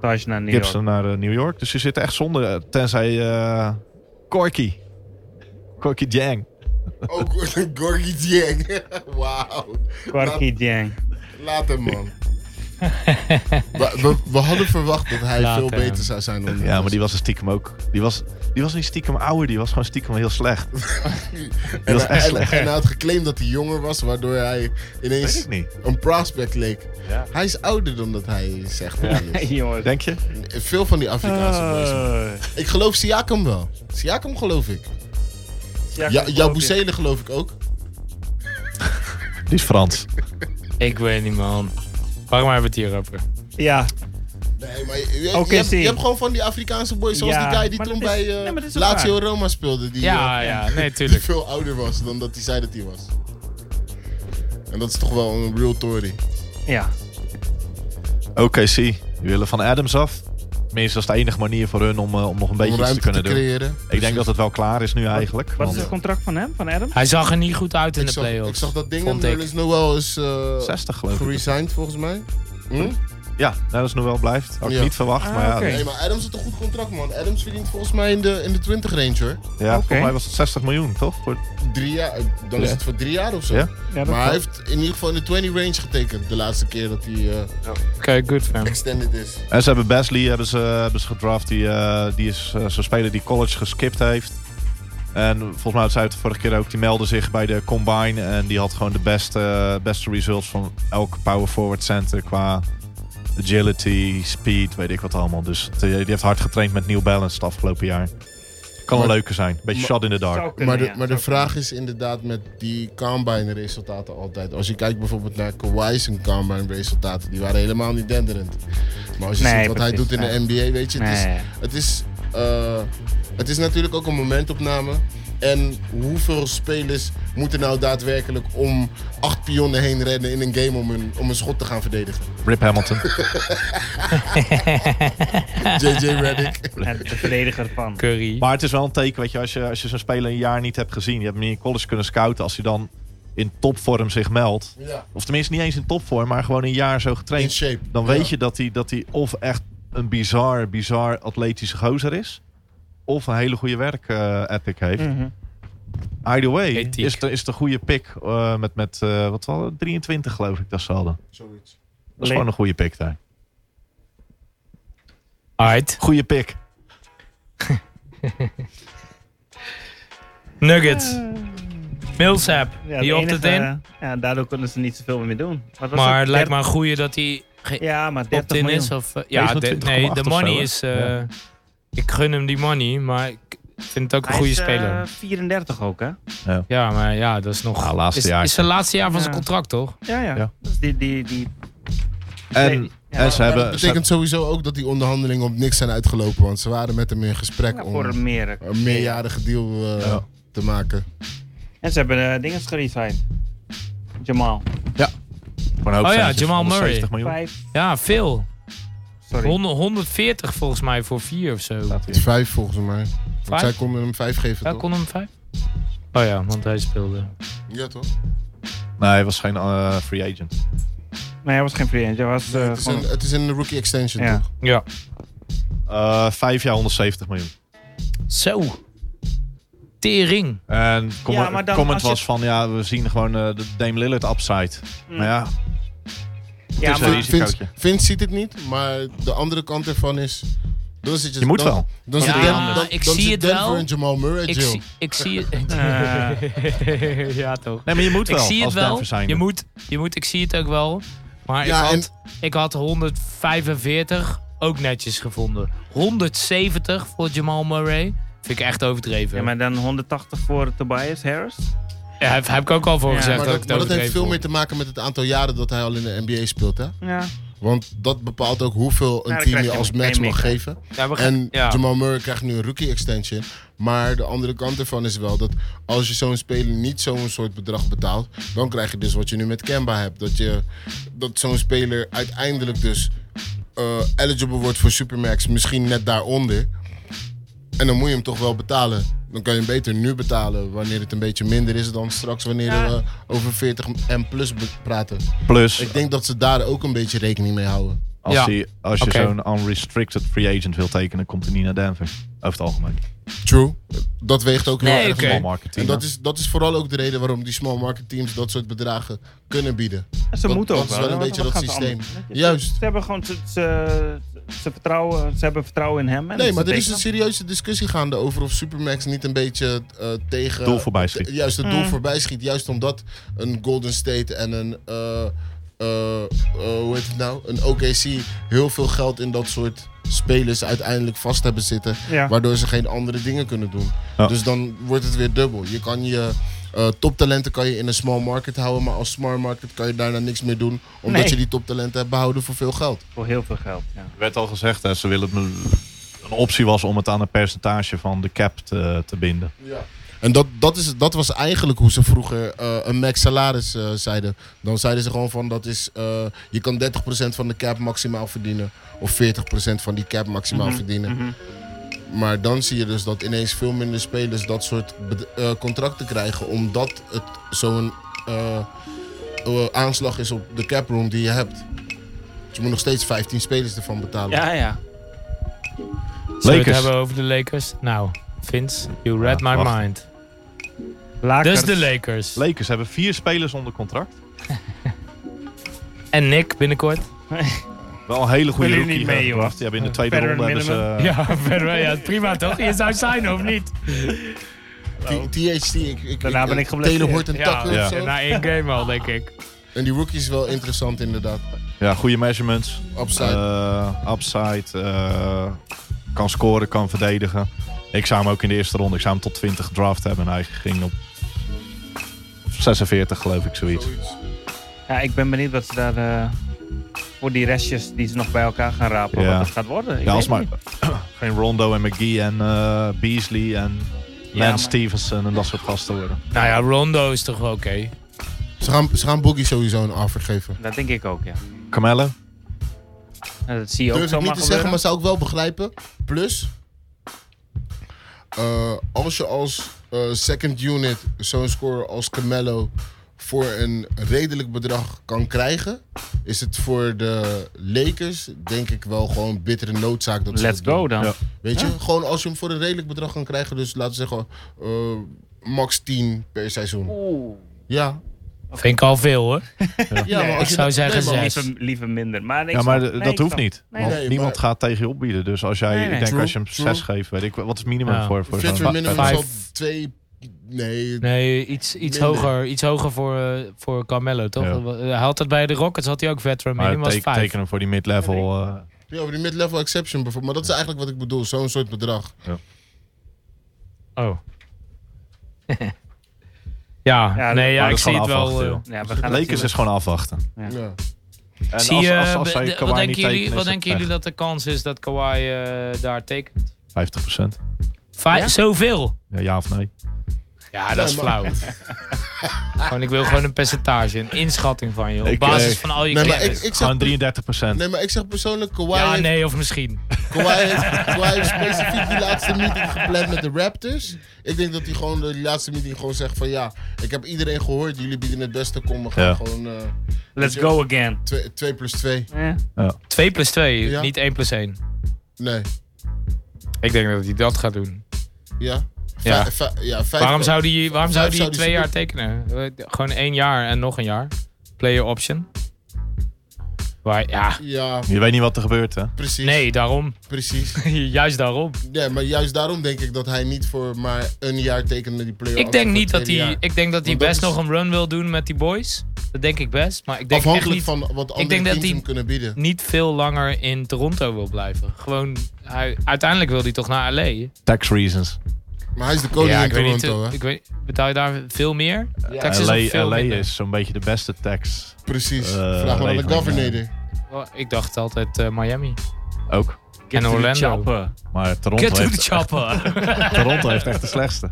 Tash naar New
Gibson
York.
naar eh, New York. Dus ze zitten echt zonder. eh, Tenzij eh Corky. Corky Jang.
Ook Gorgie Dieng. Wauw.
Quarky Dieng.
Later, man. we, we, we hadden verwacht dat hij
Later.
veel beter zou zijn. Dan
Ja, maar die was een stiekem ook. Die was, die was niet stiekem ouder. Die was gewoon stiekem heel slecht.
en,
was echt
en-
slecht.
en hij had geclaimd dat hij jonger was, waardoor hij
Weet
ineens
ik niet.
een prospect leek. Hij is ouder dan dat hij zegt. dat hij is.
Jongens.
Denk je?
Veel van die Afrikaanse boys.
Eh,
Ik geloof Siakam wel. Siakam geloof ik.
Ah,
Ja, jouw Boezelen geloof ik ook.
Die is Frans.
Ik weet niet, man. Waarom hebben we het hier over?
Ja,
Nee, maar je, je-
Oké,
je hebt,
zie.
je hebt gewoon van die Afrikaanse boys, zoals
Ja,
die guy die
maar
toen
dat is-
bij eh,
nee, maar dat is ook
Lazio
waar.
Roma speelde. Die, eh,
Ja, ja, nee,
die
tuurlijk.
veel ouder was dan dat hij zei dat hij was. En dat is toch wel een real story.
ja.
OKC, die willen van Adams af. Tenminste, dat is de enige manier voor hun om, eh, om nog een
om
beetje iets te
ruimte te,
kunnen doen.
creëren. Dus
Ik
Precies.
denk dat het wel klaar is nu eigenlijk.
Wat
want-
is het contract van hem, van Adams?
Hij zag er niet goed uit in
ik
de
zag,
playoffs.
ik zag dat ding
vond ik.
Nerlis Noel is eh
60 geloof ik.
geresigned volgens mij. Hm?
Ja, nou, dat is nog wel blijft. Had ik
Ja.
niet verwacht.
Ah,
maar ja,
oké.
dat-
Nee, maar Adams heeft een goed contract man. Adams verdient volgens mij in de, in de 20 range hoor.
ja volgens
Oké.
mij was het 60 miljoen, toch? Voor-
Drie jaar, eh, dan is
Ja.
het voor drie jaar of zo.
Ja.
Ja,
Maar hij heeft in ieder geval in de 20 range getekend de laatste keer dat hij eh,
Oké, good for him.
extended is.
En ze hebben Basley hebben ze, hebben ze gedraft. Die, eh, die is eh, zo'n speler die college geskipt heeft. En volgens mij zei het de vorige keer ook. Die meldde zich bij de Combine. En die had gewoon de beste, eh, beste results van elke power forward center. Qua agility, speed, weet ik wat allemaal. Dus het, eh, die heeft hard getraind met New Balance het afgelopen jaar. Kan
Maar-
een leuke zijn. Beetje
maar-
shot in the dark.
Zou kunnen,
Maar de,
ja.
maar de
Zou
vraag is inderdaad met die combine resultaten altijd. Als je kijkt bijvoorbeeld naar Kawhi's en combine resultaten, die waren helemaal niet denderend. Maar als je
Nee,
ziet wat hij
precies,
doet in
nee.
de NBA, weet je, het is,
Nee.
het is, eh, het is natuurlijk ook een momentopname. En hoeveel spelers moeten nou daadwerkelijk om acht pionnen heen rennen in een game om een, om een schot te gaan verdedigen?
Rip Hamilton.
JJ Reddick.
kunnen, ja. de verdediger van.
Curry.
Maar het is wel een teken, weet je, als je, als je zo'n speler een jaar niet hebt gezien, je hebt hem niet in college kunnen scouten, als hij dan in topvorm zich meldt,
Ja.
of tenminste niet eens in topvorm, maar gewoon een jaar zo
In
getraind,
shape.
dan weet
Ja.
je dat hij, dat hij of echt een bizar, bizar atletische gozer is, of een hele goede werk eh, ethic heeft.
Mhm.
Either way,
Mm. Ethiek.
is de, is de goede pick eh, met, met eh, wat was het? 23 geloof ik dat ze hadden.
Zoiets.
Le-
Dat is gewoon een goede pick daar.
Alright.
Goede pick.
Nuggets.
Ah.
Millsap.
Eh, Ja, de
die opte het
enige- eh,
in.
Ja, daardoor kunnen ze niet zoveel meer doen. Wat was
Maar het lijkt me
Dert-
een goeie dat hij
Ja, maar 30
opt-in
miljoen.
is. Of, eh, ja, de,
29,8
nee, de
of zo,
money
hè?
is... eh, Ik gun hem die money, maar ik vind het ook een
Hij
goede
is, eh,
speler.
34 ook, hè?
Ja, maar ja, dat is nog...
Nou, laatste
is,
jaar.
is zijn laatste jaar van zijn
Ja.
contract, toch?
Ja, ja.
Ja.
Dus die, die, die...
En,
Nee, ja,
en ze
Maar
hebben...
dat
ze hebben-
betekent sowieso ook dat die onderhandelingen op niks zijn uitgelopen. Want ze waren met hem in gesprek
ja,
om
voor een meer.
Oh. een meerjarige deal eh,
Ja.
te maken.
En ze hebben eh, dingen geresigned. Jamal.
gewoon een hoop
Oh ja,
centjes,
Jamal Murray.
170 miljoen.
Vijf.
Ja, veel.
Sorry.
100, 140 volgens mij voor vier of zo.
Staat hier.
Vijf volgens mij. Want
Vijf?
zij konden hem vijf geven,
Ja,
toch?
kon hem vijf? Oh ja, want hij speelde.
Ja, toch?
Nee, hij was geen eh, free agent.
Nee, hij was geen free agent. Hij was eh,
het, is
gewoon-
een, het is een rookie extension,
Ja.
toch?
Ja.
Eh, vijf jaar 170 miljoen.
Zo. Tering.
En comment,
maar dan
comment
als je- Mm.
was van, ja, we zien gewoon eh, de Dame Lillard upside. Maar ja,
Ja,
tussen
maar...
die-
Vince,
risicootje.
Vince ziet het niet, maar de andere kant ervan is... Dan zit je,
Je moet
dan,
wel.
Dan
Ja,
zit Den- dan,
ik
dan
zie
zit
het
Denver
wel.
en Jamal Murray
Ik,
Jill.
zie- ik zie het. ja, toch.
nee, maar je moet
Ik
wel
zie het
als
wel.
Denver zijn.
Je moet, je moet, ik zie het ook wel. Maar
Ja,
ik,
en-
had, ik had 145 ook netjes gevonden. 170 voor Jamal Murray. Vind ik echt overdreven.
Ja, maar dan 180 voor Tobias Harris.
Ja, heb, heb ik ook al voor
Ja,
gezegd
Maar
dat
dat,
ik
maar
het
dat heeft
overdreven
veel
vond.
meer te maken met het aantal jaren dat hij al in de NBA speelt, hè?
Ja.
Want dat bepaalt ook hoeveel een
dan
team
krijg
je
je
als
een
max mag
playmaker.
geven.
Ja, we gaan-
En
ja.
Jamal Murray krijgt nu een rookie extension. Maar de andere kant ervan is wel dat als je zo'n speler niet zo'n soort bedrag betaalt, dan krijg je dus wat je nu met Kemba hebt. Dat, je- dat zo'n speler uiteindelijk dus eh, eligible wordt voor Supermax, misschien net daaronder. En dan moet je hem toch wel betalen. Dan kan je hem beter nu betalen wanneer het een beetje minder is dan straks wanneer we over 40 en plus be- praten.
Plus,
Ik denk dat ze daar ook een beetje rekening mee houden.
als,
Ja.
die, als je
Oké.
zo'n unrestricted free agent wil tekenen, komt hij niet naar Denver. Over het algemeen.
True. Dat weegt ook heel
Nee,
erg
oké.
mee.
Small market
En
team.
dat is, dat is vooral ook de reden waarom die small market teams dat soort bedragen kunnen bieden.
En Ze
Dat-
moeten ook
dat is
wel.
wel een
hè,
beetje
want
dat
dan gaan ze
systeem.
allemaal- Weet je,
Juist.
Ze hebben gewoon... Ze, ze, ze vertrouwen, ze hebben vertrouwen in hem. En
Nee,
dat
maar er is een
tekenen.
serieuze discussie gaande over of Supermax niet een beetje eh, tegen...
Doel voorbij schiet.
te- Juist, het doel
Mm.
voorbij schiet. Juist omdat een Golden State en een... eh, eh, eh, hoe heet het nou? Een OKC heel veel geld in dat soort spelers uiteindelijk vast hebben zitten.
Ja.
Waardoor ze geen andere dingen kunnen doen.
Ja.
Dus dan wordt het weer dubbel. Je kan je eh, toptalenten kan je in een small market houden, maar als small market kan je daarna niks meer doen. Omdat
Nee.
je die toptalenten hebt behouden voor veel geld.
Voor heel veel geld, ja.
Er werd al gezegd, hè, ze willen het me- een optie was om het aan een percentage van de cap te, te binden.
En dat, dat, is, dat was eigenlijk hoe ze vroeger eh, een max salaris eh, zeiden. Dan zeiden ze gewoon van dat is, eh, je kan 30% van de cap maximaal verdienen. Of 40% van die cap maximaal
Mhm.
verdienen. Maar dan zie je dus dat ineens veel minder spelers dat soort bed- eh, contracten krijgen. Omdat het zo'n eh, eh, aanslag is op de caproom die je hebt. Dus je moet nog steeds 15 spelers ervan betalen.
Ja, ja.
Zullen we het
Lakers.
hebben over de Lakers? Nou, Vince, you read
Ja,
my
wacht.
mind.
Lakers.
Dus de Lakers.
Lakers hebben vier spelers onder contract.
en Nick binnenkort.
Wel een hele goede
Wil je
rookie.
niet mee,
gedraft.
joh?
Die hebben in de tweede
Verder
ronde hebben ze... eh,
minimum.
Ja, verder, ja, prima toch? Je zou zijn of niet?
T- THT, ik, ik,
Daarna ben ik geblesseerd.
Taylor hoort een
Ja,
takken
ja.
of zo.
na één game al, denk ik.
En die rookie is wel interessant inderdaad.
Ja, goede measurements.
Upside.
Eh, upside. eh, kan scoren, kan verdedigen. Ik zou hem ook in de eerste ronde, ik zou hem tot 20 draft hebben. En hij ging op 46 geloof ik, zoiets.
Zoiets.
Ja, ik ben benieuwd wat ze daar eh, voor die restjes die ze nog bij elkaar gaan rapen,
Ja.
wat het gaat worden. Ik
Ja, als
weet
maar
het niet.
geen Rondo en McGee en eh, Beasley en
Ja,
Lance
maar-
Stevenson en dat soort gasten worden.
Nou ja, Rondo is toch wel oké.
Ze gaan, ze gaan Boogie sowieso een offer geven.
Dat denk ik ook, ja.
Carmelo?
En Dat zie je ook
Durf ik
zomaar
niet te
gebeuren.
zeggen, maar zou ik wel begrijpen. Plus, eh, als je als eh, second unit zo'n score als Camelo voor een redelijk bedrag kan krijgen, is het voor de Lakers denk ik wel gewoon bittere noodzaak dat ze
Let's
dat doen.
go dan.
Ja.
Weet je, gewoon als je hem voor een redelijk bedrag kan krijgen, dus laten we zeggen eh, max 10 per seizoen.
Oeh.
Ja,
Vind ik al veel hoor.
ja maar
ik
je
zou
dat-
zeggen
maar-
zes.
Liever, liever minder. Maar ik
Ja,
snap-
maar
nee,
dat
ik
hoeft
snap-
niet.
Nee,
want
nee.
niemand
maar-
gaat tegen je opbieden. Dus als jij,
Nee, nee.
ik denk
True,
als je hem
true.
6 geeft, weet ik wel, wat is het minimum
Ja.
voor, voor zo'n
Veteran minimum is
vijf.
al twee. Nee,
Nee, iets, iets,
Minder.
hoger, iets hoger voor, eh, voor Carmelo toch? eh,
Ja.
Hij had dat bij de Rockets, had hij ook veteran
Maar
minimum, was
teken-
vijf.
teken hem voor die mid-level. eh,
ja, over die mid-level exception bijvoorbeeld. Maar dat is eigenlijk wat ik bedoel, zo'n soort bedrag.
Oh. ja,
Ja,
nee, ja,
maar
ik
dat is
zie het wel.
gewoon
eh,
afwachten, joh.
Ja, we gaan
Lakers is
natuurlijk-
gewoon afwachten.
Ja.
Ja.
En
zie
als,
je, eh,
als, als zij
de-
Kawhi
wat
niet
denken, jullie,
tekenen,
wat
is
denken jullie dat de kans is dat Kawhi eh, daar tekent?
het echt 50%.
Vijf, Zoveel?
Ja, ja of nee?
Ja, dat is
maar-
flauw. gewoon, ik wil gewoon een percentage, een inschatting van je. Op
Ik,
basis
eh,
van al je
Nee, maar ik,
kennis.
ik zeg,
Gewoon 33%.
nee, maar ik zeg persoonlijk, Kawhi,
ja,
heeft,
nee, of misschien.
Kawhi, heeft, Kawhi heeft specifiek die laatste meeting gepland met de Raptors. Ik denk dat hij gewoon de die laatste meeting gewoon zegt van ja, ik heb iedereen gehoord, jullie bieden het beste, kom we gaan
Ja.
gewoon
Let's go again.
2 plus 2.
Ja.
2 plus 2,
Ja.
niet 1 plus 1.
Nee,
Ik denk dat hij dat gaat doen.
ja.
Ja.
Vijf- vij- ja, vijf-
Waarom zou die, waarom zou
Vijf
die
zou die
twee jaar
zo-
tekenen? Eh, Gewoon één jaar en nog een jaar. Player option. Waar, ja,
Ja,
Je weet niet wat er gebeurt, hè?
precies.
nee, daarom.
Precies.
Juist daarom.
Ja, maar juist daarom denk ik dat hij niet voor maar een jaar tekende die player.
Ik denk niet dat hij, ik denk dat hij
Want dat
best
is-
nog een run wil doen met die boys. Dat denk ik best. Maar ik denk echt
Afhankelijk
niet,
van wat andere
denk dat
teams
die-
hem kunnen bieden.
niet veel langer in Toronto wil blijven. Gewoon, hij, uiteindelijk wil hij toch naar LA.
Tax reasons.
Maar hij is de koning
ja,
in
ik weet niet.
Toronto,
eh,
hè?
Ik weet, betaal je daar veel meer? Texas
LA,
is nog veel
LA
minder.
is zo'n beetje de beste tax.
Precies.
Eh,
Vraag maar aan de
regeling,
governor.
Oh, Ik dacht altijd eh, Miami.
Ook.
En Orlando.
Maar Toronto
Get to
heeft,
the chopper.
Toronto heeft echt de slechtste.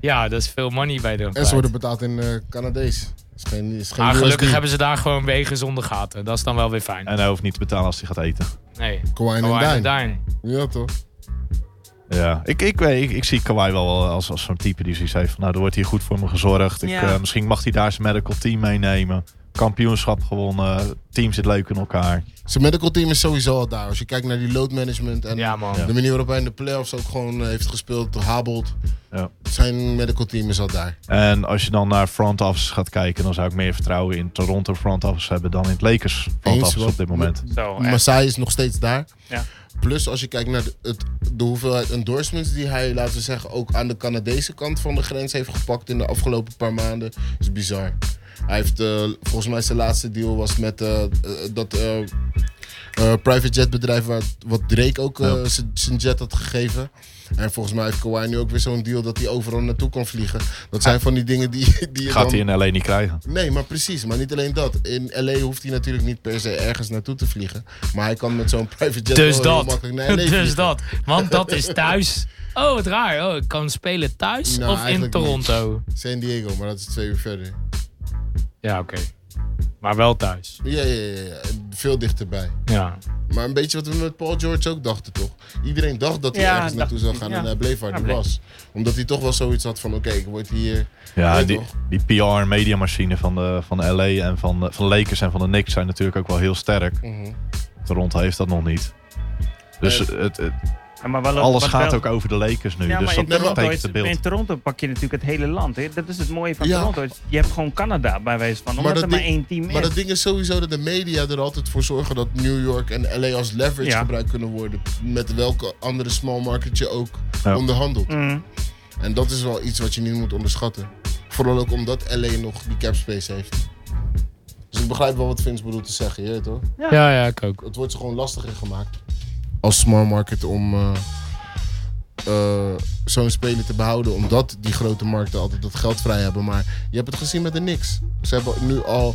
Ja, dat is veel money bij de
En ze worden betaald in eh, Canadees. Is geen, is geen
Maar
USD.
Ah, gelukkig hebben ze daar gewoon wegen zonder gaten. Dat is dan wel weer fijn.
En hij hoeft niet te betalen als hij gaat eten.
Nee. Oh,
Kawhi
Kawhi
en Dine.
Leonard.
Ja, toch?
Ja, ik, ik, weet- ik, ik zie Kawhi wel wel als, als zo'n type die zoiets heeft van, nou, er wordt hier goed voor me gezorgd. Ik,
Ja.
eh, misschien mag hij daar zijn medical team meenemen. Kampioenschap gewonnen. Team zit leuk in elkaar.
Zijn medical team is sowieso al daar. Als je kijkt naar die load management en
Ja, man.
de manier waarop hij in de playoffs ook gewoon eh, heeft gespeeld, habelt.
Ja.
Zijn medical team is al daar.
En als je dan naar front office gaat kijken, dan zou ik meer vertrouwen in Toronto front office hebben dan in het Lakers front
Eens,
office
want-
op dit moment.
Zo, echt.
Masai is nog steeds daar.
Ja.
Plus als je kijkt naar de, het, de hoeveelheid endorsements die hij, laten we zeggen, ook aan de Canadese kant van de grens heeft gepakt in de afgelopen paar maanden, is bizar. Hij heeft, eh, volgens mij zijn laatste deal was met eh, eh, dat eh, eh, private jet bedrijf waar, wat Drake ook eh,
Ja.
zijn- zijn jet had gegeven. En volgens mij heeft Kawhi nu ook weer zo'n deal dat hij overal naartoe kan vliegen. Dat zijn van die dingen die, die je
Gaat hij
dan...
in LA niet krijgen.
Nee, maar precies. Maar niet alleen dat. In LA hoeft hij natuurlijk niet per se ergens naartoe te vliegen. Maar hij kan met zo'n private jet
Dus
wel heel
dat.
makkelijk naar LA
Dus
vliegen.
dat. Want dat is thuis. Oh, wat raar. Oh, ik kan spelen thuis
Nou,
of in
eigenlijk niet.
Toronto.
San Diego, maar dat is twee uur verder.
Ja, oké. Maar wel thuis.
Ja, ja, ja, ja. Veel dichterbij.
Ja.
Maar een beetje wat we met Paul George ook dachten, toch? Iedereen dacht dat hij
Ja,
ergens naartoe
dacht-
zou gaan
ja.
en hij bleef waar
Ja,
hij
bleef.
was. Omdat hij toch wel zoiets had van, oké, ik word hier...
Ja,
Weet
die,
nog.
die PR en mediamachine van, de, van de LA en van, de- van de Lakers en van de Knicks zijn natuurlijk ook wel heel sterk.
Mhm.
Toronto heeft dat nog niet. Dus
Nee.
het, het-
Ja, maar wat-
alles
wat
gaat
wel-
ook over de Lakers nu.
Ja,
dus
maar in
dat
Toronto,
betekent
is-
het beeld.
in Toronto pak je natuurlijk het hele land. Hè? Dat is het mooie van
Ja.
Toronto. Je hebt gewoon Canada bij wijze van, omdat
dat
er maar
ding-
één team
Maar
is.
dat ding is sowieso dat de media er altijd voor zorgen dat New York en LA als leverage
Ja.
gebruikt kunnen worden. Met welke andere small market je ook
Ja.
onderhandelt.
Mm.
En dat is wel iets wat je niet moet onderschatten. Vooral ook omdat LA nog die cap space heeft. Dus ik begrijp wel wat Vince bedoelt te zeggen, je weet toch?
Ja, ja, ik ook.
het wordt ze gewoon lastiger gemaakt. Als small market om eh, eh, zo'n speler te behouden. Omdat die grote markten altijd dat geld vrij hebben. Maar je hebt het gezien met de Knicks. Ze hebben nu al...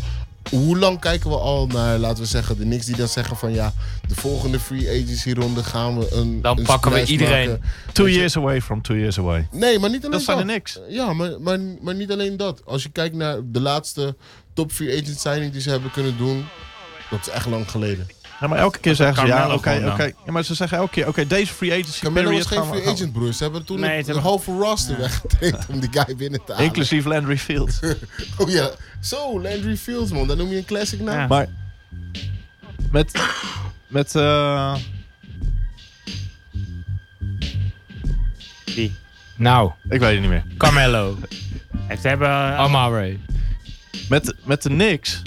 Hoe lang kijken we al naar, laten we zeggen, de Knicks die dan zeggen van ja, de volgende free agency ronde gaan we een.
Dan
een
pakken we
splash
iedereen.
maken.
Two
Weet je-
years away from two years away.
Nee, maar niet alleen
Dat
dat.
zijn de Knicks.
Ja, maar, maar, maar niet alleen dat. Als je kijkt naar de laatste top free agent signing die ze hebben kunnen doen, dat is echt lang geleden.
Ja, maar elke keer zeggen ze ja, oké,
Carmelo gewoon
oké.
dan.
Ja, maar ze zeggen elke keer, oké, deze free agency
Carmelo
period
was geen
gaan we-
free
gaan we-
agent, broer. Ze hebben toen
Nee,
een-
ze
een
hebben-
halve roster weggetraind om die guy binnen te halen.
Inclusief Landry Fields.
Oh ja. Zo, Landry Fields, man. Dan noem je een classic naam.
Ah.
Ja.
Maar met, met eh,
Die.
Nou,
ik weet het niet meer.
Carmelo,
En ze hebben... eh,
Oh. Amare.
Met, met de Knicks.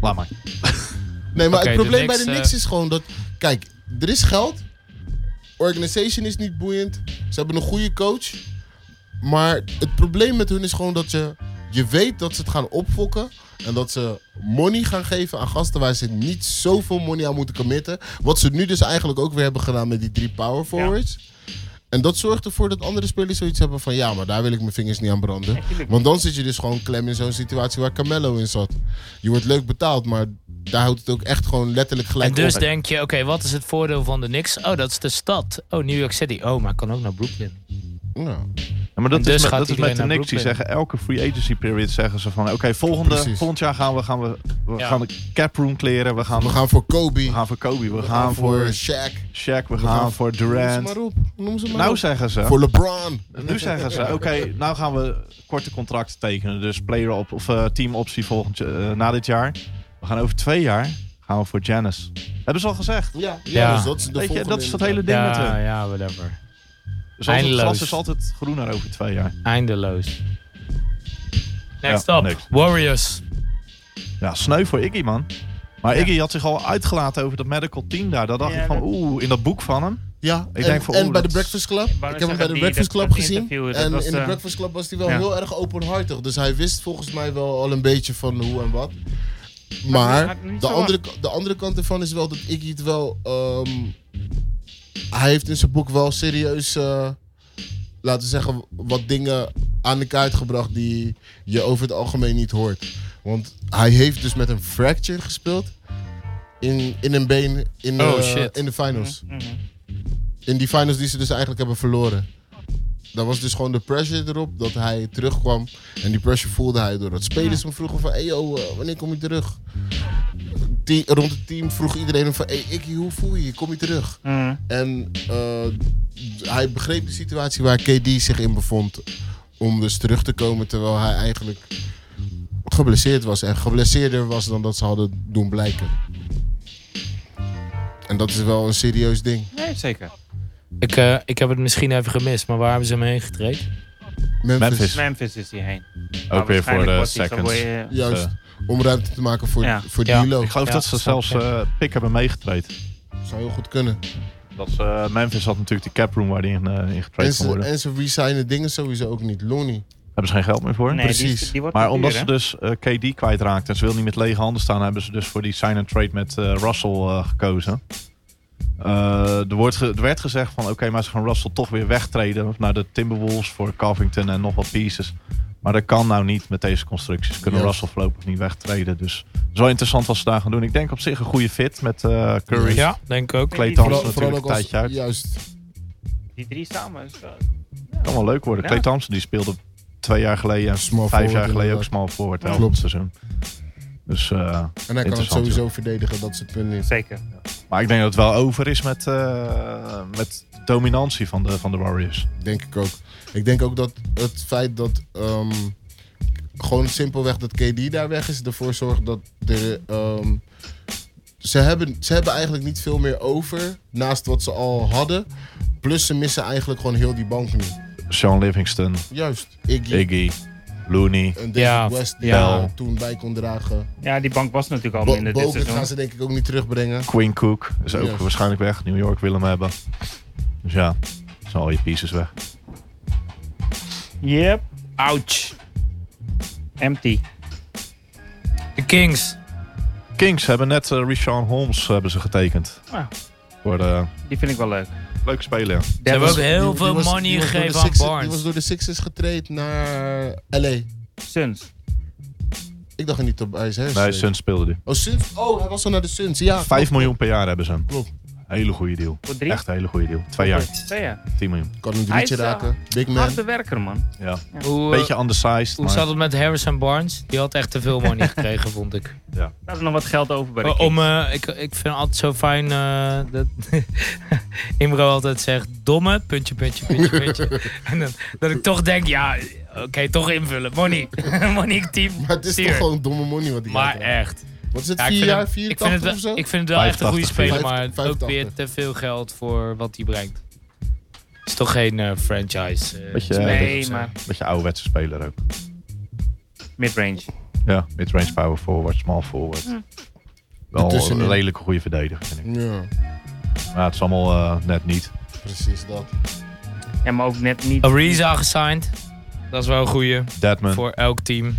Laat maar.
Nee, maar
Oké,
het
de
probleem bij
Knicks,
de
eh,
Knicks is gewoon dat... Kijk, er is geld. Organization is niet boeiend. Ze hebben een goede coach. Maar het probleem met hun is gewoon dat je... Je weet dat ze het gaan opfokken. En dat ze money gaan geven aan gasten waar ze niet zoveel money aan moeten committen. Wat ze nu dus eigenlijk ook weer hebben gedaan met die drie power forwards. En dat zorgt ervoor dat andere spelers zoiets hebben van... Ja, maar daar wil ik mijn vingers niet aan branden. Want dan zit je dus gewoon klem in zo'n situatie waar Carmelo in zat. Je wordt leuk betaald, maar daar houdt het ook echt gewoon letterlijk gelijk
En dus
op.
denk je, oké, wat is het voordeel van de Knicks? Oh, dat is de stad. Oh, New York City. Oh, maar ik kan ook naar Brooklyn.
Ja,
Ja, maar dat
En dus
is met,
gaat
dat is
iedereen
met de
naar
Knicks. Die
Brooklyn.
zeggen elke free agency period zeggen ze van... Oké, volgende
Precies.
volgend jaar gaan we, gaan we, we
Ja.
gaan de cap room kleren. We gaan,
we gaan voor Kobe.
we gaan voor Kobe. We, gaan, voor
Shaq.
Shaq. We,
gaan
gaan voor
Noem ze
Durant.
maar op. Noem ze maar
Nou
op.
zeggen ze...
Voor LeBron.
Nu zeggen ze, oké, nou gaan we korte contracten tekenen. Dus player op, of eh, teamoptie volgend, ja- eh, na dit jaar. We gaan over twee jaar gaan we voor Janice. Hebben ze al gezegd.
Ja, ja,
Ja.
dus dat is de
Weet je,
volgende
dat is dat
inderdaad.
hele ding met hun.
ja, whatever.
Dus altijd, het
Eindeloos.
gras is altijd groener over twee jaar.
Eindeloos. Next
Ja,
up,
next.
Warriors.
Ja, sneu voor Iggy, man. Maar Iggy had zich al uitgelaten over dat medical team daar. Daar dacht
Ja,
ik van,
dat-
oeh, in dat boek van hem.
Ja, en,
Ik denk van,
en
oeh,
bij de
dat is-
Breakfast Club. Ik heb hem bij
zeggen
de
die,
Breakfast
dat-
Club
dat
gezien.
interview, dat
En
was,
in de
eh,
Breakfast Club was hij wel
ja.
heel erg openhartig. Dus hij wist volgens mij wel al een beetje van hoe en wat. Maar
had niet
de
zo
andere, de andere kant ervan is wel dat Iggy het wel... ehm, hij heeft in zijn boek wel serieus, eh, laten we zeggen, wat dingen aan de kaart gebracht die je over het algemeen niet hoort. Want hij heeft dus met een fracture gespeeld in, in een been in,
Oh,
eh,
shit.
in de finals.
mhm.
In die finals die ze dus eigenlijk hebben verloren. Daar was dus gewoon de pressure erop dat hij terugkwam. En die pressure voelde hij doordat spelers hem vroegen van... Hey yo, eh, wanneer kom je terug? Die, rond het team vroeg iedereen hem van... Hey Ikkie, hoe voel je je? Kom je terug?
Mhm.
En eh, hij begreep de situatie waar KD zich in bevond. Om dus terug te komen terwijl hij eigenlijk geblesseerd was. En geblesseerder was dan dat ze hadden doen blijken. En dat is wel een serieus ding.
Nee, zeker.
Ik, eh, ik heb het misschien even gemist, maar waar hebben ze me heen getreden?
Memphis.
Memphis.
Memphis is hierheen. Nou,
Ook weer voor de seconds.
Juist.
Eh.
Om ruimte te maken voor,
Ja.
voor
Ja.
Dilo.
Ik geloof
Ja,
dat ze
snap
zelfs
ik.
eh pick hebben meegetraind.
Zou heel goed kunnen.
Dat ze, eh, Memphis had natuurlijk die cap room waar die in, eh in getraind
En
kon
ze,
worden.
en ze resignen dingen sowieso ook niet. Looney.
hebben ze geen geld meer voor.
Nee, die is-
precies.
Die, wordt
Maar
te
omdat
duur,
ze
hè?
dus eh, KD kwijtraakt en ze wil niet met lege handen staan, hebben ze dus voor die sign-and-trade met eh, Russell eh, gekozen. Eh, er, wordt ge- er werd gezegd van oké, maar ze gaan Russell toch weer wegtreden naar de Timberwolves voor Covington en nog wat pieces. Maar dat kan nou niet met deze constructies. Kunnen
Juist.
Russell voorlopig niet wegtreden. Dus zo interessant wat ze daar gaan doen. Ik denk op zich een goede fit met eh, Curry.
Ja, denk ik ook.
Clay
Die-
Thompson natuurlijk een tijdje uit.
Juist.
Die drie samen. is wel-
Kan wel leuk worden.
Ja.
Clay Thompson die speelde twee jaar geleden en
Small
vijf jaar
forward,
geleden ook
inderdaad.
small forward.
Ja.
elk
Klopt.
Seizoen. Dus eh,
En hij kan het
Interessant,
sowieso verdedigen, dat is het punt niet.
Zeker.
Maar ik denk dat het wel over is met, eh, met de dominantie van de, van de Warriors.
Denk ik ook. Ik denk ook dat het feit dat. ehm, gewoon simpelweg dat KD daar weg is, ervoor zorgt dat er. ehm, ze, hebben, ze hebben eigenlijk niet veel meer over naast wat ze al hadden. Plus ze missen eigenlijk gewoon heel die bank nu.
Sean Livingston,
Juist. Iggy.
Iggy, Looney.
En David
Ja,
West die
ja.
daar toen bij kon dragen.
Ja, die bank was natuurlijk al
Bo
minder dit
Bogut gaan
seizoen.
ze denk ik ook niet terugbrengen.
Quinn Cook is ook
Yes.
waarschijnlijk weg. New York wil hem hebben. Dus ja, zijn al je pieces weg.
Yep.
Ouch.
Empty.
De Kings.
Kings hebben net eh Richard Holmes hebben ze getekend.
Nou.
Voor de
Die vind ik wel leuk.
leuke speler. ja.
Ze hebben ook heel
Die- die
veel
was- die
money
was door de
gegeven aan
Sixers- Die was
Barnes.
door de Sixers getraind naar LA.
Suns.
Ik dacht er niet op ijs, hè?
Nee, Suns speelde die.
Oh, Suns? Oh, hij was al naar de Suns. Ja,
5 miljoen per jaar hebben ze hem.
Klopt.
Hele goede deal.
Voor drie.
Echt een hele goede deal. Twee jaar,
Twee jaar.
10 miljoen.
kan een
Hij
drietje
is, eh,
raken. Big man.
Harde werker, man.
Ja.
Hoe, eh,
Beetje undersized.
hoe
maar-
zat het met Harrison Barnes? Die had echt te veel money gekregen, vond ik.
Daar is nog wat geld over bij de
Maar
Kings.
Om, eh, ik, ik vind altijd zo fijn eh, dat Imro altijd zegt domme, puntje, puntje, puntje, puntje. en dan, dat ik toch denk, ja, oké, toch invullen. Money, money team.
Maar het is
stuur.
toch gewoon domme money wat hij
Maar
krijgt, hè?
echt.
Wat is het,
Ja, ik
4
vind
jaar,
hem-
84
ik vind het wel,
of zo?
Ik vind het wel echt een goede
85,
speler,
vijf-
maar ook
85.
weer te veel geld voor wat hij brengt. Het is toch geen eh, franchise. eh,
Beetje,
speler of
eh,
Nee,
zo.
maar
Beetje ouderwetse speler ook.
midrange.
Ja, midrange power forward, small forward. Wel
Ertussenin.
een redelijk goede verdediger, vind ik.
Ja,
Maar het is allemaal eh, net niet.
precies dat.
Ja, maar ook net
eh,
niet.
Ariza gesigned. Dat is wel een goeie
Deadman.
voor elk team.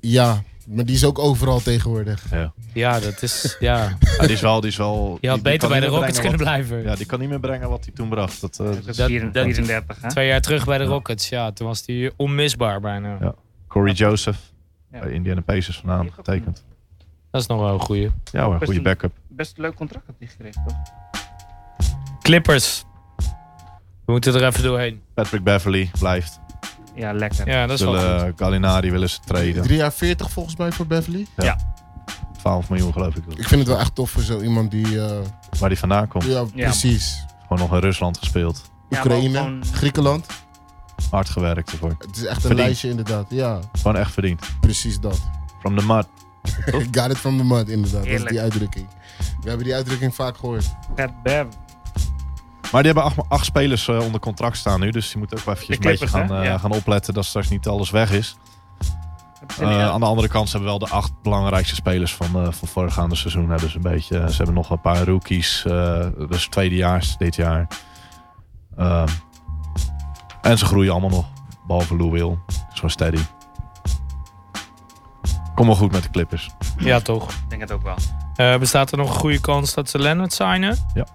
Ja, maar die is ook overal tegenwoordig.
Ja.
Ja, dat is. Ja.
Ja, Ah, die is wel... Die is wel
Je had
die- die
beter
kan
bij de
niet meer
Rockets
brengen
kunnen blijven.
wat- Ja, die kan niet meer brengen wat hij toen bracht. Dat, eh,
Dat is
dat-
34,
dat-
34 hè?
Twee jaar terug bij de Rockets, ja. Toen was hij onmisbaar bijna.
Ja. Corey Joseph,
Ja.
bij Indiana Pacers vandaan, getekend.
Dat is nog wel een goeie.
Ja hoor,
Best
goede
een-
backup.
Best een leuk contract had hij gekregen, toch?
Clippers. We moeten er even doorheen.
Patrick Beverly blijft.
Ja, lekker.
Ja, dat is wel goed.
Willen, Gallinari willen ze traden.
3 jaar 40 volgens mij voor Beverly.
12 miljoen geloof ik.
Ik vind het wel echt tof voor zo iemand die... eh,
Waar die vandaan komt.
ja, precies.
Gewoon nog in Rusland gespeeld.
maar
Oekraïne,
ook gewoon-
Griekenland.
Hard gewerkt ervoor.
Het is echt een
Verdiend.
lijstje inderdaad. Ja,
Gewoon echt verdiend.
precies dat.
From the mud.
Ik Got it from the mud, inderdaad. Dat
Heerlijk.
is die uitdrukking. We hebben die uitdrukking vaak gehoord.
Pat Bev.
Eh,
Maar die hebben acht, acht spelers eh, onder contract staan nu. Dus die moeten ook wel eventjes
De
een beetje
Clippers,
gaan,
hè?
eh,
Ja.
gaan opletten dat straks niet alles weg is.
Heb je
Eh,
zin in, hè?
aan de andere kant ze hebben wel de acht belangrijkste spelers van, eh van voorgaande seizoen. Hebben ze, een beetje, ze hebben nog een paar rookies. eh, dus tweedejaars dit jaar. Ehm, en ze groeien allemaal nog. Behalve Lou Will. Is gewoon steady. Kom wel goed met de Clippers.
Ja, toch.
Ik denk het ook wel.
Eh, bestaat er nog een goede kans dat ze Leonard signen?
Ja.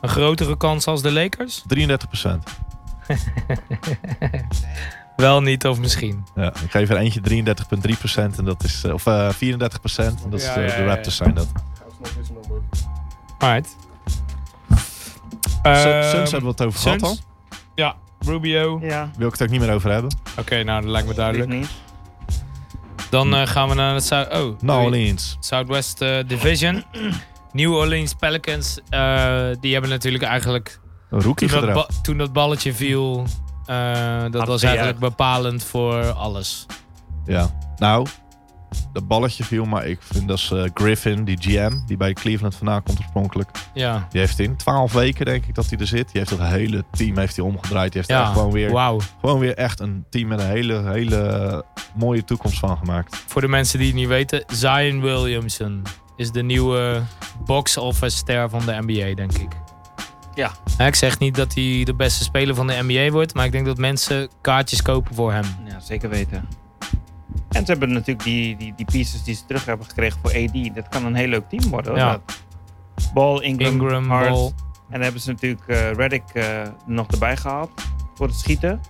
Een grotere kans als de Lakers?
33%.
Wel niet, of misschien.
Ja, ik geef er eentje 33,3% en dat is. eh, Of eh 34%. En dat is
Ja,
de,
ja,
de
ja, ja.
Raptors zijn dat.
Alright.
Sun-
Ehm,
Suns hebben we het over gehad al.
Suns? Ja, Rubio.
Ja,
Wil ik het ook niet meer over hebben.
Oké, nou, dat lijkt me
ik
duidelijk.
niet.
Dan eh, gaan we naar het zuid... Oh,
New
sorry.
Orleans.
Southwest eh, Division. New Orleans Pelicans, eh, die hebben natuurlijk eigenlijk...
Een rookie
Toen dat,
gedraft.
ba- toen dat balletje viel, eh, dat
Had
was
hij
eigenlijk bepalend voor alles.
Ja. Nou, dat balletje viel, maar ik vind dat ze, eh, Griffin, die GM, die bij Cleveland vandaan komt oorspronkelijk.
Ja,
Die heeft in 12 weken, denk ik, dat hij er zit. Die heeft het hele team heeft hij omgedraaid. Die heeft er
ja.
echt gewoon, weer,
wauw.
gewoon weer echt een team met een hele, hele eh, mooie toekomst van gemaakt.
Voor de mensen die het niet weten, Zion Williamson is de nieuwe box office ster van de NBA, denk ik.
Ja.
Hè, ik zeg niet dat hij de beste speler van de NBA wordt, maar ik denk dat mensen kaartjes kopen voor hem.
Ja, zeker weten. En ze hebben natuurlijk die, die, die pieces die ze terug hebben gekregen voor AD. Dat kan een heel leuk team worden. Hoor.
Ja.
Dat- Ball, Ingram,
Ingram,
Hart.
Ball.
En dan hebben ze natuurlijk eh Reddick eh, nog erbij gehaald voor het schieten.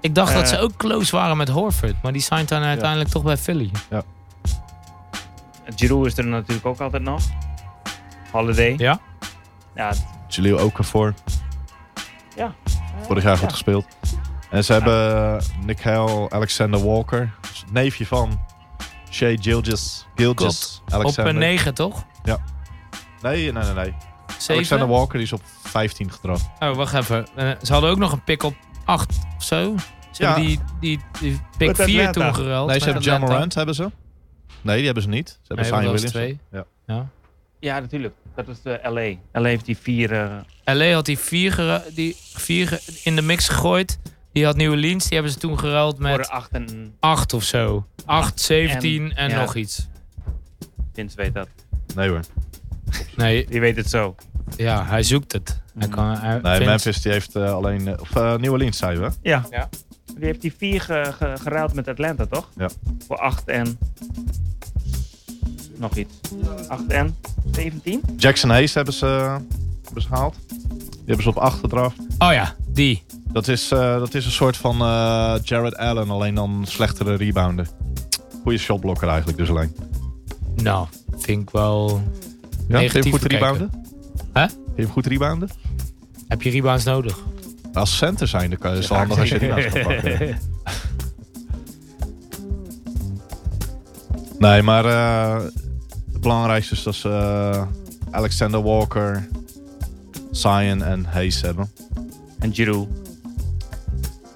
Ik dacht dat
Eh.
ze ook close waren met Horford, maar die signed dan uiteindelijk toch bij Philly.
Giroud is er natuurlijk ook altijd nog. Holiday.
Ja?
Ja,
Jaleel Okafor.
Ja.
Vorig jaar goed
Ja.
gespeeld. En ze hebben eh, Nickel Alexander Walker. dus het neefje van Shea Gilgis. Gilgis
Op
Alexander.
een 9 toch?
nee, nee, nee. nee.
7?
Alexander Walker die is op 15 gedraft.
Oh, wacht even. Eh, ze hadden ook nog een pick op 8 of zo. Ze
Ja.
hebben die, die, die pick
Met
4
Atlanta.
toen geruild.
Nee,
met
ze hebben John
Atlanta.
Morant, hebben ze. Nee, die hebben ze niet. Ze hebben
Nee,
Zion
want dat
Williamson.
was
Ja.
ja, natuurlijk. Dat eh, is de LA. LA heeft die vier. eh,
LA had die vier, gera- die vier ge- in de mix gegooid. Die had New Orleans, die hebben ze toen geruild
voor
met
acht en
8 of zo. 8, 17 en,
ja.
nog iets.
Vince weet dat.
Nee hoor.
Nee,
Die weet het zo.
ja, hij zoekt het. Hij
Mm.
kan, hij
Nee,
vindt-
Memphis die heeft eh, alleen... eh, of eh, New Orleans, zei we.
Ja.
Ja.
Die heeft die vier ge, ge- geruild met Atlanta, toch?
Ja.
Voor 8 en. Nog iets. 8 en 17?
Jackson Hayes hebben ze, eh, hebben ze gehaald. Die hebben ze op 8 gedraft.
Oh ja, die.
Dat is, eh, dat is een soort van eh, Jared Allen, alleen dan een slechtere rebounder. Goede shotblokker eigenlijk dus alleen.
Nou, vind ik wel...
Ja, vind je hem
Negatief
goed
bekeken.
rebounden?
Hè?
Vind je hem goed rebounden?
Heb je rebounds nodig?
Als center zijn, dan kan- is het handig als je rebounds gaat pakken. Nee, maar eh, het belangrijkste is dat ze eh, Alexander Walker, Zion en Hayes hebben.
En Giroud.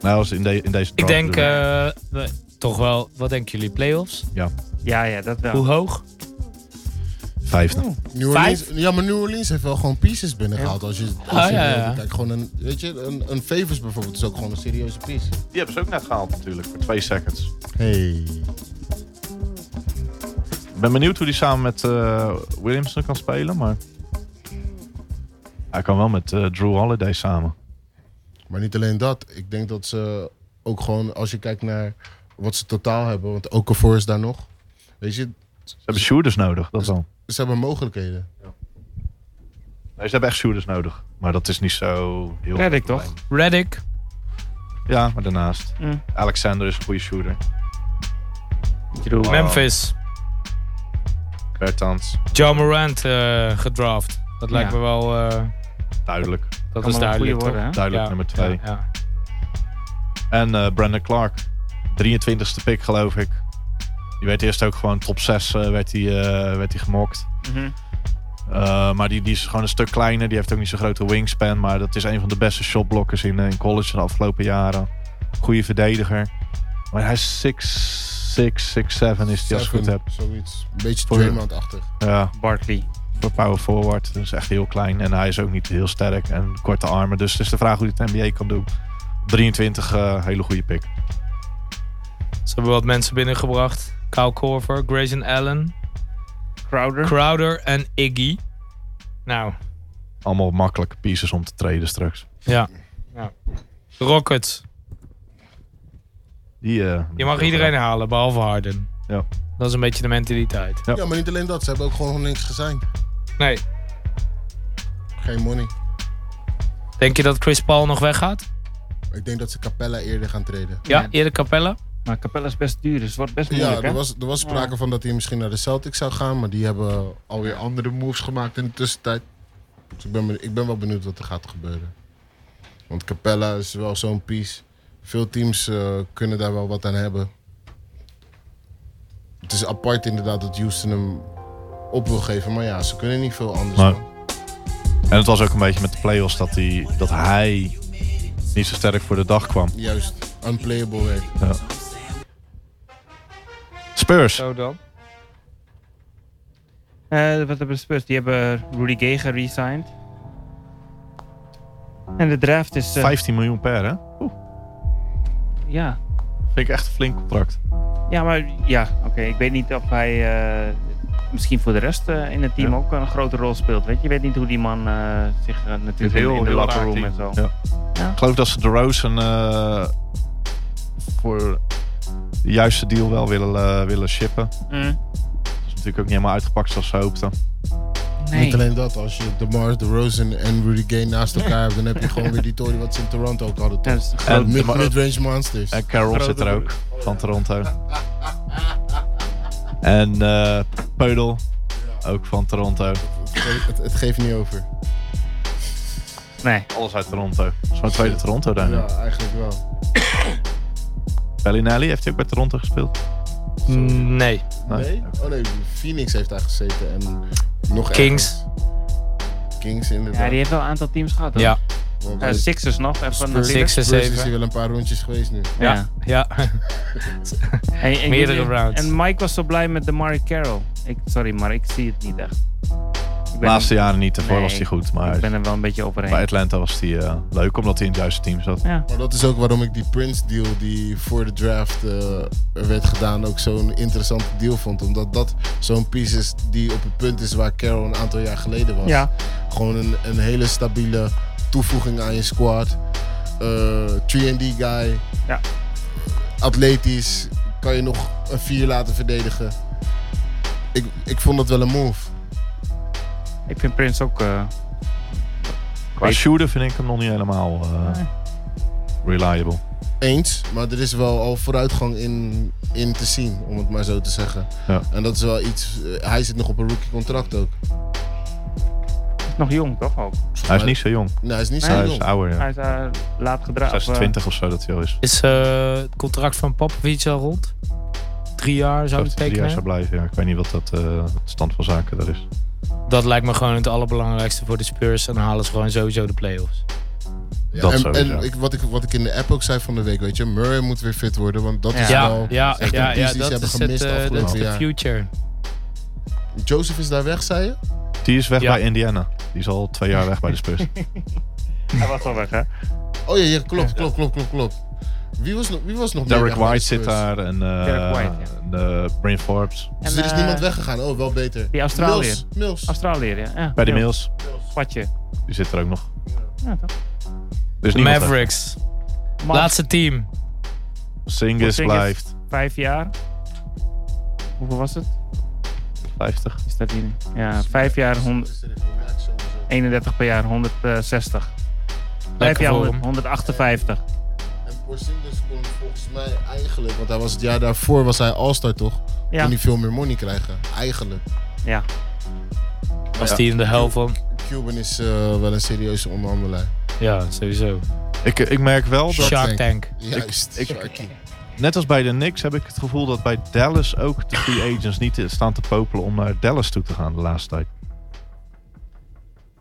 Nou, dat is in, de, in deze
Ik
draft
denk
bedoel
eh, we- toch wel... Wat denken jullie? Playoffs?
Ja, ja, dat wel.
Hoe hoog? eh,
vijfde.
New Orleans, ja, maar New Orleans heeft wel gewoon pieces binnengehaald. Als je, als
Ah,
je
ja, ja.
kijkt, gewoon een, weet je, een, een Favors bijvoorbeeld is ook gewoon een serieuze piece.
Die hebben ze ook net gehaald natuurlijk, voor twee seconds.
Hey.
Ik ben benieuwd hoe hij samen met eh, Williamson kan spelen, maar... Hij kan wel met eh, Drew Holiday samen.
Maar niet alleen dat. Ik denk dat ze ook gewoon, als je kijkt naar wat ze totaal hebben, want Okafor is daar nog. Weet je,
Ze hebben shooters nodig, dat wel.
ze hebben mogelijkheden.
Nee, ze hebben echt shooters nodig. Maar dat is niet zo heel...
Reddick, toch?
Reddick.
Ja, maar daarnaast.
Mm.
Alexander is een goede shooter.
Giroud.
Memphis.
Bertans,
John Morant eh, gedraft. Dat lijkt
Ja.
me wel... eh,
duidelijk.
dat
Kan
is
wel een goede
duidelijk,
worden,
toch?
hè?
Duidelijk
Ja,
nummer twee.
ja, ja.
En eh, Brandon Clark. 23ste pick, geloof ik. Die werd eerst ook gewoon top 6 eh, werd hij eh, werd hij gemokt.
Mhm.
Eh, maar die, die is gewoon een stuk kleiner. Die heeft ook niet zo'n grote wingspan. Maar dat is een van de beste shotblokkers in, eh, in college de afgelopen jaren. Goede verdediger. Maar hij is 6, 6, 6, 7 is die als ik het goed heb.
Seven, Zoiets. Een beetje
Voor-
Draymond-achtig.
Ja,
Barkley.
voor power forward. Dat is echt heel klein. En hij is ook niet heel sterk en korte armen. Dus het is de vraag hoe hij het NBA kan doen. 23, eh, hele goede pick.
Ze hebben wat mensen binnengebracht. Kyle Korver, Grayson Allen,
Crowder.
Crowder en Iggy. Nou,
Allemaal makkelijke pieces om te treden straks.
ja. Rockets.
Die, eh,
Je mag iedereen halen, behalve Harden.
Ja.
Dat is een beetje de mentaliteit.
Ja.
Ja, maar niet alleen dat. Ze hebben ook gewoon nog niks gezien.
Nee.
Geen money.
Denk je dat Chris Paul nog weggaat?
Ik denk dat ze Capella eerder gaan treden.
Ja,
Nee.
eerder Capella.
Maar Capella is best duur, dus het wordt best
Ja,
moeilijk,
er
hè?
was, er was sprake van dat hij misschien naar de Celtics zou gaan. Maar die hebben alweer andere moves gemaakt in de tussentijd. Dus ik ben, benieu- ik ben wel benieuwd wat er gaat gebeuren. Want Capella is wel zo'n piece. Veel teams eh, kunnen daar wel wat aan hebben. Het is apart inderdaad dat Houston hem op wil geven. Maar ja, ze kunnen niet veel anders.
Nee.
man.
En het was ook een beetje met de playoffs dat, die, dat hij niet zo sterk voor de dag kwam.
Juist, unplayable werd.
Spurs.
dan.
Eh, wat hebben de Spurs? Die hebben Rudy Gay geresigned. En de draft is... eh,
15 miljoen per, hè?
Ja.
Vind ik echt een flink contract.
Ja, maar ja, oké. Ik weet niet of hij eh, misschien voor de rest eh, in het team ook een grote rol speelt. Weet je, je weet niet hoe die man eh, zich eh,
Een
natuurlijk
heel,
in de
heel
locker
raar
room
team.
en zo.
Ja.
Ja.
Ik geloof dat ze de Rose eh, voor de juiste deal wel willen, eh, willen shippen. Dat
Mm.
is natuurlijk ook niet helemaal uitgepakt zoals ze hoopten.
Niet alleen dat, als je DeMar DeRozan en Rudy Gay naast elkaar hebt, dan heb je gewoon weer die tory wat ze in Toronto ook hadden.
Ja, dat is een
En,
groot-
Mid-
de-
Mid-range monsters.
en Carol zit er ook, van Toronto. En eh Peudel, ook van Toronto.
Het, het geeft niet over.
nee.
Alles uit Toronto. Dat is mijn tweede Toronto daar.
Ja, eigenlijk wel.
Bellinelli heeft hij ook bij Toronto gespeeld.
Mm, Nee.
Nee? Oh nee, Phoenix heeft daar gezeten en nog
Kings.
ergens. Kings
Ja,
inderdaad.
die heeft wel een aantal teams gehad. hoor.
Ja.
Want
Eh,
bij
Sixers nog. Even natuurlijk.
Sixers.
Spurs is
zeven.
hij wel een paar rondjes geweest nu.
Ja.
Ja. ja.
En- en jullie-
Meerdere rounds.
En Mike was zo blij met de Mari Carroll. Ik, sorry, maar ik zie het niet echt. Ik
De
ben-
laatste jaren niet, daarvoor
Nee,
was hij goed. Maar
Ik ben er wel een beetje
bij
overheen.
Atlanta was hij eh, leuk, omdat hij in het juiste team zat.
Ja.
Maar dat is ook waarom ik die Prince deal die voor de draft eh, werd gedaan ook zo'n interessante deal vond. Omdat dat zo'n piece is die op het punt is waar Carroll een aantal jaar geleden was.
Ja.
Gewoon een, een hele stabiele toevoeging aan je squad. Eh 3D guy.
Ja.
Atletisch. Kan je nog een 4 laten verdedigen. Ik, ik vond dat wel een move.
Ik vind Prince ook... eh,
Qua shooter vind ik hem nog niet helemaal eh,
Nee.
reliable.
Eens, maar er is wel al vooruitgang in, in te zien, om het maar zo te zeggen.
Ja.
En dat is wel iets. eh, hij zit nog op een rookie contract ook.
is nog jong, toch ook?
Hij is niet zo jong.
Nee, hij is niet zo
hij is
jong.
ouder, ja.
Hij is eh, laat gedragen.
26 of zo dat hij al is.
Is eh, het contract van Popovic al rond? Drie jaar zou
Dat
ik
hij drie jaar
tekenen.
zou blijven. Ja. Ik weet niet wat dat eh, het stand van zaken daar is.
Dat lijkt me gewoon het allerbelangrijkste voor de Spurs. En dan halen ze gewoon sowieso de playoffs.
Ja,
dat
en
sowieso.
en ik, wat, ik, wat ik in de app ook zei van de week, weet je, Murray moet weer fit worden. Want dat is
Ja,
wel
ja,
echt
ja,
een piece
ja,
die ze
dat
hebben
is het,
gemist
eh, dat
afgelopen
is de
jaar.
future.
Joseph is daar weg, zei je?
Die is weg
Ja.
bij Indiana. Die is al twee jaar weg bij de Spurs.
Hij was al weg, hè?
Oh ja, ja klopt, klopt, klopt, klopt, klopt. Wie was, nog- wie was nog meer
Derek
weg bij de
White zit
Spurs?
daar en
Derek
eh
White,
en, eh, Bryn Forbes.
Dus
En,
er is
eh,
niemand weggegaan. Oh, wel beter.
die Australiër.
Mills, Mills.
Australiër, ja. ja.
Bij de
Ja.
Mills.
Patje.
Die zit er ook nog.
Ja, toch?
Dus
De
niemand
Mavericks.
Man,
Laatste team.
weg. Singles
Porzingis.
blijft.
Vijf jaar. Hoeveel was het?
50.
Is dat hier? Ja, vijf jaar, hond- 31 per jaar, 160. Vijf
Lekker
jaar,
voor
honderd-
hem.
158.
En Porzingis kon volgens mij eigenlijk, want hij was het jaar daarvoor was hij All-Star toch? Ja.
Ja,
Kon hij veel meer money krijgen, eigenlijk.
ja.
Was die in de hel van?
Cuban is eh, wel een serieuze onderhandelaar.
Ja, sowieso.
Ik, eh, ik merk wel dat...
Shark
Tank.
Tank.
Juist.
ik-
Sharky.
Net als bij de Knicks heb ik het gevoel dat bij Dallas ook de
Ah.
free agents niet staan te popelen om naar Dallas toe te gaan de laatste tijd.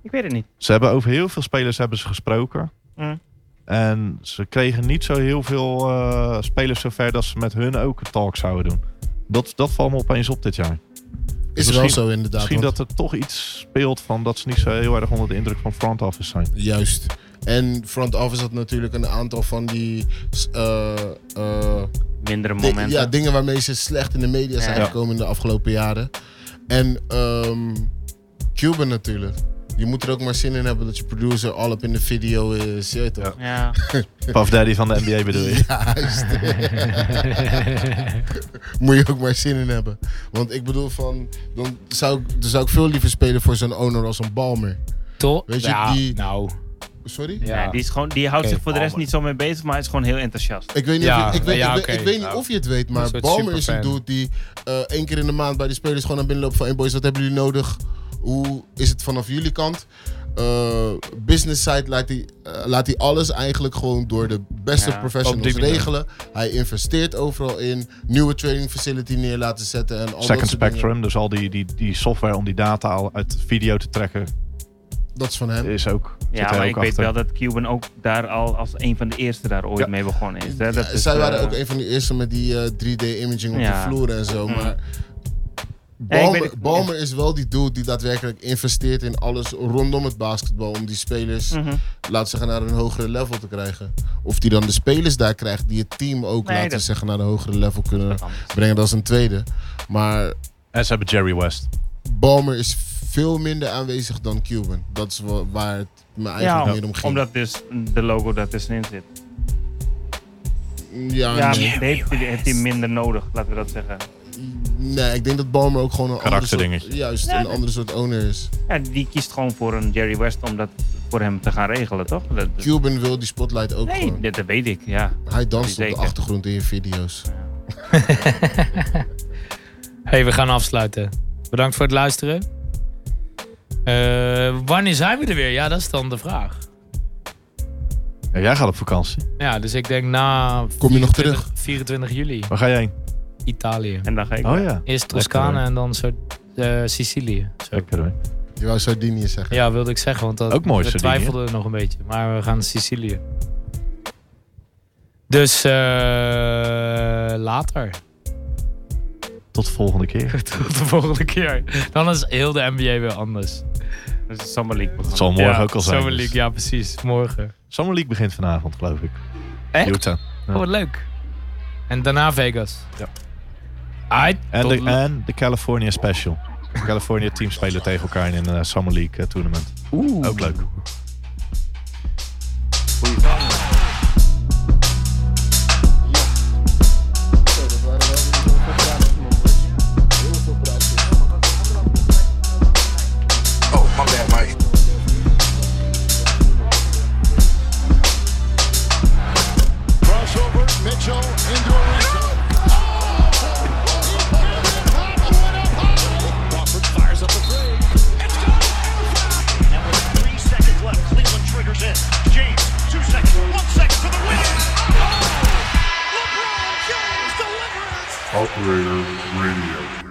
Ik weet het niet.
Ze hebben over heel veel spelers hebben ze gesproken.
Mm.
En ze kregen niet zo heel veel eh, spelers zover dat ze met hun ook een talk zouden doen. Dat, dat valt me opeens op dit jaar.
is
misschien-
wel zo inderdaad.
Misschien
want-
dat er toch iets speelt van dat ze niet zo heel erg onder de indruk van front office zijn.
Juist. En front office had natuurlijk een aantal van die s- eh, eh,
Mindere
di-
momenten.
ja, dingen waarmee ze slecht in de media zijn
Ja.
gekomen in de afgelopen jaren. En ehm, Cuban natuurlijk. Je moet er ook maar zin in hebben dat je producer all up in de video is. Je weet toch?
ja.
Puff Daddy van de NBA bedoel je?
Juist. Moet je ook maar zin in hebben. Want ik bedoel van, dan zou ik, dan zou ik veel liever spelen voor zo'n owner als een Balmer.
Toch?
Weet je,
ja,
die-
nou.
Sorry?
Ja.
Nee, die, is gewoon, die houdt
Oké,
zich voor de rest
Palmer.
niet zo mee bezig, maar hij is gewoon heel enthousiast.
Ik weet niet,
Ja,
of, je, ik weet,
ja,
ik, weet-
oké.
ik weet niet
Nou,
of je het weet,
een
maar
soort
Balmer is een
superfan.
dude die eh, één keer in de maand bij de spelers gewoon naar binnen loopt van hey boys, wat hebben jullie nodig? Hoe is het vanaf jullie kant? Eh, business side laat hij, eh, laat hij alles eigenlijk gewoon door de beste
Ja,
op
professionals
die manier.
regelen. Hij investeert overal in, nieuwe training facility neer laten zetten en al dat
Second
soort dingen.
Spectrum, dus al die, die, die software om die data al uit video te trekken,
Dat is van hem.
is ook. zit
Ja,
er
maar
ook
ik weet
achter.
wel dat Cuban ook daar al als een van de eerste daar ooit
Ja.
mee begonnen is. Hè? Dat
Ja,
is,
Zij waren
eh,
ook een van de eerste met die eh, 3D-imaging op
Ja.
de vloeren en zo.
Mm.
Maar
Ja, ik
Balmer,
weet het-
Balmer is wel die dude die daadwerkelijk investeert in alles rondom het basketbal. Om die spelers,
Mhm.
laten zeggen, naar een hogere level te krijgen. Of die dan de spelers daar krijgt die het team ook,
Nee,
laten
dat-
zeggen, naar een hogere level kunnen
kan.
brengen. Dat is een tweede. Maar
En ze hebben Jerry West.
Balmer is veel minder aanwezig dan Cuban. Dat is wa- waar het me eigenlijk
Ja,
meer om ging.
omdat dus de logo daar tussenin zit.
ja,
Ja,
nee.
die heeft, die heeft hij minder nodig, laten we dat zeggen.
Nee, ik denk dat Balmer ook gewoon een ander soort,
Karakterdingetje.
juist,
Ja,
een
nee.
andere soort owner is.
Ja, die kiest gewoon voor een Jerry West om dat voor hem te gaan regelen, toch? Dat,
Cuban wil die spotlight ook
nee,
gewoon.
dit- dat weet ik, ja.
Hij danst op
Zeker.
de achtergrond in je video's.
hey, we gaan afsluiten. Bedankt voor het luisteren. Eh, wanneer zijn we er weer? Ja, dat is dan de vraag.
Ja, jij gaat op vakantie.
Ja, dus ik denk na
Kom je nog
20
terug?
24 juli
Waar ga je heen?
Italië.
En dan ga ik
Oh ja.
Eerst Toscane
hoor.
en dan soort, eh, Sicilië. Zo.
Lekker hoor.
Je wou Sardinië zeggen.
Ja, wilde ik zeggen, want dat,
Ook mooi,
we
Sardinië.
twijfelden nog een beetje. Maar we gaan naar Sicilië. Dus eh, later.
Tot de volgende keer.
Tot de volgende keer. Dan is heel de NBA weer anders.
Dat is een Summer League
Dat
programma.
zal morgen
ja,
ook al zijn.
Summer
dus.
League, ja precies. Morgen.
Summer League begint vanavond, geloof ik.
Echt?
Utah.
Oh, wat leuk. En daarna Vegas.
Ja.
Aight,
En
tot
de,
la-
en de California Special. De California teams spelen tegen elkaar in een eh, Summer League eh, tournament. Oeh. Ook leuk.
Oh, my bad, Mike.
Crossover, Mitchell, into a ring.
Crawford fires up the break.
And with three seconds left, Cleveland triggers in. James, two seconds, one second for the win.
Operator Radio.